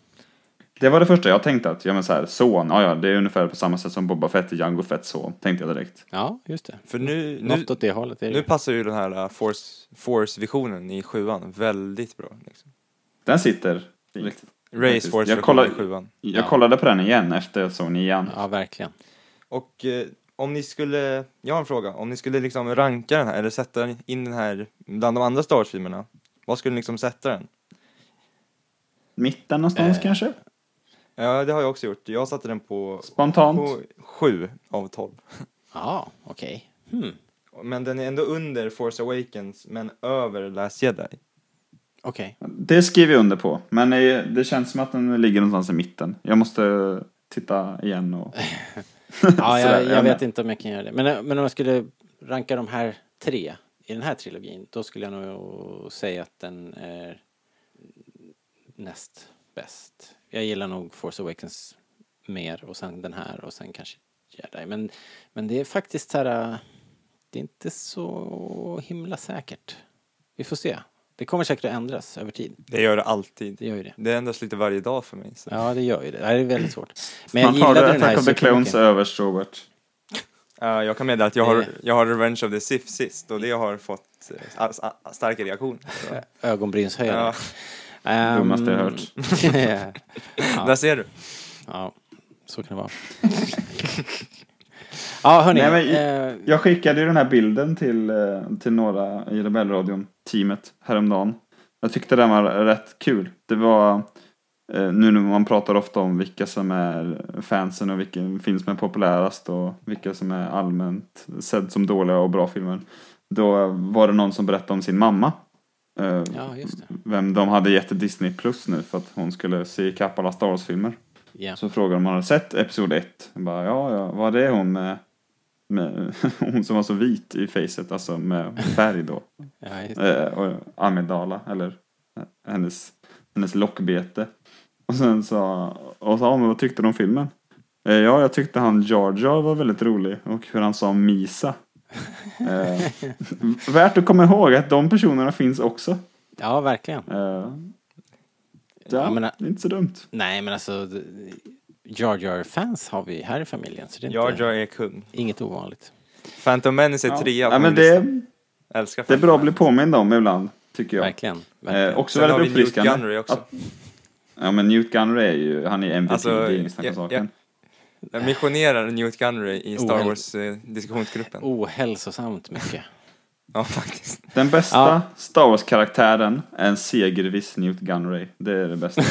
[SPEAKER 3] Det var det första jag tänkte att, ja men så här, son, ja ja, det är ungefär på samma sätt som Boba Fett är Jango Fetts son, tänkte jag direkt.
[SPEAKER 1] Ja, just det.
[SPEAKER 2] För nu, nu,
[SPEAKER 1] Något åt det hållet är det
[SPEAKER 2] nu
[SPEAKER 1] ju.
[SPEAKER 2] passar ju den här uh, Force- Force-visionen i sjuan väldigt bra. Liksom.
[SPEAKER 3] Den sitter riktigt.
[SPEAKER 2] Race
[SPEAKER 3] Faktiskt.
[SPEAKER 2] Force-visionen
[SPEAKER 3] Jag kollar-
[SPEAKER 2] i sjuan.
[SPEAKER 3] Jag
[SPEAKER 1] Ja.
[SPEAKER 3] kollade på den igen efter jag såg den igen.
[SPEAKER 1] Ja, verkligen.
[SPEAKER 2] Och eh, om ni skulle, jag har en fråga, om ni skulle liksom ranka den här eller sätta den- in den här bland de andra Star Wars-filmerna, vad skulle ni liksom sätta den?
[SPEAKER 3] Mitten
[SPEAKER 1] Eh.
[SPEAKER 3] någonstans kanske?
[SPEAKER 2] Ja, det har jag också gjort. Jag satte den på,
[SPEAKER 3] Spontant.
[SPEAKER 2] på 7 av 12.
[SPEAKER 1] Ja, okej. Hmm.
[SPEAKER 2] Men den är ändå under Force Awakens, men över Last Jedi.
[SPEAKER 1] Okej.
[SPEAKER 3] Det skriver jag under på, men eh, det känns som att den ligger någonstans i mitten. Jag måste titta igen och...
[SPEAKER 1] Ja,
[SPEAKER 3] Sådär,
[SPEAKER 1] jag, jag
[SPEAKER 3] men-
[SPEAKER 1] vet inte om jag kan göra det. Men, eh, men om jag skulle ranka de här tre i den här trilogin, då skulle jag nog säga att den är näst bäst. Jag gillar nog Force Awakens mer och sen den här och sen kanske Jedi. Men, men det är faktiskt så här, eh, det är inte så himla säkert. Vi får se. Det kommer säkert att ändras över tid.
[SPEAKER 2] Det gör det alltid.
[SPEAKER 1] Det gör ju det.
[SPEAKER 2] Det ändras lite varje dag för mig. Så.
[SPEAKER 1] Ja, det gör ju det. Det här är väldigt svårt. Men
[SPEAKER 3] Man tar
[SPEAKER 1] gillade
[SPEAKER 3] det Attack of the
[SPEAKER 1] supermycket.
[SPEAKER 3] Clones överst, Robert.
[SPEAKER 2] Eh, jag kan meddela att jag har,
[SPEAKER 1] Det-
[SPEAKER 2] jag har Revenge of the Sith sist och det har fått eh, a- a- starka reaktioner. Så.
[SPEAKER 1] ögonbrynshöjare.
[SPEAKER 2] Ja.
[SPEAKER 1] Ehm,
[SPEAKER 3] Dummaste jag hört.
[SPEAKER 2] Där ser du.
[SPEAKER 1] ja, så kan det vara. ja, hörni.
[SPEAKER 3] Nej, men-
[SPEAKER 1] eh,
[SPEAKER 3] Jag skickade ju den här bilden till, eh, till några i Rebellradion-teamet häromdagen. Jag tyckte den var rätt kul. Det var, eh, nu när man pratar ofta om vilka som är fansen och vilken film som är populärast och vilka som är allmänt sedd som dåliga och bra filmer. Då var det någon som berättade om sin mamma. Eh,
[SPEAKER 1] ja, just det.
[SPEAKER 3] Vem de hade gett Disney Plus nu för att hon skulle se ikapp alla Star Wars-filmer.
[SPEAKER 1] Ja.
[SPEAKER 3] Så frågade de om han hade sett Episod 1. Jag bara, ja, ja, vad är hon med, med hon som var så vit i facet, alltså med färg då.
[SPEAKER 1] Ja, just det.
[SPEAKER 3] Eh, och Amidala, eller eh, hennes, hennes lockbete. Och sen sa, och sa, ja, men vad tyckte du om filmen? Eh, ja, jag tyckte han Jar Jar var väldigt rolig och hur han sa Misa. Eh, värt att komma ihåg att de personerna finns också.
[SPEAKER 1] ja, verkligen.
[SPEAKER 3] Eh, ja,
[SPEAKER 1] Jag menar-
[SPEAKER 3] det är inte så dumt.
[SPEAKER 1] Nej, men alltså d- Jar Jar-fans har vi här i familjen, så det är
[SPEAKER 2] Jar
[SPEAKER 1] inte,
[SPEAKER 2] Jar är kung.
[SPEAKER 1] inget ovanligt.
[SPEAKER 2] Phantom Menace är
[SPEAKER 3] Ja.
[SPEAKER 2] trea. på
[SPEAKER 3] ja, men
[SPEAKER 2] min lista.
[SPEAKER 3] det,
[SPEAKER 2] Älskar
[SPEAKER 3] Det är bra att bli påmind om ibland, tycker jag.
[SPEAKER 1] Verkligen. verkligen.
[SPEAKER 3] Eh, också
[SPEAKER 2] Sen har vi
[SPEAKER 3] väldigt
[SPEAKER 2] Newt
[SPEAKER 3] uppfriskande.
[SPEAKER 2] Gunnery också.
[SPEAKER 3] Att- Ja, men Newt Gunnery är ju, han är MVP,
[SPEAKER 2] Alltså,
[SPEAKER 3] det är inget snack om
[SPEAKER 2] ja,
[SPEAKER 3] saken.
[SPEAKER 2] Jag missionerar Newt Gunnery i Star eh,
[SPEAKER 1] Ohäl-
[SPEAKER 2] Wars-diskussionsgruppen.
[SPEAKER 1] Ohälsosamt mycket.
[SPEAKER 2] Ja, faktiskt.
[SPEAKER 3] Den bästa
[SPEAKER 1] Ja.
[SPEAKER 3] Star Wars-karaktären är en segerviss Newt Gunnery. Det är det bästa.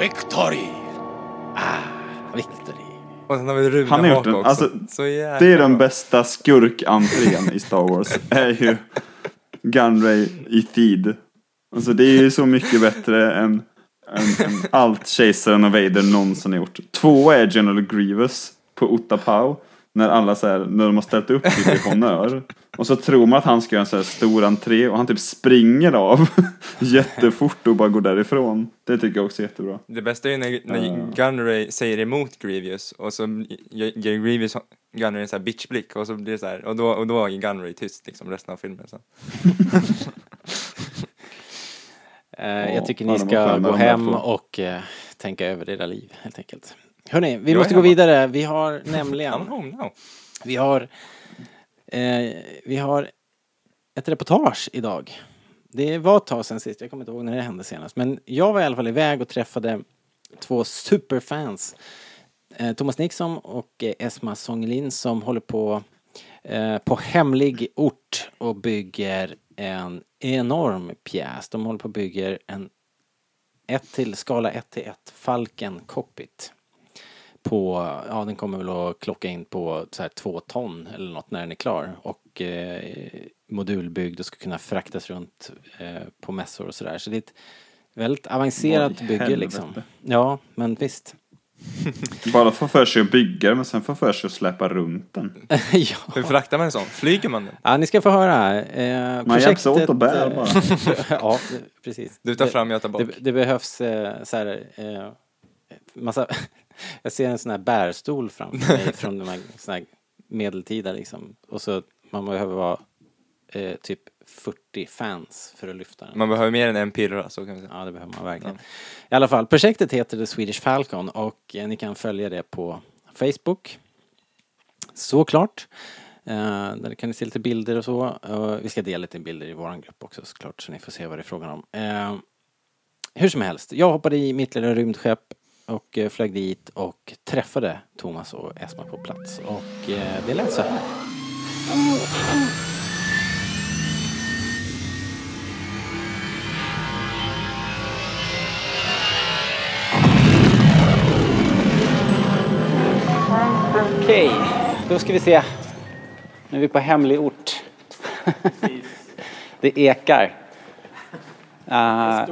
[SPEAKER 6] Victory!
[SPEAKER 1] Ah, Victory.
[SPEAKER 2] Och sen har vi Rune
[SPEAKER 3] Han har gjort
[SPEAKER 2] Haka
[SPEAKER 3] en-
[SPEAKER 2] också.
[SPEAKER 3] alltså,
[SPEAKER 2] så jävla
[SPEAKER 3] det är den
[SPEAKER 2] bra.
[SPEAKER 3] bästa skurkentrén i Star Wars. är ju Gunray i Theed. Alltså det är ju så mycket bättre än, än, än allt Kejsaren och Vader någonsin har gjort. Tvåa är General Grievous på Utapau. När alla så här, när de har ställt upp till honör. Och så tror man att han ska göra en så här stor entré och han typ springer av jättefort och bara går därifrån. Det tycker jag också är jättebra.
[SPEAKER 2] Det bästa är ju när, när
[SPEAKER 3] Ah.
[SPEAKER 2] Gunnery säger emot Grievous och så ger ger Grievous Gunnery en sån här bitchblick och så blir det så här, och då, och då är Gunnery tyst liksom resten av filmen sen.
[SPEAKER 1] Eh, jag tycker
[SPEAKER 3] ja,
[SPEAKER 1] ni
[SPEAKER 3] de var sköna
[SPEAKER 1] ska
[SPEAKER 3] de
[SPEAKER 1] gå
[SPEAKER 3] där
[SPEAKER 1] hem
[SPEAKER 3] två.
[SPEAKER 1] och eh, tänka över era liv, helt enkelt. Hörni, vi
[SPEAKER 2] är
[SPEAKER 1] måste gå
[SPEAKER 2] hemma.
[SPEAKER 1] vidare. Vi har
[SPEAKER 2] I'm
[SPEAKER 1] nämligen,
[SPEAKER 2] home now.
[SPEAKER 1] vi har, eh, vi har ett reportage idag. Det var ett tag sedan sist, jag kommer inte ihåg när det hände senast. Men jag var i alla fall iväg och träffade två superfans. Eh, Thomas Nixon och eh, Esma Songlin som håller på eh, på hemlig ort och bygger en enorm pjäs. De håller på och bygger en 1 till skala 1 till 1 Falken cockpit. På, ja den kommer väl att klocka in på så här två ton eller något när den är klar och eh, modulbyggd och ska kunna fraktas runt eh, på mässor och sådär. Så det är ett väldigt avancerat
[SPEAKER 3] Vad i
[SPEAKER 1] bygge
[SPEAKER 3] helvete.
[SPEAKER 1] liksom. Ja, men visst.
[SPEAKER 3] Bara få för sig att bygga den, men sen få för sig att släppa runt den.
[SPEAKER 2] Hur
[SPEAKER 1] ja.
[SPEAKER 2] fraktar man en sån? Flyger man den?
[SPEAKER 1] ja, ni ska få höra. Eh,
[SPEAKER 3] Man hjälps åt och bär
[SPEAKER 1] eh,
[SPEAKER 3] bara.
[SPEAKER 1] ja, det- precis.
[SPEAKER 2] Du tar
[SPEAKER 1] Det-
[SPEAKER 2] fram, jag tar bak.
[SPEAKER 1] Det, det behövs eh, så här, eh, massa, jag ser en sån här bärstol framför mig från de här, sån här medeltida liksom. Och så man behöver vara eh, typ 40 fans för att lyfta den.
[SPEAKER 2] Man behöver mer än en pirra så kan vi säga.
[SPEAKER 1] Ja, det behöver man verkligen. I alla fall, projektet heter The Swedish Falcon och eh, ni kan följa det på Facebook. Såklart. Eh, där kan ni se lite bilder och så. Eh, vi ska dela lite bilder i vår grupp också såklart, så ni får se vad det är frågan om. Eh, hur som helst, jag hoppade i mitt lilla rymdskepp och eh, flög dit och träffade Thomas och Esma på plats. Och eh, det lät så här. Okej, då ska vi se. Nu är vi på hemlig ort. det ekar. Eh,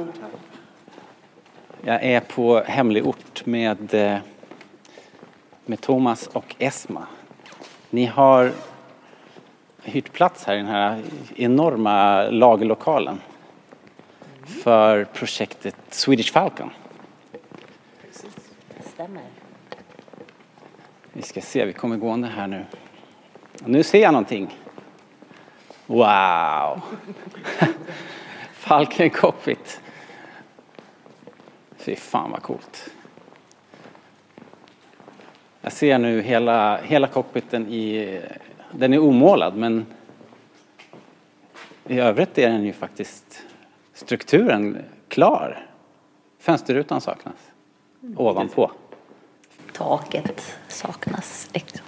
[SPEAKER 1] jag är på hemlig ort med, eh, med Thomas och Esma. Ni har hyrt plats här i den här enorma lagerlokalen för projektet Swedish Falcon.
[SPEAKER 5] Stämmer.
[SPEAKER 1] Vi ska se, vi kommer gående här nu. Och nu ser jag någonting. Wow! Falken cockpit. Fy fan vad coolt. Jag ser nu hela, hela cockpiten i... Den är omålad men I övrigt är den ju faktiskt strukturen klar. Fönsterrutan saknas. Ovanpå.
[SPEAKER 5] Taket saknas. Liksom.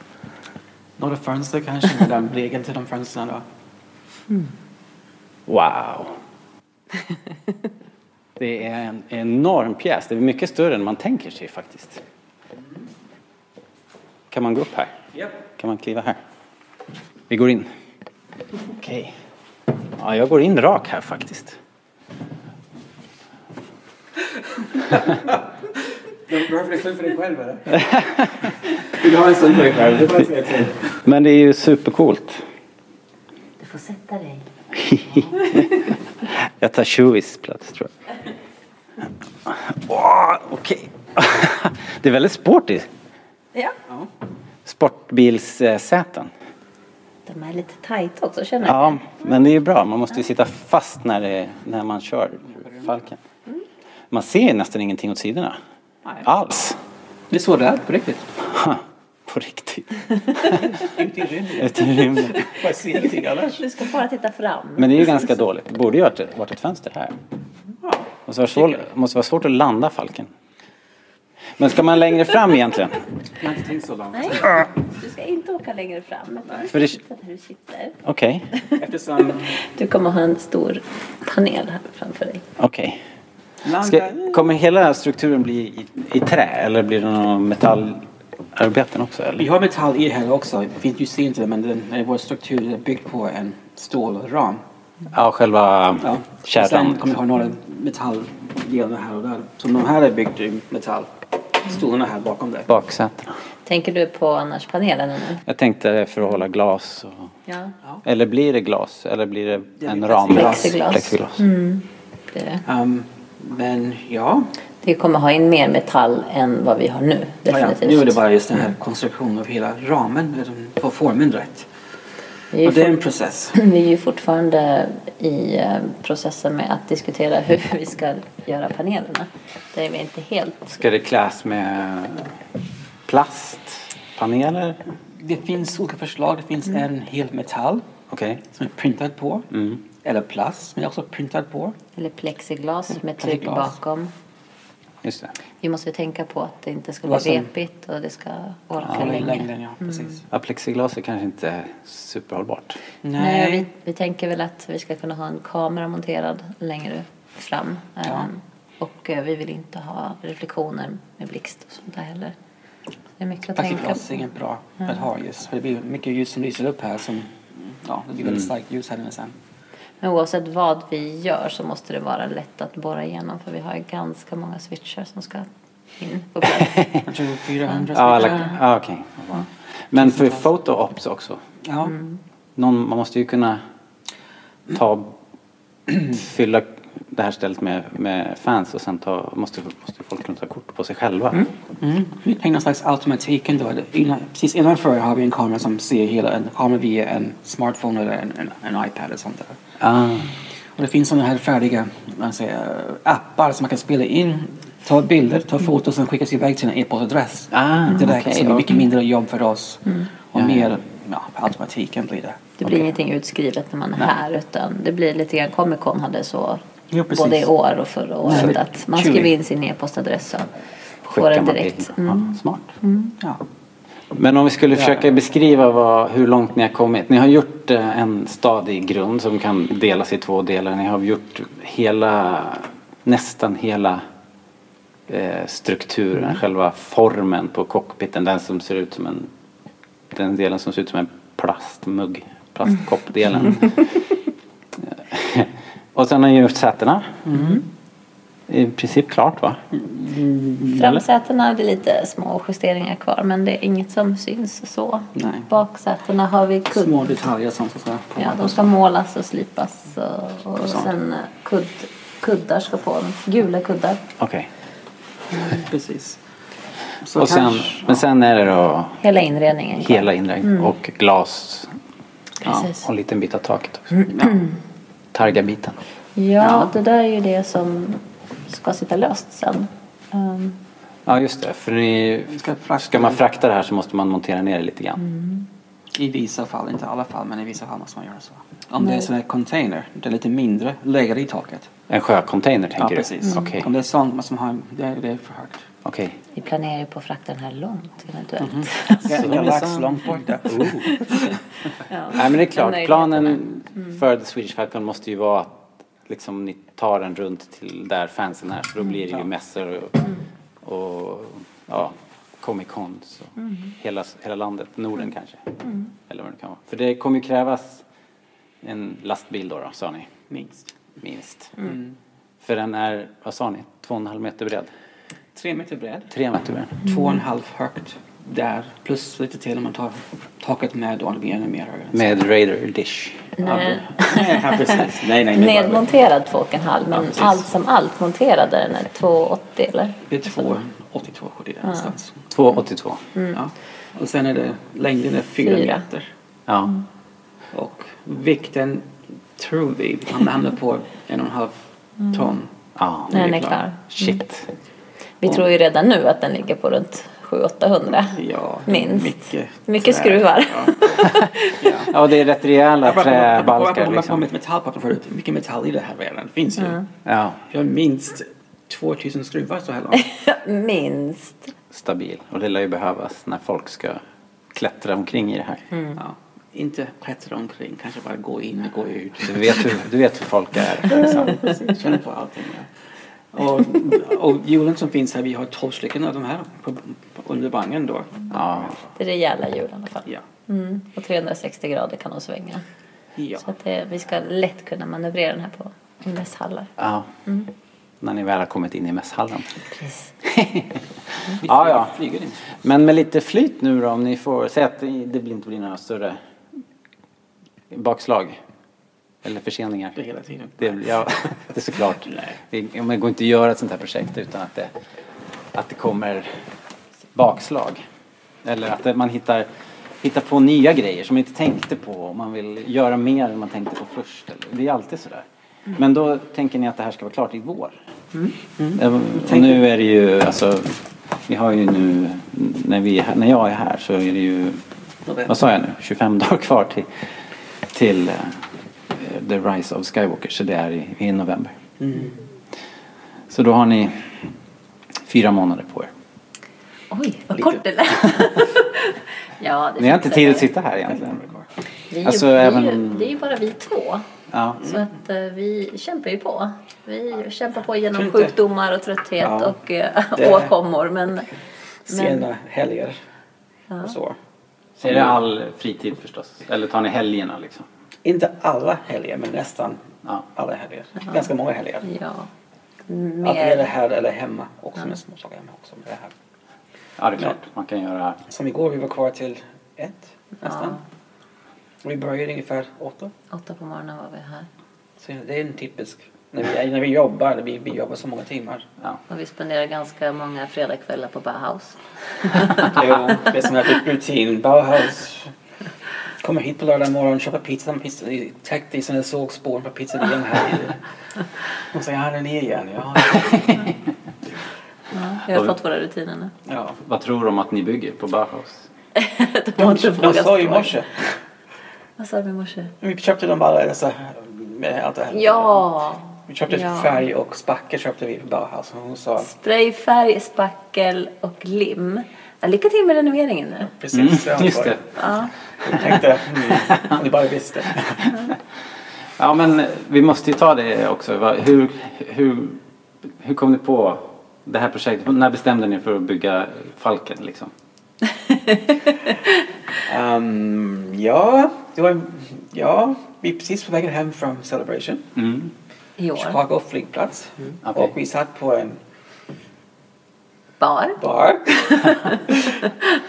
[SPEAKER 7] Några fönster kanske, men den regeln till de fönstren då.
[SPEAKER 1] Wow! Det är en enorm pjäs. Det är mycket större än man tänker sig faktiskt. Kan man gå upp här? Kan man kliva här? Vi går in.
[SPEAKER 7] Okej.
[SPEAKER 1] Ja, jag går in rak här faktiskt.
[SPEAKER 7] Varför är du för dig själv eller? Vill du ha en stund för dig själv? Det får jag säga till.
[SPEAKER 1] Men det är ju supercoolt.
[SPEAKER 5] Du får sätta dig.
[SPEAKER 1] Jag tar Chewies plats tror jag. Åh, Okej. Det är väldigt sportigt.
[SPEAKER 5] Ja.
[SPEAKER 1] Sportbilssäten.
[SPEAKER 5] De är lite tajta också känner jag.
[SPEAKER 1] Ja, men det är ju bra. Man måste ju sitta fast när, det, när man kör Falken. Man ser ju nästan ingenting åt sidorna. Alls.
[SPEAKER 7] Det är så det är på riktigt.
[SPEAKER 1] Ha, På riktigt.
[SPEAKER 7] Ut i rymden.
[SPEAKER 1] Ute i rymden.
[SPEAKER 7] Bara se ingenting annars.
[SPEAKER 5] Du ska bara titta fram.
[SPEAKER 1] Men det är ju ganska dåligt. Det borde ju ha varit ett- varit ett fönster här. Måste vara, svår, måste vara svårt att landa Falken. Men ska man längre fram egentligen?
[SPEAKER 7] Jag har inte tänkt så långt.
[SPEAKER 5] Nej, du ska inte åka längre fram. utan
[SPEAKER 1] För det-
[SPEAKER 5] Där du sitter.
[SPEAKER 1] Okej,
[SPEAKER 7] Eftersom
[SPEAKER 5] Du kommer ha en stor panel här framför dig.
[SPEAKER 1] okej.
[SPEAKER 7] landet...
[SPEAKER 1] Ska- Kommer hela strukturen bli i, i trä eller blir det någon metallarbeten också?
[SPEAKER 7] Vi
[SPEAKER 1] Eller?
[SPEAKER 7] har metall i här också. Vi- Du ser inte det, men den, eh, vår struktur är byggd på en stålram.
[SPEAKER 1] Ja, själva
[SPEAKER 7] Ja.
[SPEAKER 1] kärran.
[SPEAKER 7] Sen kommer vi ha några metalldelar här och där. Så de här är byggd i metall. Stolarna här bakom det.
[SPEAKER 1] Baksätena.
[SPEAKER 5] Tänker du på annars panelen nu?
[SPEAKER 1] Jag tänkte för att hålla glas. Och...
[SPEAKER 5] Ja,
[SPEAKER 1] Eller blir det glas? Eller blir det
[SPEAKER 7] blir
[SPEAKER 1] en ram?
[SPEAKER 5] plexiglas.
[SPEAKER 1] Plexiglas. Mm.
[SPEAKER 5] blir det.
[SPEAKER 7] Ehm, men ja.
[SPEAKER 5] Vi kommer ha in mer metall än vad vi har nu.
[SPEAKER 7] Ja, ja.
[SPEAKER 5] Definitivt.
[SPEAKER 7] Nu är det bara just den här konstruktionen av hela ramen. eller den- Få formen rätt.
[SPEAKER 5] Vi är
[SPEAKER 7] Och det är
[SPEAKER 5] ju
[SPEAKER 7] en process.
[SPEAKER 5] fort- vi är ju fortfarande i eh, processen med att diskutera hur vi ska göra panelerna. Det är vi inte helt...
[SPEAKER 1] Ska det kläs med plastpaneler?
[SPEAKER 7] Det finns olika förslag. Det finns en hel metall
[SPEAKER 1] Okej.
[SPEAKER 7] som är printad på. Eller plast som är också printad på.
[SPEAKER 5] Eller plexiglas med tryck
[SPEAKER 7] Plexiglas.
[SPEAKER 5] bakom.
[SPEAKER 1] Just det.
[SPEAKER 5] Vi måste ju tänka på att det inte ska bli
[SPEAKER 7] Vad som-
[SPEAKER 5] repigt och det ska orka
[SPEAKER 7] Ja,
[SPEAKER 5] länge.
[SPEAKER 7] längden, ja. Precis.
[SPEAKER 1] Ja, plexiglas är kanske inte superhållbart.
[SPEAKER 5] Nej, vi, vi tänker väl att vi ska kunna ha en kamera monterad längre fram. Ehm, och eh, vi vill inte ha reflektioner med blixt och sånt där heller. Det är mycket att tänka
[SPEAKER 7] Plexiglas är
[SPEAKER 5] på.
[SPEAKER 7] inget bra att ha just. För det blir mycket ljus som lyser upp här som... Ja, det blir väldigt starkt ljus här inne sen.
[SPEAKER 5] Men oavsett vad vi gör så måste det vara lätt att borra igenom för vi har ju ganska många switchar som ska in på plats.
[SPEAKER 7] Jag tror 400
[SPEAKER 1] Ja, alla...
[SPEAKER 7] stycken.
[SPEAKER 1] ja okej. Men för foto-ops också?
[SPEAKER 7] Ja.
[SPEAKER 1] Någon, man måste ju kunna ta, fylla det här stället med, med fans och sen ta, måste, måste folk kunna ta kort på sig själva.
[SPEAKER 7] Mm. Vi tänker någon slags automatik ändå. Det- Innan, precis innanför har vi en kamera som ser hela, en kamera via en smartphone eller en, en, en iPad eller sånt där.
[SPEAKER 1] Ah,
[SPEAKER 7] Och det finns sådana här färdiga man säger, appar som man kan spela in, ta bilder, ta foton och sen skickas iväg till en e-postadress.
[SPEAKER 1] Ah,
[SPEAKER 7] direkt.
[SPEAKER 1] okej,
[SPEAKER 7] så det är mycket
[SPEAKER 1] okej.
[SPEAKER 7] mindre jobb för oss och mer ja, på automatiken blir det.
[SPEAKER 5] Det blir ingenting utskrivet när man är här utan det blir lite grann Comic Con hade så
[SPEAKER 7] Jo, precis.
[SPEAKER 5] både i år och förra året
[SPEAKER 7] Mm.
[SPEAKER 5] att man
[SPEAKER 7] Tjugo.
[SPEAKER 5] skriver in sin e-postadress och får
[SPEAKER 1] skickar
[SPEAKER 5] den
[SPEAKER 1] man
[SPEAKER 5] direkt.
[SPEAKER 1] bilden.
[SPEAKER 5] Mm.
[SPEAKER 1] Ja, smart.
[SPEAKER 7] Ja.
[SPEAKER 1] Men om vi skulle försöka beskriva vad, hur långt ni har kommit. Ni har gjort eh, en stadig grund som kan delas i två delar. Ni har gjort hela, nästan hela eh, strukturen,
[SPEAKER 7] Mm.
[SPEAKER 1] själva formen på cockpiten. Den som ser ut som en, den delen som ser ut som en plastmugg, plastkoppdelen. Och sen har ni gjort sätena.
[SPEAKER 7] Mm.
[SPEAKER 1] I princip klart va?
[SPEAKER 5] Framsätena är det lite små justeringar kvar men det är inget som syns så.
[SPEAKER 7] Nej.
[SPEAKER 5] Baksätena har vi kudd.
[SPEAKER 7] Små detaljer som ska på.
[SPEAKER 5] Ja, de ska målas och slipas och, och sen eh, kudd, kuddar ska på dem. Gula kuddar.
[SPEAKER 1] Okej.
[SPEAKER 7] Precis. Så
[SPEAKER 1] Och sen,
[SPEAKER 7] kanske-
[SPEAKER 1] men sen är det då
[SPEAKER 5] Hela inredningen. kvar.
[SPEAKER 1] Hela inredningen och glas
[SPEAKER 5] Precis.
[SPEAKER 1] och en liten bit av taket också. Targa-biten.
[SPEAKER 5] Ja, det där är ju det som ska sitta löst sen. Ehm,
[SPEAKER 1] Ja just det, för ni,
[SPEAKER 7] ska
[SPEAKER 1] ska,
[SPEAKER 7] frakta
[SPEAKER 1] man
[SPEAKER 7] det.
[SPEAKER 1] frakta det här så måste man montera ner det lite grann.
[SPEAKER 7] I vissa fall, inte alla fall, men i vissa fall måste man göra så. Om det är sån här container, det är lite mindre, lägger i taket.
[SPEAKER 8] En sjöcontainer tänker
[SPEAKER 7] Ja,
[SPEAKER 8] du?
[SPEAKER 7] precis.
[SPEAKER 8] Mm. Okej.
[SPEAKER 7] Om det är sånt måste man ha, det är, det är för högt.
[SPEAKER 8] Okej.
[SPEAKER 5] Vi planerar ju på att frakta den här långt eventuellt.
[SPEAKER 7] Ja,
[SPEAKER 8] Så
[SPEAKER 7] jag lax
[SPEAKER 8] minsann.
[SPEAKER 7] långt borta.
[SPEAKER 5] Ja.
[SPEAKER 8] Nej men det är klart,
[SPEAKER 5] Den
[SPEAKER 8] planen
[SPEAKER 5] möjligheten Mm.
[SPEAKER 8] för The Swedish Falcon måste ju vara att liksom, ni tar den runt till där fansen är. Så
[SPEAKER 5] Mm.
[SPEAKER 8] då blir det ju mässor och, och ja, Comic Con. Så.
[SPEAKER 5] Mm.
[SPEAKER 8] Hela, hela landet, Norden kanske. Eller vad det kan vara. För det kommer ju krävas en lastbil då, då sa ni.
[SPEAKER 7] Minst.
[SPEAKER 8] Minst.
[SPEAKER 5] Mm.
[SPEAKER 8] För den är, vad sa ni, två och en halv meter bred?
[SPEAKER 7] Tre meter bred.
[SPEAKER 8] Tre meter bred.
[SPEAKER 7] Två och en halv högt där. Plus lite till om man tar taket med då det blir ännu mer högre.
[SPEAKER 8] Med Raider Dish.
[SPEAKER 5] Nej.
[SPEAKER 7] ja, precis. Nej, nej, nej. bara-
[SPEAKER 5] Nedmonterad 2,5 men
[SPEAKER 7] precis.
[SPEAKER 5] allt som allt monterade den är 2,80 eller?
[SPEAKER 7] Det är två, 82, 70 där någonstans.
[SPEAKER 8] 2,82.
[SPEAKER 7] Ja. Och sen är det längden är fyra
[SPEAKER 5] Fyra.
[SPEAKER 7] meter.
[SPEAKER 8] Ja.
[SPEAKER 5] Mm.
[SPEAKER 7] Och vikten tror vi han hamnar på en och en halv
[SPEAKER 8] Mm.
[SPEAKER 7] ton.
[SPEAKER 8] ja.
[SPEAKER 5] När den
[SPEAKER 7] är
[SPEAKER 5] är
[SPEAKER 7] klar.
[SPEAKER 5] klar.
[SPEAKER 8] Shit.
[SPEAKER 5] Vi tror ju redan nu att den ligger på runt 700-800.
[SPEAKER 7] Ja,
[SPEAKER 5] Minst.
[SPEAKER 7] mycket.
[SPEAKER 5] Mycket
[SPEAKER 7] trä.
[SPEAKER 5] skruvar.
[SPEAKER 7] Ja.
[SPEAKER 8] Ja, det är rätt rejäla
[SPEAKER 7] Jag bara kommer- jag bara kommer- jag
[SPEAKER 8] träbalkar
[SPEAKER 7] kommer liksom. på
[SPEAKER 8] liksom.
[SPEAKER 7] mitt metallpapper förut. Hur mycket metall i det här redan? Det finns ju.
[SPEAKER 8] Ja,
[SPEAKER 7] Vi har minst 2000 skruvar så här långt.
[SPEAKER 5] Minst.
[SPEAKER 8] stabil. Och det lär ju behövas när folk ska klättra omkring i det här.
[SPEAKER 7] Ja. Inte klättra omkring, kanske bara gå in och gå ut.
[SPEAKER 8] Du, vet hur, du vet hur folk är. Liksom.
[SPEAKER 7] Känner på allting. Ja. Och, och hjulen som finns här, vi har 12 stycken av de här på, på, under bangen då.
[SPEAKER 8] Ja.
[SPEAKER 5] Det är rejäla hjul i alla fall.
[SPEAKER 7] Ja.
[SPEAKER 5] Mm. Och 360 grader kan de svänga.
[SPEAKER 7] ja.
[SPEAKER 5] Så att det, vi ska lätt kunna manövrera den här på mässhallar.
[SPEAKER 8] ja. När ni väl har kommit in i mässhallen.
[SPEAKER 5] Precis.
[SPEAKER 7] Vi
[SPEAKER 8] Ja, ja.
[SPEAKER 7] flyger in.
[SPEAKER 8] Men med lite flyt nu då om ni får, säg att det det blir- inte blir några större bakslag. Eller förseningar.
[SPEAKER 7] Det hela tiden.
[SPEAKER 8] Det, ja, det är såklart. Det, ja, men det går inte att göra ett sånt här projekt utan att det, att det kommer bakslag. Eller att det, man hittar, hittar på nya grejer som man inte tänkte på. Och man vill göra mer än man tänkte på först. Eller- Det är alltid sådär. Men då tänker ni att det här ska vara klart i vår. Eh, Och nu är det ju alltså, vi har ju nu, när, vi, är här- när jag är här så är det ju,
[SPEAKER 7] November.
[SPEAKER 8] vad sa jag nu, 25 dagar kvar till, till eh, The Rise of Skywalker. Så det är i, i november. Så då har ni fyra månader på er.
[SPEAKER 5] Oj, vad
[SPEAKER 7] Lite.
[SPEAKER 5] kort det lät. ja, det
[SPEAKER 8] Ni har inte
[SPEAKER 5] fixar
[SPEAKER 8] tid
[SPEAKER 5] vi.
[SPEAKER 8] att sitta här egentligen.
[SPEAKER 5] Vi är ju,
[SPEAKER 8] Alltså,
[SPEAKER 5] vi är
[SPEAKER 8] även-
[SPEAKER 5] ju, det är ju bara vi två.
[SPEAKER 8] Ja.
[SPEAKER 5] Så att eh, vi kämpar ju på. Vi kämpar på genom
[SPEAKER 7] Tror inte-
[SPEAKER 5] sjukdomar och trötthet
[SPEAKER 7] Ja.
[SPEAKER 5] och eh,
[SPEAKER 7] Det-
[SPEAKER 5] åkommor. Men, men
[SPEAKER 7] Sena helger och så.
[SPEAKER 8] Så är det all fritid förstås? Eller tar ni helgerna liksom?
[SPEAKER 7] Inte alla helger, men nästan
[SPEAKER 8] Ja.
[SPEAKER 7] alla helger. Ganska många helger.
[SPEAKER 5] ja,
[SPEAKER 7] Antingen är det
[SPEAKER 5] mer.
[SPEAKER 7] här eller hemma. Också med småsaker hemma också. med Det här.
[SPEAKER 8] Ja, det är klart. Man kan göra...
[SPEAKER 7] Som igår, vi var kvar till ett nästan. Och Vi började ungefär åtta.
[SPEAKER 5] Åtta på morgonen var vi här.
[SPEAKER 7] Så det är en typisk. När vi, när vi jobbar, vi, vi jobbar så många timmar.
[SPEAKER 8] Ja.
[SPEAKER 5] Och vi spenderar ganska många fredagskvällar på Bauhaus.
[SPEAKER 7] Det är, ju- det är som här rutin. Bauhaus. Kommer hit på lördag morgon, köper pizza. pizza täckt i sina sågspår på pizzerian här. i- Och säger han är ni igen. Ja.
[SPEAKER 5] Vi har fått våra rutiner nu.
[SPEAKER 7] ja.
[SPEAKER 8] Vad tror du om att ni bygger på Bauhaus?
[SPEAKER 5] De har
[SPEAKER 7] De,
[SPEAKER 5] inte
[SPEAKER 7] de
[SPEAKER 5] frågat
[SPEAKER 7] sa ju i
[SPEAKER 5] frågan.
[SPEAKER 7] morse.
[SPEAKER 5] Vad sa du i morse?
[SPEAKER 7] Vi köpte dem bara dessa med allt det här.
[SPEAKER 5] Ja!
[SPEAKER 7] Vi köpte
[SPEAKER 5] Ja. Mm,
[SPEAKER 7] färg och spackel köpte vi på Bauhaus. Och hon sa
[SPEAKER 5] Sprayfärg, spackel och lim. Ja, Lycka till med renoveringen nu.
[SPEAKER 7] precis mm,
[SPEAKER 8] Just det.
[SPEAKER 7] Jag tänkte, mm, om ni bara visste.
[SPEAKER 8] Ja, men vi måste ju ta det också. Va- Hur, hur, hur kom ni på det här projektet? När bestämde ni för att bygga Falken liksom?
[SPEAKER 7] Ehm, ja, det var, ja, vi är precis på vägen hem från Celebration.
[SPEAKER 5] I år.
[SPEAKER 7] Chicago flygplats.
[SPEAKER 5] Mm.
[SPEAKER 8] Okej.
[SPEAKER 7] Och vi satt på en
[SPEAKER 5] Bar.
[SPEAKER 7] bar.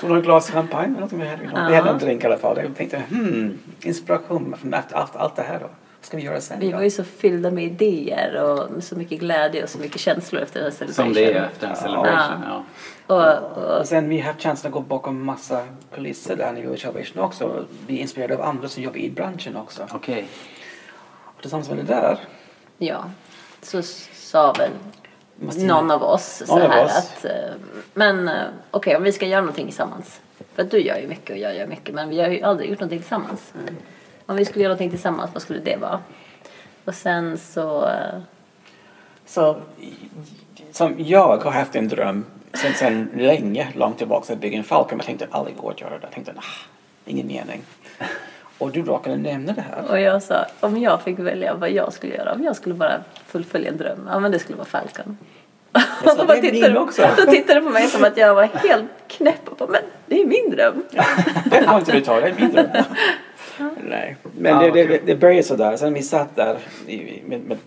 [SPEAKER 7] Tog några glas champagne eller någonting. Vi hade, vi hade en drink i alla fall. Jag tänkte, hmm, inspiration från allt, allt, allt det här då. Vad ska vi göra sen
[SPEAKER 5] Vi
[SPEAKER 7] då?
[SPEAKER 5] var ju så fyllda med idéer och så mycket glädje och så mycket känslor efter den här
[SPEAKER 8] Som
[SPEAKER 5] celebrationen.
[SPEAKER 8] det är efter en celebration. Ja.
[SPEAKER 5] Och, och
[SPEAKER 7] Och sen vi har haft chansen att gå bakom massa kulisser där nere i Celebration också. Vi är inspirerade av andra som jobbar i branschen också.
[SPEAKER 8] Okej.
[SPEAKER 7] Och tillsammans med det där
[SPEAKER 5] ja, så s- sa väl
[SPEAKER 7] Måste
[SPEAKER 5] någon av oss så
[SPEAKER 7] Någon av
[SPEAKER 5] här
[SPEAKER 7] oss.
[SPEAKER 5] att eh, men eh, okej om vi ska göra någonting tillsammans. För att du gör ju mycket och jag gör mycket men vi har ju aldrig gjort någonting tillsammans.
[SPEAKER 7] Mm.
[SPEAKER 5] Om vi skulle göra någonting tillsammans, vad skulle det vara? Och sen så... eh,
[SPEAKER 7] Så, som jag har haft en dröm sen, sen länge, långt tillbaka, att bygga en Falcon. Jag tänkte aldrig gå att göra det. Jag tänkte, ah, ingen mening. Och du råkade nämna det här.
[SPEAKER 5] Och jag sa, om jag fick välja vad jag skulle göra, om jag skulle bara fullfölja en dröm, ja men det skulle vara Falcon.
[SPEAKER 7] Jag sa,
[SPEAKER 5] Och då
[SPEAKER 7] "Det är min
[SPEAKER 5] tittade-
[SPEAKER 7] också."
[SPEAKER 5] Då tittade du på mig som att jag var helt knäpp och bara, men det är min dröm.
[SPEAKER 7] Det får inte du ta, det är min dröm. Nej, men det, det, det började sådär. Sen vi satt där i, i- med, med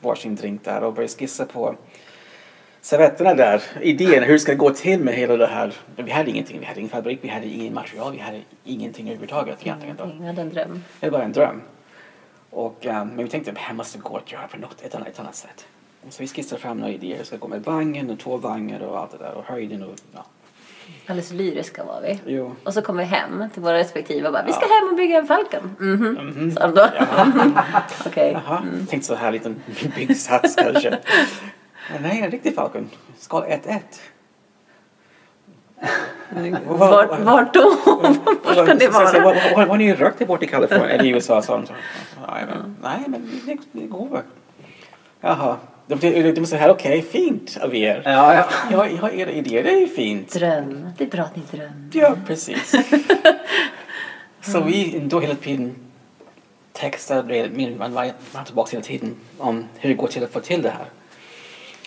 [SPEAKER 7] varsin drink där och började skissa på servetterna där. Idén hur ska det gå till med hela det här. Vi hade ingenting, vi hade ingen fabrik, vi hade ingen material, vi hade ingenting överhuvudtaget egentligen. Då.
[SPEAKER 5] Jag hade en dröm.
[SPEAKER 7] Det var bara en dröm. Och, eh, men vi tänkte att det här måste gå att göra på något, ett, annat, ett annat sätt. Så vi skissade fram några idéer. Det ska gå med vagnen och två vagnar och allt det där och höjden och ja.
[SPEAKER 5] Alldeles lyriska var vi.
[SPEAKER 7] Jo.
[SPEAKER 5] Och så kom vi hem till våra respektive och bara, vi ska hem och bygga en Falcon. Mhm, sa de då. Okej.
[SPEAKER 7] Jaha, tänkte så här liten byggsats kanske. Men nej, en riktig Falcon. Skal 1-1.
[SPEAKER 5] Vart, vart då? Vart ska det vara?
[SPEAKER 7] Har har ni rökt er bort i Kalifornien? Eller i USA sa de. så. Nej, men, nej, men det, det går väl. Jaha. De, de, de säger här, okej, fint av er.
[SPEAKER 8] Ja, ja.
[SPEAKER 7] Jag, jag har era idéer, det är ju fint.
[SPEAKER 5] Dröm. Det är bra att ni drömmer.
[SPEAKER 7] Ja, precis. Så vi då hela tiden textade, min- man var man var tillbaka hela tiden om hur det går till att få till det här.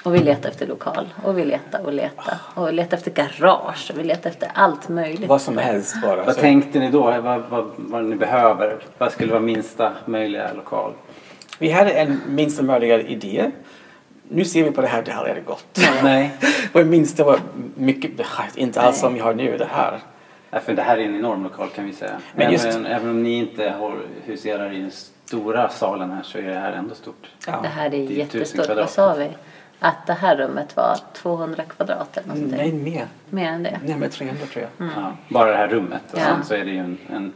[SPEAKER 5] Och vi letade efter lokal. Och vi letade och letade. Och vi letade efter garage. Och vi letade efter allt möjligt.
[SPEAKER 7] Vad som helst bara.
[SPEAKER 8] Vad
[SPEAKER 7] Så-
[SPEAKER 8] tänkte ni då? Vad, vad, vad ni behöver? Vad skulle vara minsta möjliga lokal?
[SPEAKER 7] Vi hade en minsta möjliga idé. Nu ser vi på det här, det här är det gott.
[SPEAKER 8] Nej.
[SPEAKER 7] Vår minsta var mycket, inte alls som vi har nu det här.
[SPEAKER 8] Ja, för det här är en enorm lokal kan vi säga.
[SPEAKER 7] Men
[SPEAKER 8] även,
[SPEAKER 7] just-
[SPEAKER 8] även om ni inte har, huserar i den stora salen här så är det här ändå stort.
[SPEAKER 7] Ja.
[SPEAKER 5] Det här är
[SPEAKER 8] tusen
[SPEAKER 5] jättestort. Vad
[SPEAKER 8] kvadrat.
[SPEAKER 5] sa vi? Att det här rummet var 200 kvadrat eller något sånt där.
[SPEAKER 7] Nej, mer.
[SPEAKER 5] Mer än det.
[SPEAKER 7] Närmare 300 tror jag.
[SPEAKER 8] Ja, bara det här rummet. Och
[SPEAKER 5] Ja.
[SPEAKER 8] sen så är det ju en, en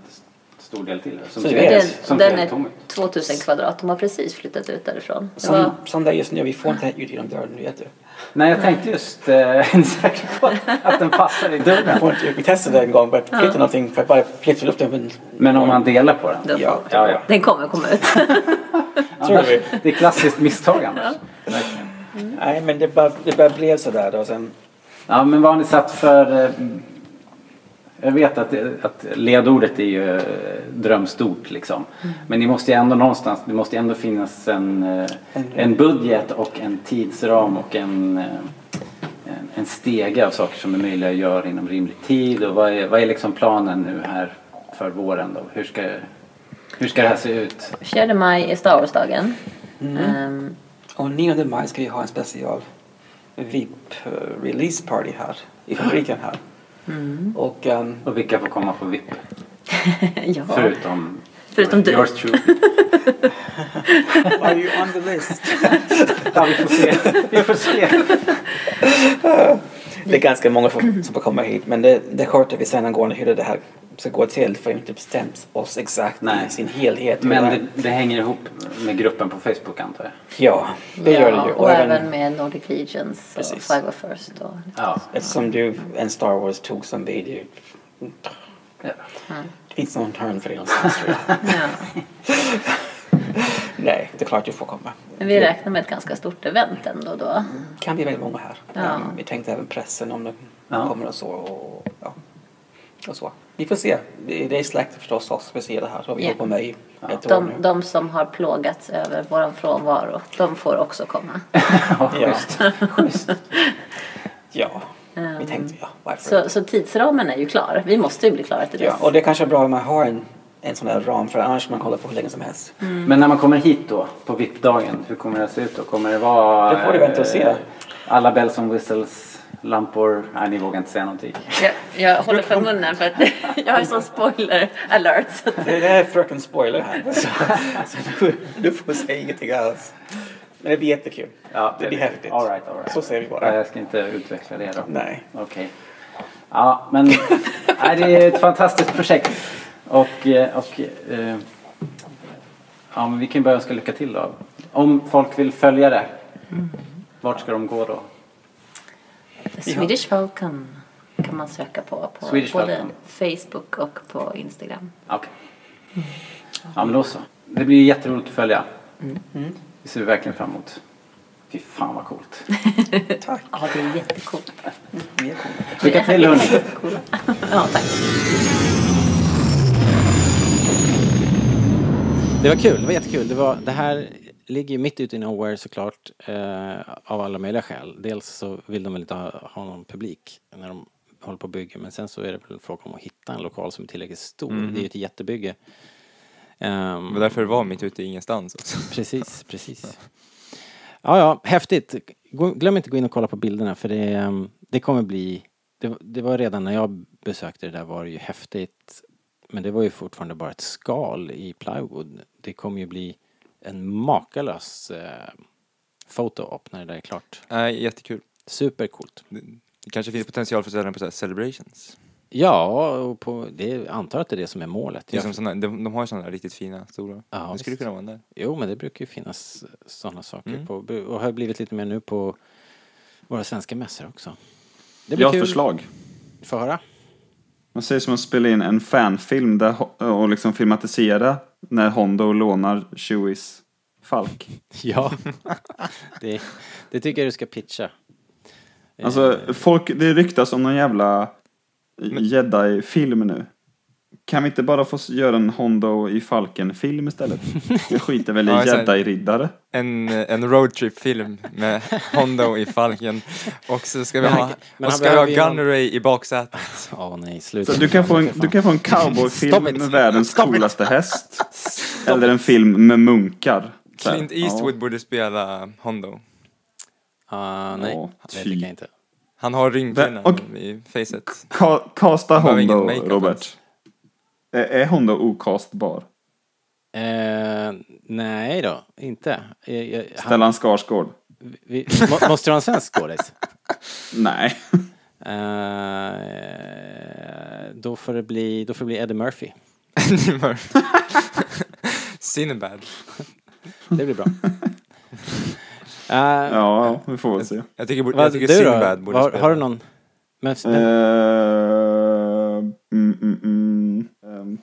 [SPEAKER 8] stor del till här, som,
[SPEAKER 7] Så
[SPEAKER 8] ser-
[SPEAKER 7] det är-
[SPEAKER 8] som
[SPEAKER 5] Den, den
[SPEAKER 8] ser är...
[SPEAKER 5] är
[SPEAKER 8] tom ut.
[SPEAKER 5] 2000 kvadrat. De har precis flyttat ut därifrån. Det var,
[SPEAKER 7] Som, som det är just nu, vi får inte ut genom dörren, vet du.
[SPEAKER 8] Nej, jag tänkte just... Eh, är ni säkra på att den passar i
[SPEAKER 7] Vi
[SPEAKER 8] dörren?
[SPEAKER 7] får inte ut. Vi testade en gång, bara flytta någonting, för att bara flytta upp den. Men,
[SPEAKER 8] Men om man delar på den?
[SPEAKER 5] den,
[SPEAKER 7] Ja,
[SPEAKER 8] ja, ja.
[SPEAKER 5] den kommer komma ut.
[SPEAKER 7] tror vi.
[SPEAKER 8] Det är klassiskt misstag annars.
[SPEAKER 7] Nej, men det bara, det bara blev sådär då. Sen,
[SPEAKER 8] Ja, men vad har ni satt för... eh, Jag vet att, att ledordet är ju eh, drömstort liksom.
[SPEAKER 5] Mm.
[SPEAKER 8] Men ni måste ju ändå någonstans, det måste ju ändå finnas en, eh, en budget och en tidsram och en, eh, en, en stege av saker som är möjliga att göra inom rimlig tid. Och vad är, vad är liksom planen nu här för våren då? Hur ska, hur ska det här se ut?
[SPEAKER 5] 4 maj är Star Wars-dagen. Ehm,
[SPEAKER 7] och 9 maj ska vi ha en special VIP-release party här, i fabriken här. Och ehm,
[SPEAKER 8] Och vilka får komma på VIP?
[SPEAKER 5] ja.
[SPEAKER 8] Förutom,
[SPEAKER 5] Förutom du.
[SPEAKER 8] Yours truly.
[SPEAKER 7] Are you on the list?
[SPEAKER 8] Ja, vi får se. Vi får se.
[SPEAKER 7] Det är ganska många som som får komma hit men det, det sköter vi sen angående hur det här ska gå till för vi har inte bestämt oss exakt
[SPEAKER 8] Nej.
[SPEAKER 7] i sin helhet.
[SPEAKER 8] Men det, det hänger ihop med gruppen på Facebook antar jag?
[SPEAKER 7] Ja, det gör det
[SPEAKER 5] Ja,
[SPEAKER 7] ju.
[SPEAKER 5] Och, även med Nordic Regions och
[SPEAKER 7] Precis.
[SPEAKER 5] Five of First. Och,
[SPEAKER 8] Ja.
[SPEAKER 7] eftersom du en Star Wars tog som video. Det finns någon hörn för det någonstans tror jag.
[SPEAKER 5] ja.
[SPEAKER 7] Nej, det är klart du får komma.
[SPEAKER 5] Men vi räknar med ett ganska stort event ändå då.
[SPEAKER 7] Det kan bli väldigt många här.
[SPEAKER 5] Ja.
[SPEAKER 7] Um, vi tänkte även pressen om det
[SPEAKER 8] Ja.
[SPEAKER 7] kommer och så. Och, ja. och så. Vi får se. Det det är släkt förstås också som ser det här. Så vi
[SPEAKER 5] Ja.
[SPEAKER 7] har på mig i ett år nu.
[SPEAKER 5] De, de som har plågats över vår frånvaro, de får också komma.
[SPEAKER 7] Ja. ja, vi tänkte ja, varför
[SPEAKER 5] Ehm, Så, så tidsramen är ju klar. Vi måste ju bli klara till
[SPEAKER 7] Ja,
[SPEAKER 5] dess.
[SPEAKER 7] och det kanske är bra om man har en, en sån där ram för annars kan man hålla på hur länge som helst.
[SPEAKER 5] Mm.
[SPEAKER 8] Men när man kommer hit då, på VIP-dagen, hur kommer det att se ut då? Kommer det vara...
[SPEAKER 7] Det får du vänta och se.
[SPEAKER 8] eh, Alla bells and whistles, lampor? Nej, ni vågar inte säga någonting.
[SPEAKER 5] Jag, jag håller för munnen för att jag har sån spoiler alert. Så att
[SPEAKER 7] Det är fröken spoiler här. Så, så du, du får säga ingenting alls. Men det blir jättekul.
[SPEAKER 8] Ja,
[SPEAKER 7] det blir häftigt.
[SPEAKER 8] All right, all right.
[SPEAKER 7] Så säger vi bara.
[SPEAKER 8] Ja, jag ska inte utveckla det då.
[SPEAKER 7] Nej.
[SPEAKER 8] Okej. Ja, men nej, det är ett fantastiskt projekt. Och, eh, och eh, ja, men vi kan ju börja önska lycka till då. Om folk vill följa det, vart ska de gå då?
[SPEAKER 5] Swedish Falcon. kan man söka på, på
[SPEAKER 8] Swedish
[SPEAKER 5] både
[SPEAKER 8] Welcome.
[SPEAKER 5] Facebook och på Instagram.
[SPEAKER 8] Okej. Ja, men då så. Det blir jätteroligt att följa.
[SPEAKER 5] Mm.
[SPEAKER 8] Det ser vi verkligen fram emot. Fy fan vad coolt.
[SPEAKER 5] Ja, det är jättecoolt.
[SPEAKER 8] Lycka till hörni.
[SPEAKER 5] Ja, tack.
[SPEAKER 1] Det var kul, det var jättekul. Det, var, det här ligger ju mitt ute i nowhere såklart. Eh, av alla möjliga skäl. Dels så vill de väl inte ha, ha någon publik när de håller på och bygger. Men sen så är det väl fråga om att hitta en lokal som är tillräckligt stor. Det är ju ett jättebygge. Ehm,
[SPEAKER 2] Det var därför det var mitt ute i ingenstans också.
[SPEAKER 1] Precis, precis. Ja, ja, häftigt. Gå- Glöm inte att gå in och kolla på bilderna för det, ehm, det kommer bli... Det, det var redan när jag besökte det där var det ju häftigt. Men det var ju fortfarande bara ett skal i plywood. Det kommer ju bli en makalös eh, foto-op när det där är klart.
[SPEAKER 2] Nej, jättekul.
[SPEAKER 1] Supercoolt.
[SPEAKER 2] Det, det kanske finns potential för att ställa den på så här celebrations.
[SPEAKER 1] Ja, och på, det jag antar att det är det som är målet.
[SPEAKER 2] Det är
[SPEAKER 1] Jag,
[SPEAKER 2] som såna, de, de har ju sådana där riktigt fina, stora.
[SPEAKER 1] Ja,
[SPEAKER 2] det skulle
[SPEAKER 1] visst.
[SPEAKER 2] kunna vara en där.
[SPEAKER 1] Jo, men det brukar ju finnas sådana saker
[SPEAKER 2] Mm.
[SPEAKER 1] på, och har blivit lite mer nu på våra svenska mässor också. Det
[SPEAKER 3] Jag har ett förslag.
[SPEAKER 1] Få höra.
[SPEAKER 3] Man säger som att spela in en fanfilm där, Ho- och liksom filmatisera när Hondo lånar Chewies falk.
[SPEAKER 1] Ja. det, det tycker jag du ska pitcha. Eh,
[SPEAKER 3] Alltså, folk, det ryktas om någon jävla jedi-film nu. Kan vi inte bara få s- göra en Hondo i Falken-film istället? Det skiter väl i
[SPEAKER 2] Ja, exakt.
[SPEAKER 3] jedi-riddare.
[SPEAKER 2] En, eh, en roadtrip-film med Hondo i Falken. Och så ska vi
[SPEAKER 1] Men han-
[SPEAKER 2] ha,
[SPEAKER 1] men
[SPEAKER 2] och
[SPEAKER 1] han
[SPEAKER 2] ska vi ha
[SPEAKER 1] behöver ju någon-
[SPEAKER 2] Gunneray i baksätet.
[SPEAKER 1] Åh nej, sluta.
[SPEAKER 3] Så du kan få en, du kan få en cowboyfilm
[SPEAKER 1] Stop it.
[SPEAKER 3] med världens coolaste häst. Eller en film med munkar. Så här.
[SPEAKER 2] Clint Eastwood borde spela Hondo.
[SPEAKER 1] Ah, nej,
[SPEAKER 3] Ja,
[SPEAKER 1] det
[SPEAKER 3] typ.
[SPEAKER 1] tycker jag inte.
[SPEAKER 2] Han har
[SPEAKER 3] Vä- och-
[SPEAKER 2] ringpinnen i facet.
[SPEAKER 3] Ka- Kasta
[SPEAKER 2] behöver ingen
[SPEAKER 3] Hondo,
[SPEAKER 2] makeup
[SPEAKER 3] Robert. Är, är Hondo okastbar?
[SPEAKER 1] Eh, nej då, inte. Eh, jag- han-
[SPEAKER 3] Stellan Skarsgård?
[SPEAKER 1] vi, må, måste du ha en svensk skådis?
[SPEAKER 3] Nej.
[SPEAKER 1] Eh, då, får det bli- då får det bli Eddie Murphy.
[SPEAKER 2] Eddie Murphy. Sinbad.
[SPEAKER 1] Det blir bra. Eh,
[SPEAKER 3] Ja, vi får väl se.
[SPEAKER 2] Jag tycker,
[SPEAKER 1] Vad,
[SPEAKER 2] jag tycker
[SPEAKER 1] du då?
[SPEAKER 2] Sinbad borde
[SPEAKER 1] Har,
[SPEAKER 2] spela.
[SPEAKER 1] har du någon? Men,
[SPEAKER 3] Eh, mm, mm, mm, ehm.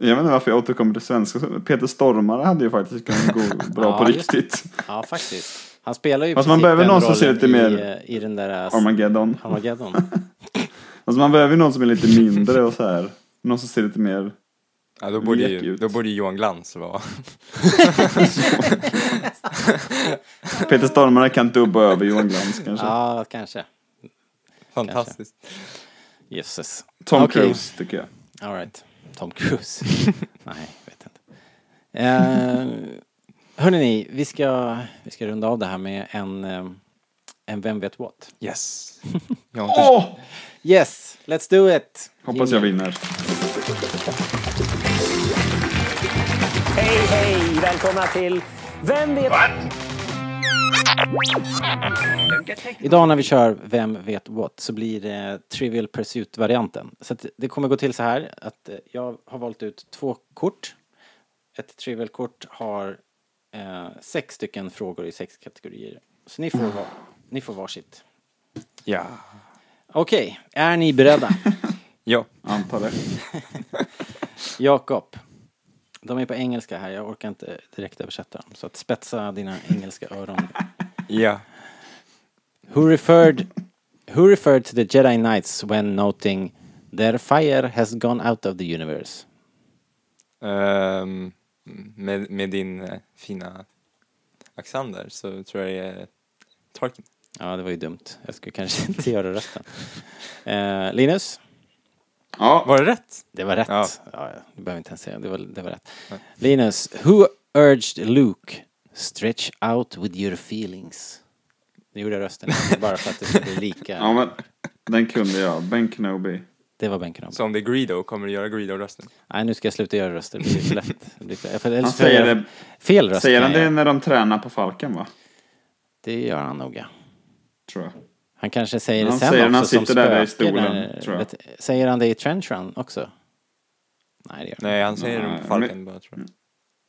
[SPEAKER 3] Jag vet inte varför jag återkommer till svenska. Peter Stormare hade ju faktiskt kunnat gå bra på
[SPEAKER 1] Ja, just det.
[SPEAKER 3] riktigt.
[SPEAKER 1] Ja, faktiskt. Han spelar ju
[SPEAKER 3] Fast
[SPEAKER 1] i
[SPEAKER 3] man
[SPEAKER 1] princip
[SPEAKER 3] behöver
[SPEAKER 1] den
[SPEAKER 3] någon som ser
[SPEAKER 1] rollen
[SPEAKER 3] lite mer
[SPEAKER 1] i, i den där eh,
[SPEAKER 3] Armageddon.
[SPEAKER 1] Armageddon.
[SPEAKER 3] Alltså man behöver ju någon som är lite mindre och så här. Någon som ser lite mer...
[SPEAKER 2] Ja, då, borde
[SPEAKER 3] Lek
[SPEAKER 2] ju,
[SPEAKER 3] ut.
[SPEAKER 2] då borde ju Johan Glans vara...
[SPEAKER 3] Peter Stormare kan dubba över Johan Glans kanske.
[SPEAKER 1] ja, kanske.
[SPEAKER 2] Fantastiskt.
[SPEAKER 1] Jösses.
[SPEAKER 3] Tom
[SPEAKER 1] Okej.
[SPEAKER 3] Cruise tycker jag.
[SPEAKER 1] All right. Tom Cruise. Nej, jag vet inte. Uh, hörni, ni, vi ska, vi ska runda av det här med en, eh, en Vem vet what?
[SPEAKER 2] Yes. Jag har inte...
[SPEAKER 3] Åh!
[SPEAKER 1] Yes, let's do it!
[SPEAKER 3] Hoppas jag vinner.
[SPEAKER 9] Hej, hej! Välkomna till Vem vet...
[SPEAKER 1] Idag när vi kör Vem vet what så blir det Trivial Pursuit-varianten. Så att det kommer gå till så här att eh, jag har valt ut två kort. Ett Trivial-kort har eh, sex stycken frågor i sex kategorier. Så ni får, var, ni får varsitt.
[SPEAKER 2] Ja.
[SPEAKER 1] Okej, är ni beredda?
[SPEAKER 2] Ja.
[SPEAKER 3] Antar det.
[SPEAKER 1] Jakob. De är på engelska här, jag orkar inte direkt översätta dem. Så att spetsa dina engelska öron.
[SPEAKER 2] Ja.
[SPEAKER 1] Who referred Who referred to the Jedi Knights when noting their fire has gone out of the universe?
[SPEAKER 2] Ehm, med, med din eh, fina accent där så tror jag det är Tarkin.
[SPEAKER 1] Ja, det var ju dumt. Jag skulle kanske inte göra rätten. Eh, Linus?
[SPEAKER 3] Ja,
[SPEAKER 2] Var det rätt?
[SPEAKER 1] Det var rätt. Ja.
[SPEAKER 2] Ja.
[SPEAKER 1] Ja, du behöver inte ens säga det. Var, det var rätt. Linus, who urged Luke stretch out with your feelings? Nu gjorde jag rösten bara för att det skulle bli lika.
[SPEAKER 3] ja men den kunde jag. Ben Kenobi.
[SPEAKER 1] Det var bänken om.
[SPEAKER 2] Så om det är Greedo, kommer du göra Greedo-rösten?
[SPEAKER 1] Nej, nu ska jag sluta göra röster. Det blir för lätt. Det blir för, för, eller så
[SPEAKER 3] säger
[SPEAKER 1] gör jag
[SPEAKER 3] det-
[SPEAKER 1] Fel röst
[SPEAKER 3] Säger
[SPEAKER 1] kan
[SPEAKER 3] han
[SPEAKER 1] jag
[SPEAKER 3] det
[SPEAKER 1] göra.
[SPEAKER 3] när de tränar på Falken va?
[SPEAKER 1] Det gör han nog, ja.
[SPEAKER 3] Tror jag.
[SPEAKER 1] Han kanske säger det
[SPEAKER 3] Han
[SPEAKER 1] sen
[SPEAKER 3] säger
[SPEAKER 1] också
[SPEAKER 3] när han
[SPEAKER 1] som
[SPEAKER 3] sitter där i
[SPEAKER 1] spöke
[SPEAKER 3] stolen,
[SPEAKER 1] när-
[SPEAKER 3] tror jag.
[SPEAKER 1] vet- Säger han det i Trench Run också? Nej, det gör han inte.
[SPEAKER 2] Nej, mm. han säger
[SPEAKER 3] Nej,
[SPEAKER 2] nog Falken bara tror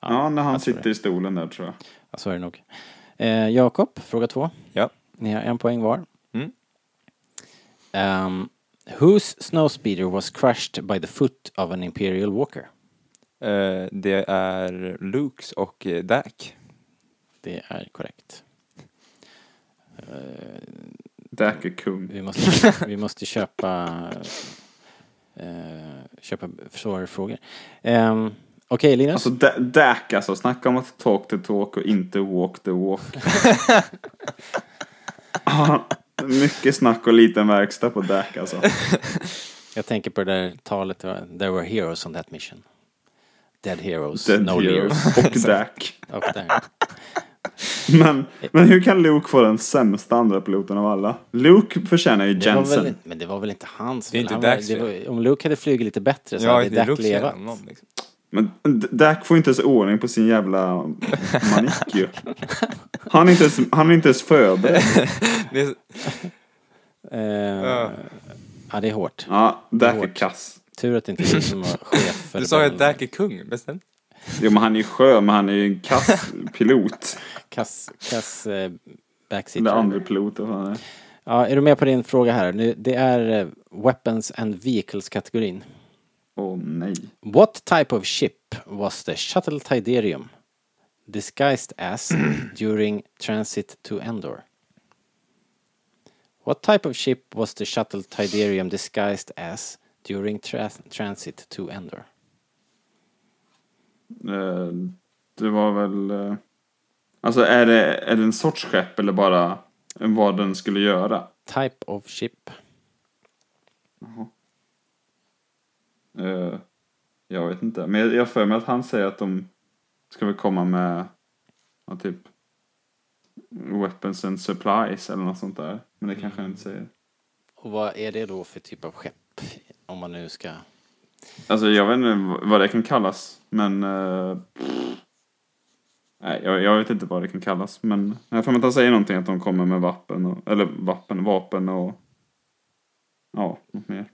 [SPEAKER 2] jag.
[SPEAKER 3] Ja, när han sitter i stolen där tror jag.
[SPEAKER 1] Ja, Så är det nog. Eh, Jakob, fråga två.
[SPEAKER 2] Ja.
[SPEAKER 1] Ni har en poäng var.
[SPEAKER 2] Mm.
[SPEAKER 1] Ehm, Whose snowspeeder was crushed by the foot of an imperial walker?
[SPEAKER 2] Eh, det är Lukes och eh,
[SPEAKER 1] Alltså,
[SPEAKER 2] Dak.
[SPEAKER 1] Det är korrekt. Eh,
[SPEAKER 3] Dak är kung.
[SPEAKER 1] Vi måste, vi måste köpa, eh, köpa svårare frågor. Ehm, Okej, Linus.
[SPEAKER 3] Alltså Da- Dak alltså, snacka om att talk the talk och inte walk the walk. Ja, Mycket snack och liten verkstad på Dak alltså.
[SPEAKER 1] jag tänker på det där talet, det var, there were heroes on that mission. Dead heroes,
[SPEAKER 3] Dead
[SPEAKER 1] no
[SPEAKER 3] Hero
[SPEAKER 1] heroes.
[SPEAKER 3] och Dak.
[SPEAKER 1] Och där.
[SPEAKER 3] Men, men hur kan Luke få den sämsta andra piloten av alla? Luke förtjänar ju
[SPEAKER 1] Det var väl,
[SPEAKER 3] Jensen.
[SPEAKER 1] men det var väl inte hans
[SPEAKER 2] Det är inte
[SPEAKER 1] Han var-
[SPEAKER 2] Dax
[SPEAKER 1] det
[SPEAKER 2] fel.
[SPEAKER 1] var- Om Luke hade flugit lite bättre så hade Dak
[SPEAKER 2] Lukes
[SPEAKER 1] levat.
[SPEAKER 2] fel, någon, liksom.
[SPEAKER 3] Men D- Dak får inte ens ordning på sin jävla manik ju. Han är inte ens, han är inte ens förberedd.
[SPEAKER 2] Det är,
[SPEAKER 1] Eh,
[SPEAKER 2] Ja.
[SPEAKER 1] Ja, det är hårt.
[SPEAKER 3] Ja, Dak är
[SPEAKER 1] Hårt.
[SPEAKER 3] kass.
[SPEAKER 1] Tur att det inte är du som var chef för
[SPEAKER 2] du sa ju att
[SPEAKER 1] det där
[SPEAKER 2] Dak är kung, bestämt.
[SPEAKER 3] Jo men han är ju skön, men han är ju en kass pilot.
[SPEAKER 1] Kass, kass eh, backseat.
[SPEAKER 3] Eller andra pilot, vad fan är det?
[SPEAKER 1] Ja, är du med på din fråga här? Nu, det är eh, Weapons and Vehicles-kategorin.
[SPEAKER 3] Åh nej.
[SPEAKER 1] What type of ship was the shuttle Tiderium disguised as during transit to Endor? What type of ship was the shuttle Tiderium disguised as during tra transit to Endor?
[SPEAKER 3] Eh, Det var väl... eh, Alltså är det, är det en sorts skepp eller bara vad den skulle göra?
[SPEAKER 1] Type of ship.
[SPEAKER 3] Eh, Jag vet inte. Men jag- jag har för mig att han säger att de ska väl komma med ja, typ weapons and supplies eller något sånt där. Men det kanske han inte säger.
[SPEAKER 1] Och vad är det då för typ av skepp? Om man nu ska...
[SPEAKER 3] Alltså jag vet inte v- vad det kan kallas. Men... eh, nej, jag, jag vet inte vad det kan kallas. Men jag har för mig att han säger någonting att de kommer med vapen och... Eller vapen, vapen och... Ja, något mer.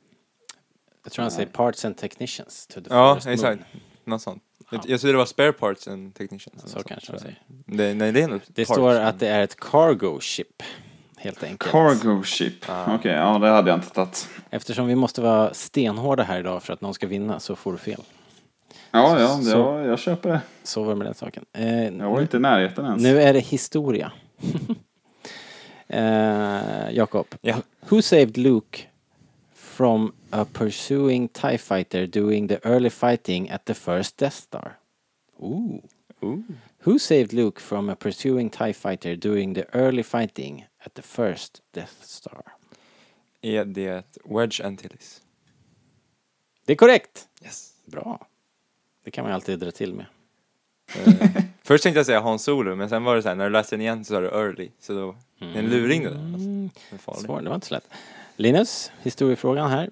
[SPEAKER 1] Jag tror han säger Parts and Technicians to the
[SPEAKER 2] Ja,
[SPEAKER 1] Forest
[SPEAKER 2] exakt.
[SPEAKER 1] Moon.
[SPEAKER 2] Något sånt. Jag, jag tror det var spare parts and technicians. eller
[SPEAKER 1] Så
[SPEAKER 2] något
[SPEAKER 1] kanske de
[SPEAKER 2] sånt, tror
[SPEAKER 1] säger.
[SPEAKER 2] jag. det, Nej, det är nog
[SPEAKER 1] Det
[SPEAKER 2] parts,
[SPEAKER 1] står
[SPEAKER 2] men-
[SPEAKER 1] att det är ett cargo ship. Helt enkelt.
[SPEAKER 3] Cargo ship. Okej, ja det hade jag inte tagit.
[SPEAKER 1] Eftersom vi måste vara stenhårda här idag för att någon ska vinna så får du fel.
[SPEAKER 3] Ja, ja,
[SPEAKER 1] Så-
[SPEAKER 3] jag, jag köper det.
[SPEAKER 1] Så var det med den saken. Eh,
[SPEAKER 3] Jag var inte i närheten ens.
[SPEAKER 1] nu är det historia. eh, Jakob.
[SPEAKER 2] Ja.
[SPEAKER 1] Who saved Luke from a pursuing TIE fighter during the early fighting at the first Death Star? Ooh. Who saved Luke from a pursuing TIE fighter during the early fighting at the first Death Star?
[SPEAKER 2] Är det Wedge Antilles?
[SPEAKER 1] Det är korrekt!
[SPEAKER 2] Yes.
[SPEAKER 1] Bra. Det kan man ju alltid dra till med.
[SPEAKER 2] Först tänkte jag säga Hans Solo, men sen var det så här, när du läste den igen så sa du Early. Så då, det är en luring det där. Alltså. Den är farlig.
[SPEAKER 1] Mm. Svår, det var inte så lätt. Linus, historiefrågan här.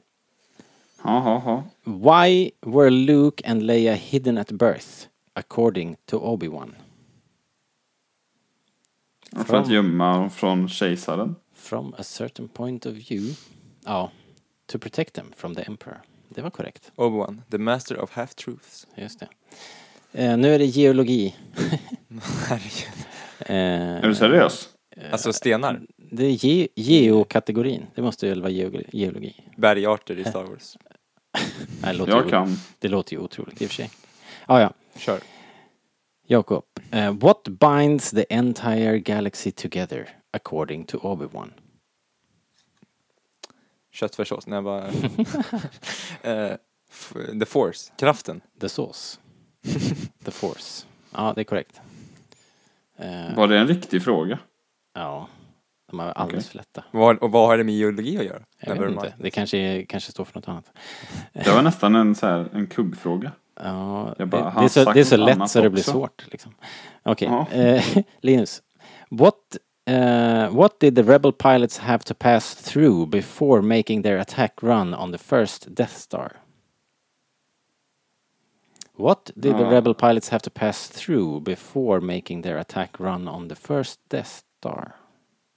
[SPEAKER 3] Ja, ja, ja.
[SPEAKER 1] Why were Luke and Leia hidden at birth, according to Obi-Wan?
[SPEAKER 3] För att gömma dem från kejsaren.
[SPEAKER 1] From a certain point of view. Ja, to protect them from the Emperor. Det var korrekt.
[SPEAKER 2] Obi-Wan, the master of half-truths.
[SPEAKER 1] Just det. Eh, nu är det geologi.
[SPEAKER 2] Herregud.
[SPEAKER 1] Eh,
[SPEAKER 3] Är du seriös?
[SPEAKER 2] Alltså stenar,
[SPEAKER 1] det är ge- geokategorin. Det måste väl vara geog- geologi?
[SPEAKER 2] bergarter i Star Wars.
[SPEAKER 1] Nej, det, låter ju,
[SPEAKER 3] Jag kan.
[SPEAKER 1] det låter ju otroligt i och för sig. Ah, ja.
[SPEAKER 2] Kör.
[SPEAKER 1] Jakob, eh, what binds the entire galaxy together according to Obi-Wan?
[SPEAKER 2] Köttfärssås, när jag bara... Eh, f- the force, kraften.
[SPEAKER 1] The sauce. The force. Ja, det är korrekt. Eh,
[SPEAKER 3] Var det en riktig fråga?
[SPEAKER 1] ja, de är alldeles för lätta.
[SPEAKER 2] Vad- och vad har det med geologi att göra?
[SPEAKER 1] Jag
[SPEAKER 2] Never
[SPEAKER 1] vet
[SPEAKER 2] mind.
[SPEAKER 1] inte, det kanske, är- kanske står för något annat.
[SPEAKER 3] Det var nästan en, så här, en kuggfråga.
[SPEAKER 1] Ja,
[SPEAKER 3] Jag bara,
[SPEAKER 1] det,
[SPEAKER 3] har
[SPEAKER 1] det, är
[SPEAKER 3] han
[SPEAKER 1] så,
[SPEAKER 3] sagt
[SPEAKER 1] det är så
[SPEAKER 3] något
[SPEAKER 1] lätt
[SPEAKER 3] annat
[SPEAKER 1] så det blir
[SPEAKER 3] också?
[SPEAKER 1] svårt. Liksom. Okej,
[SPEAKER 3] Ja.
[SPEAKER 1] eh, Linus. What, eh, what did the rebel pilots have to pass through before making their attack run on the first Death Star? What did the
[SPEAKER 3] Ja.
[SPEAKER 1] rebel pilots have to pass through before making their attack run on the first Death Star?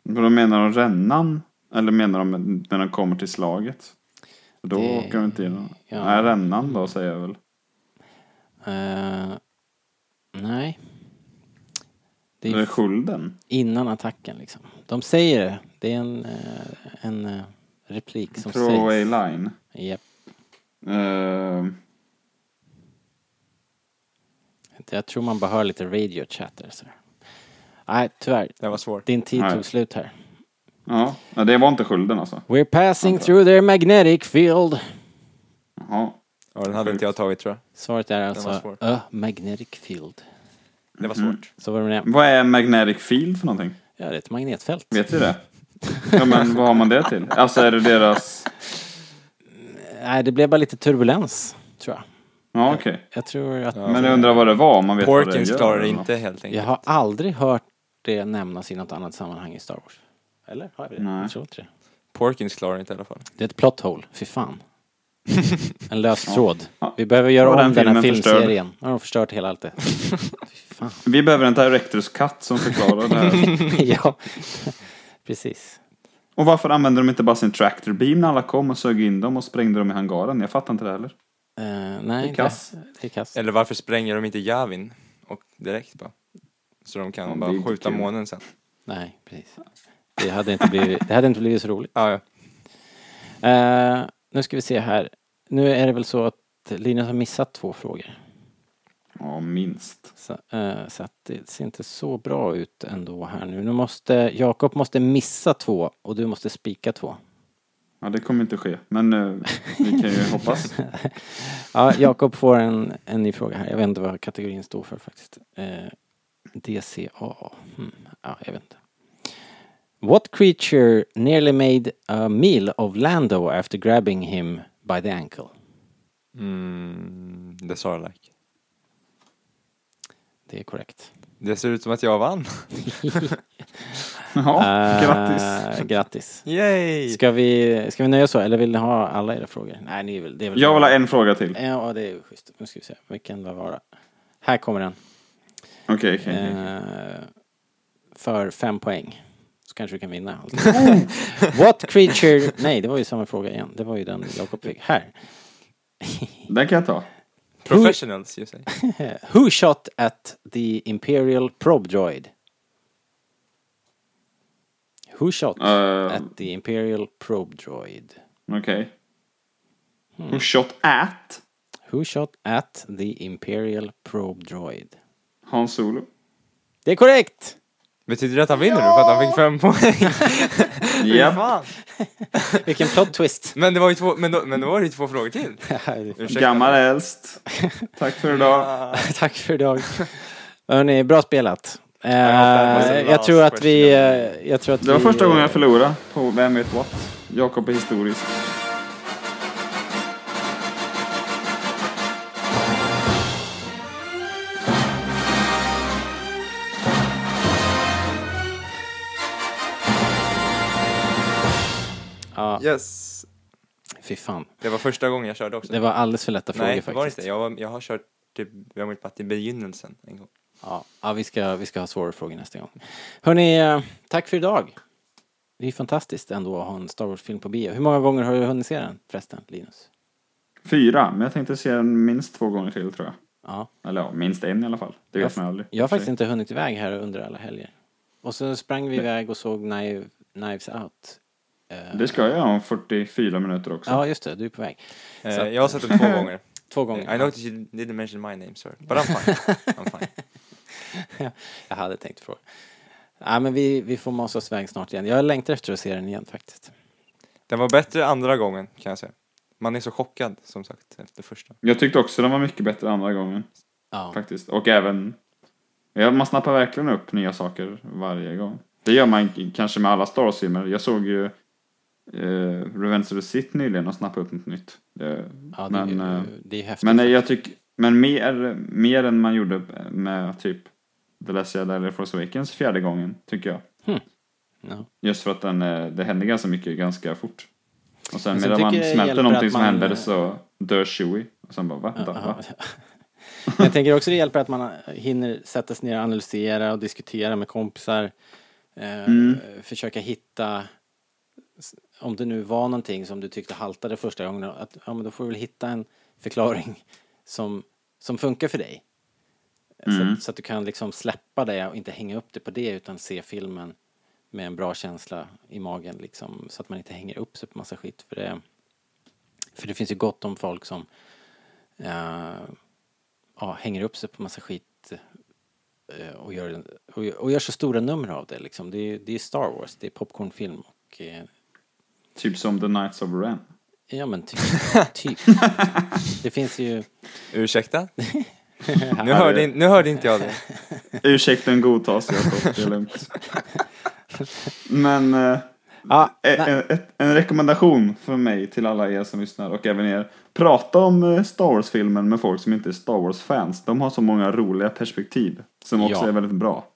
[SPEAKER 3] Men då menar de rännan? Eller menar de när de kommer till slaget? För Då
[SPEAKER 1] Det-
[SPEAKER 3] åker de inte in.
[SPEAKER 1] ja.
[SPEAKER 3] Nej, rännan då säger jag väl.
[SPEAKER 1] Eh, nej. Det
[SPEAKER 3] Eller
[SPEAKER 1] är
[SPEAKER 3] skulden.
[SPEAKER 1] innan attacken liksom. De säger det. Det är en, eh, en eh, replik som
[SPEAKER 3] Throwaway
[SPEAKER 1] sägs.
[SPEAKER 3] line.
[SPEAKER 1] Japp.
[SPEAKER 3] Eh,
[SPEAKER 1] Jag tror man bara hör lite radio chatter. Så. Nej, tyvärr.
[SPEAKER 2] Den var svår.
[SPEAKER 1] Din tid
[SPEAKER 3] Nej.
[SPEAKER 1] tog slut här.
[SPEAKER 3] ja, Nej, det var inte skölden alltså.
[SPEAKER 1] We're passing through their magnetic field.
[SPEAKER 3] Jaha.
[SPEAKER 2] Ja, den hade inte jag tagit tror jag.
[SPEAKER 1] Svaret är
[SPEAKER 2] var
[SPEAKER 1] alltså
[SPEAKER 2] svår.
[SPEAKER 1] a magnetic field.
[SPEAKER 2] Det var svårt.
[SPEAKER 1] Så var det med det.
[SPEAKER 3] Vad är magnetic field för någonting?
[SPEAKER 1] Ja, det är ett magnetfält.
[SPEAKER 3] Vet vi det? Ja, men vad har man det till? Alltså är det deras...
[SPEAKER 1] Nej, det blev bara lite turbulens, tror jag.
[SPEAKER 3] Ja, okej.
[SPEAKER 1] Jag tror att...
[SPEAKER 3] Men jag undrar vad det var, om man vet vad det
[SPEAKER 2] Porkins
[SPEAKER 3] gör.
[SPEAKER 2] klarar det
[SPEAKER 3] eller
[SPEAKER 2] inte helt enkelt.
[SPEAKER 1] Jag har aldrig hört det nämnas i något annat sammanhang i Star Wars. Eller? Har jag det?
[SPEAKER 3] Nej.
[SPEAKER 1] Jag tror inte det.
[SPEAKER 2] Porkins klarar det inte i alla fall.
[SPEAKER 1] Det är ett plot hole, fy fan. En lös tråd.
[SPEAKER 3] Ja.
[SPEAKER 1] Vi behöver göra
[SPEAKER 3] Var
[SPEAKER 1] om
[SPEAKER 3] den
[SPEAKER 1] den, här
[SPEAKER 3] filmen förstörd?
[SPEAKER 1] filmserien. Nu har de förstört hela allt det. Fy fan.
[SPEAKER 3] något. Vi behöver en director's cut som förklarar det här.
[SPEAKER 1] ja, precis.
[SPEAKER 3] Och varför använde de inte bara sin tractor beam när alla kom och sög in dem och sprängde dem i hangaren? Jag fattar inte det heller.
[SPEAKER 1] Eh, nej,
[SPEAKER 3] Det är kass.
[SPEAKER 1] Det, det är kass.
[SPEAKER 2] Eller varför spränger de inte Javin och direkt bara? Så de kan
[SPEAKER 3] Ja, det är
[SPEAKER 2] bara
[SPEAKER 3] inte
[SPEAKER 2] skjuta
[SPEAKER 3] kul.
[SPEAKER 2] månen sen.
[SPEAKER 1] Nej, precis. Det hade inte blivit, det hade inte blivit så roligt.
[SPEAKER 2] Ja, ja.
[SPEAKER 1] Eh, nu ska vi se här. Nu är det väl så att Linus har missat två frågor.
[SPEAKER 3] Ja, minst.
[SPEAKER 1] Så, eh, så att det ser inte så bra ut ändå här nu. Nu måste Jakob måste missa två och du måste spika två.
[SPEAKER 3] Ja, det kommer inte ske. Men eh, vi kan ju hoppas.
[SPEAKER 1] Ja, Jakob får en, en ny fråga här. Jag vet inte vad kategorin står för faktiskt. Eh, DCA. Hmm. Ja, jag vet inte. What creature nearly made a meal of Lando after grabbing him by the ankle?
[SPEAKER 2] Mm, det sa jag like.
[SPEAKER 1] Det är korrekt.
[SPEAKER 2] Det ser ut som att jag vann.
[SPEAKER 3] Ja, grattis.
[SPEAKER 1] Eh, grattis.
[SPEAKER 2] Yay!
[SPEAKER 1] Ska vi, ska vi nöja så eller vill ni ha alla era frågor? Nej, ni vill, det är väl
[SPEAKER 3] Jag vill ha en fråga till.
[SPEAKER 1] Ja, det är ju schysst. Nu ska vi se, vilken det vara. Här kommer den.
[SPEAKER 3] Okej, okej.
[SPEAKER 1] Eh, för fem poäng. Så kanske du kan vinna. allt. What creature... Nej, det var ju samma fråga igen. Det var ju den Jakob fick. Här.
[SPEAKER 3] Den kan jag ta.
[SPEAKER 2] Professionals, you say.
[SPEAKER 1] Who shot at the Imperial probe droid? Who shot
[SPEAKER 3] Eh,
[SPEAKER 1] at the Imperial probe droid?
[SPEAKER 3] Okej.
[SPEAKER 1] Mm.
[SPEAKER 3] Who shot at
[SPEAKER 1] Who shot at the Imperial probe droid?
[SPEAKER 3] Han Solo?
[SPEAKER 1] Det är korrekt!
[SPEAKER 2] Betyder det att han vinner nu för att han fick fem poäng?
[SPEAKER 3] Ja.
[SPEAKER 2] Fan.
[SPEAKER 1] Vilken plot twist!
[SPEAKER 2] Men det var ju två, men då, men då var det ju två frågor till. Ursäkta.
[SPEAKER 3] Gammal äldst. Tack för idag.
[SPEAKER 1] Tack för idag. Hörni, bra spelat. Eh,
[SPEAKER 2] hoppas det var
[SPEAKER 1] jag, tror att vi,
[SPEAKER 2] question.
[SPEAKER 1] eh, jag tror att
[SPEAKER 3] Det var
[SPEAKER 1] vi,
[SPEAKER 3] första
[SPEAKER 1] eh,
[SPEAKER 3] gången jag förlorade på Vem vet what? Jakob är historisk.
[SPEAKER 2] Yes.
[SPEAKER 1] eh, Fy fan.
[SPEAKER 2] Det var första gången jag körde också.
[SPEAKER 1] Det var alldeles för lätta frågor
[SPEAKER 2] Nej, det
[SPEAKER 1] faktiskt.
[SPEAKER 2] var det inte. Jag, var, jag har kört typ, jag har på att i begynnelsen en gång.
[SPEAKER 1] Ja, ja vi, ska, vi ska ha svårare frågor nästa gång. Hörni, eh, tack för idag. Det är fantastiskt ändå att ha en Star Wars-film på bio. Hur många gånger har du hunnit se den förresten, Linus?
[SPEAKER 3] Fyra, men jag tänkte se den minst två gånger till tror jag.
[SPEAKER 1] Ja.
[SPEAKER 3] Eller ja, minst en i alla fall. Det vet man aldrig.
[SPEAKER 1] Jag har faktiskt inte hunnit iväg här under alla helger. Och så sprang vi iväg och såg Knive, Knives Out. Eh,
[SPEAKER 3] Det ska jag om 44 minuter också.
[SPEAKER 1] Ja, just det, du är på väg.
[SPEAKER 2] Eh,
[SPEAKER 1] Så att-
[SPEAKER 2] jag har sett den två gånger.
[SPEAKER 1] Två
[SPEAKER 2] I
[SPEAKER 1] gånger.
[SPEAKER 2] noticed you didn't mention my name sir, but I'm fine. I'm fine.
[SPEAKER 1] Jag hade tänkt fråga. Ja, men vi, vi får masa oss iväg snart igen. Jag längtar efter att se den igen faktiskt.
[SPEAKER 2] Den var bättre andra gången kan jag säga. Man är så chockad som sagt efter första.
[SPEAKER 3] Jag tyckte också den var mycket bättre andra gången.
[SPEAKER 1] Ja.
[SPEAKER 3] Faktiskt. Och även... Ja, man snappar verkligen upp nya saker varje gång. Det gör man k- kanske med alla Star Wars-filmer. Jag såg ju eh, Revenge of the Sith nyligen och snappade upp något nytt. Det,
[SPEAKER 1] Ja, det, är
[SPEAKER 3] men, eh,
[SPEAKER 1] ju, det är ju häftigt.
[SPEAKER 3] men eh, jag tycker... Men mer, mer än man gjorde med typ The Last Jedi eller Force Awakens fjärde gången, tycker jag.
[SPEAKER 1] Ja.
[SPEAKER 3] Just för att den, eh, det händer ganska mycket ganska fort. Och sen
[SPEAKER 1] Men sen
[SPEAKER 3] medan man
[SPEAKER 1] tycker jag hjälper
[SPEAKER 3] smälter någonting
[SPEAKER 1] att
[SPEAKER 3] som
[SPEAKER 1] man-
[SPEAKER 3] händer så dör Chewie. Och sen bara, va? Vänta, va?
[SPEAKER 1] Ja. Men jag tänker också det hjälper att man hinner sätta sig ner och analysera och diskutera med kompisar. Eh,
[SPEAKER 3] Mm.
[SPEAKER 1] Försöka hitta, om det nu var någonting som du tyckte haltade första gången, att, ja, men då får du väl hitta en förklaring som, som funkar för dig.
[SPEAKER 3] Mm.
[SPEAKER 1] Så, att, så att du kan liksom släppa det och inte hänga upp det på det utan se filmen med en bra känsla i magen liksom, så att man inte hänger upp sig på massa skit. För det, för det finns ju gott om folk som eh, ja, hänger upp sig på massa skit eh, och, gör, och, och gör så stora nummer av det. Liksom. Det, är, det är Star Wars, det är popcornfilm och eh,
[SPEAKER 3] Typ som The Knights of Ren.
[SPEAKER 1] ja men typ. typ. Det finns ju...
[SPEAKER 2] Ursäkta? nu, hörde, in- nu hörde inte jag det.
[SPEAKER 3] Ursäkten godtas, Jakob. Det är lugnt. Men eh,
[SPEAKER 1] Ah,
[SPEAKER 3] e- en, ett- en rekommendation för mig till alla er som lyssnar och även er. Prata om eh, Star Wars-filmen med folk som inte är Star Wars-fans. De har så många roliga perspektiv som också
[SPEAKER 1] Ja.
[SPEAKER 3] är väldigt bra.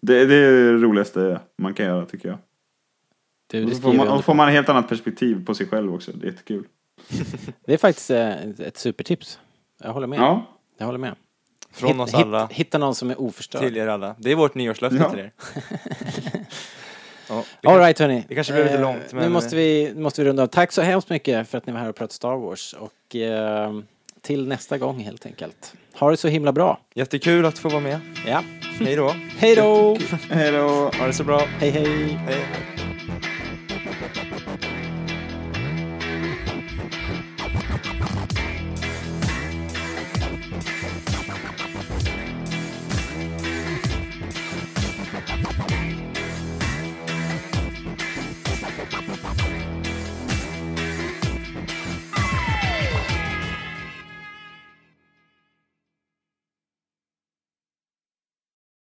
[SPEAKER 3] Det, det är det roligaste man kan göra tycker jag.
[SPEAKER 1] du,
[SPEAKER 3] Och
[SPEAKER 1] du
[SPEAKER 3] så får
[SPEAKER 1] skriver
[SPEAKER 3] man,
[SPEAKER 1] under
[SPEAKER 3] och får man ett helt annat perspektiv på sig själv också. Det är jättekul.
[SPEAKER 1] Det är faktiskt eh, ett supertips. Jag håller med.
[SPEAKER 3] Ja,
[SPEAKER 1] Jag håller med.
[SPEAKER 2] Från oss alla
[SPEAKER 1] hitta någon som är oförstörd.
[SPEAKER 2] till er alla. Det är vårt nyårslöfte
[SPEAKER 3] Ja.
[SPEAKER 2] till er. Ja, det
[SPEAKER 1] All
[SPEAKER 2] kan-
[SPEAKER 1] right hörni.
[SPEAKER 2] det kanske blev lite
[SPEAKER 1] Eh,
[SPEAKER 2] långt,
[SPEAKER 1] Nu
[SPEAKER 2] men-
[SPEAKER 1] måste vi, nu måste vi runda av. Tack så hemskt mycket för att ni var här och pratade Star Wars. Och eh, till nästa gång helt enkelt. Ha det så himla bra.
[SPEAKER 2] Jättekul att få vara med.
[SPEAKER 1] Ja.
[SPEAKER 2] Hej då.
[SPEAKER 1] Hej då!
[SPEAKER 3] hej då.
[SPEAKER 2] Ha det så bra.
[SPEAKER 1] Hej hej!
[SPEAKER 2] Hej.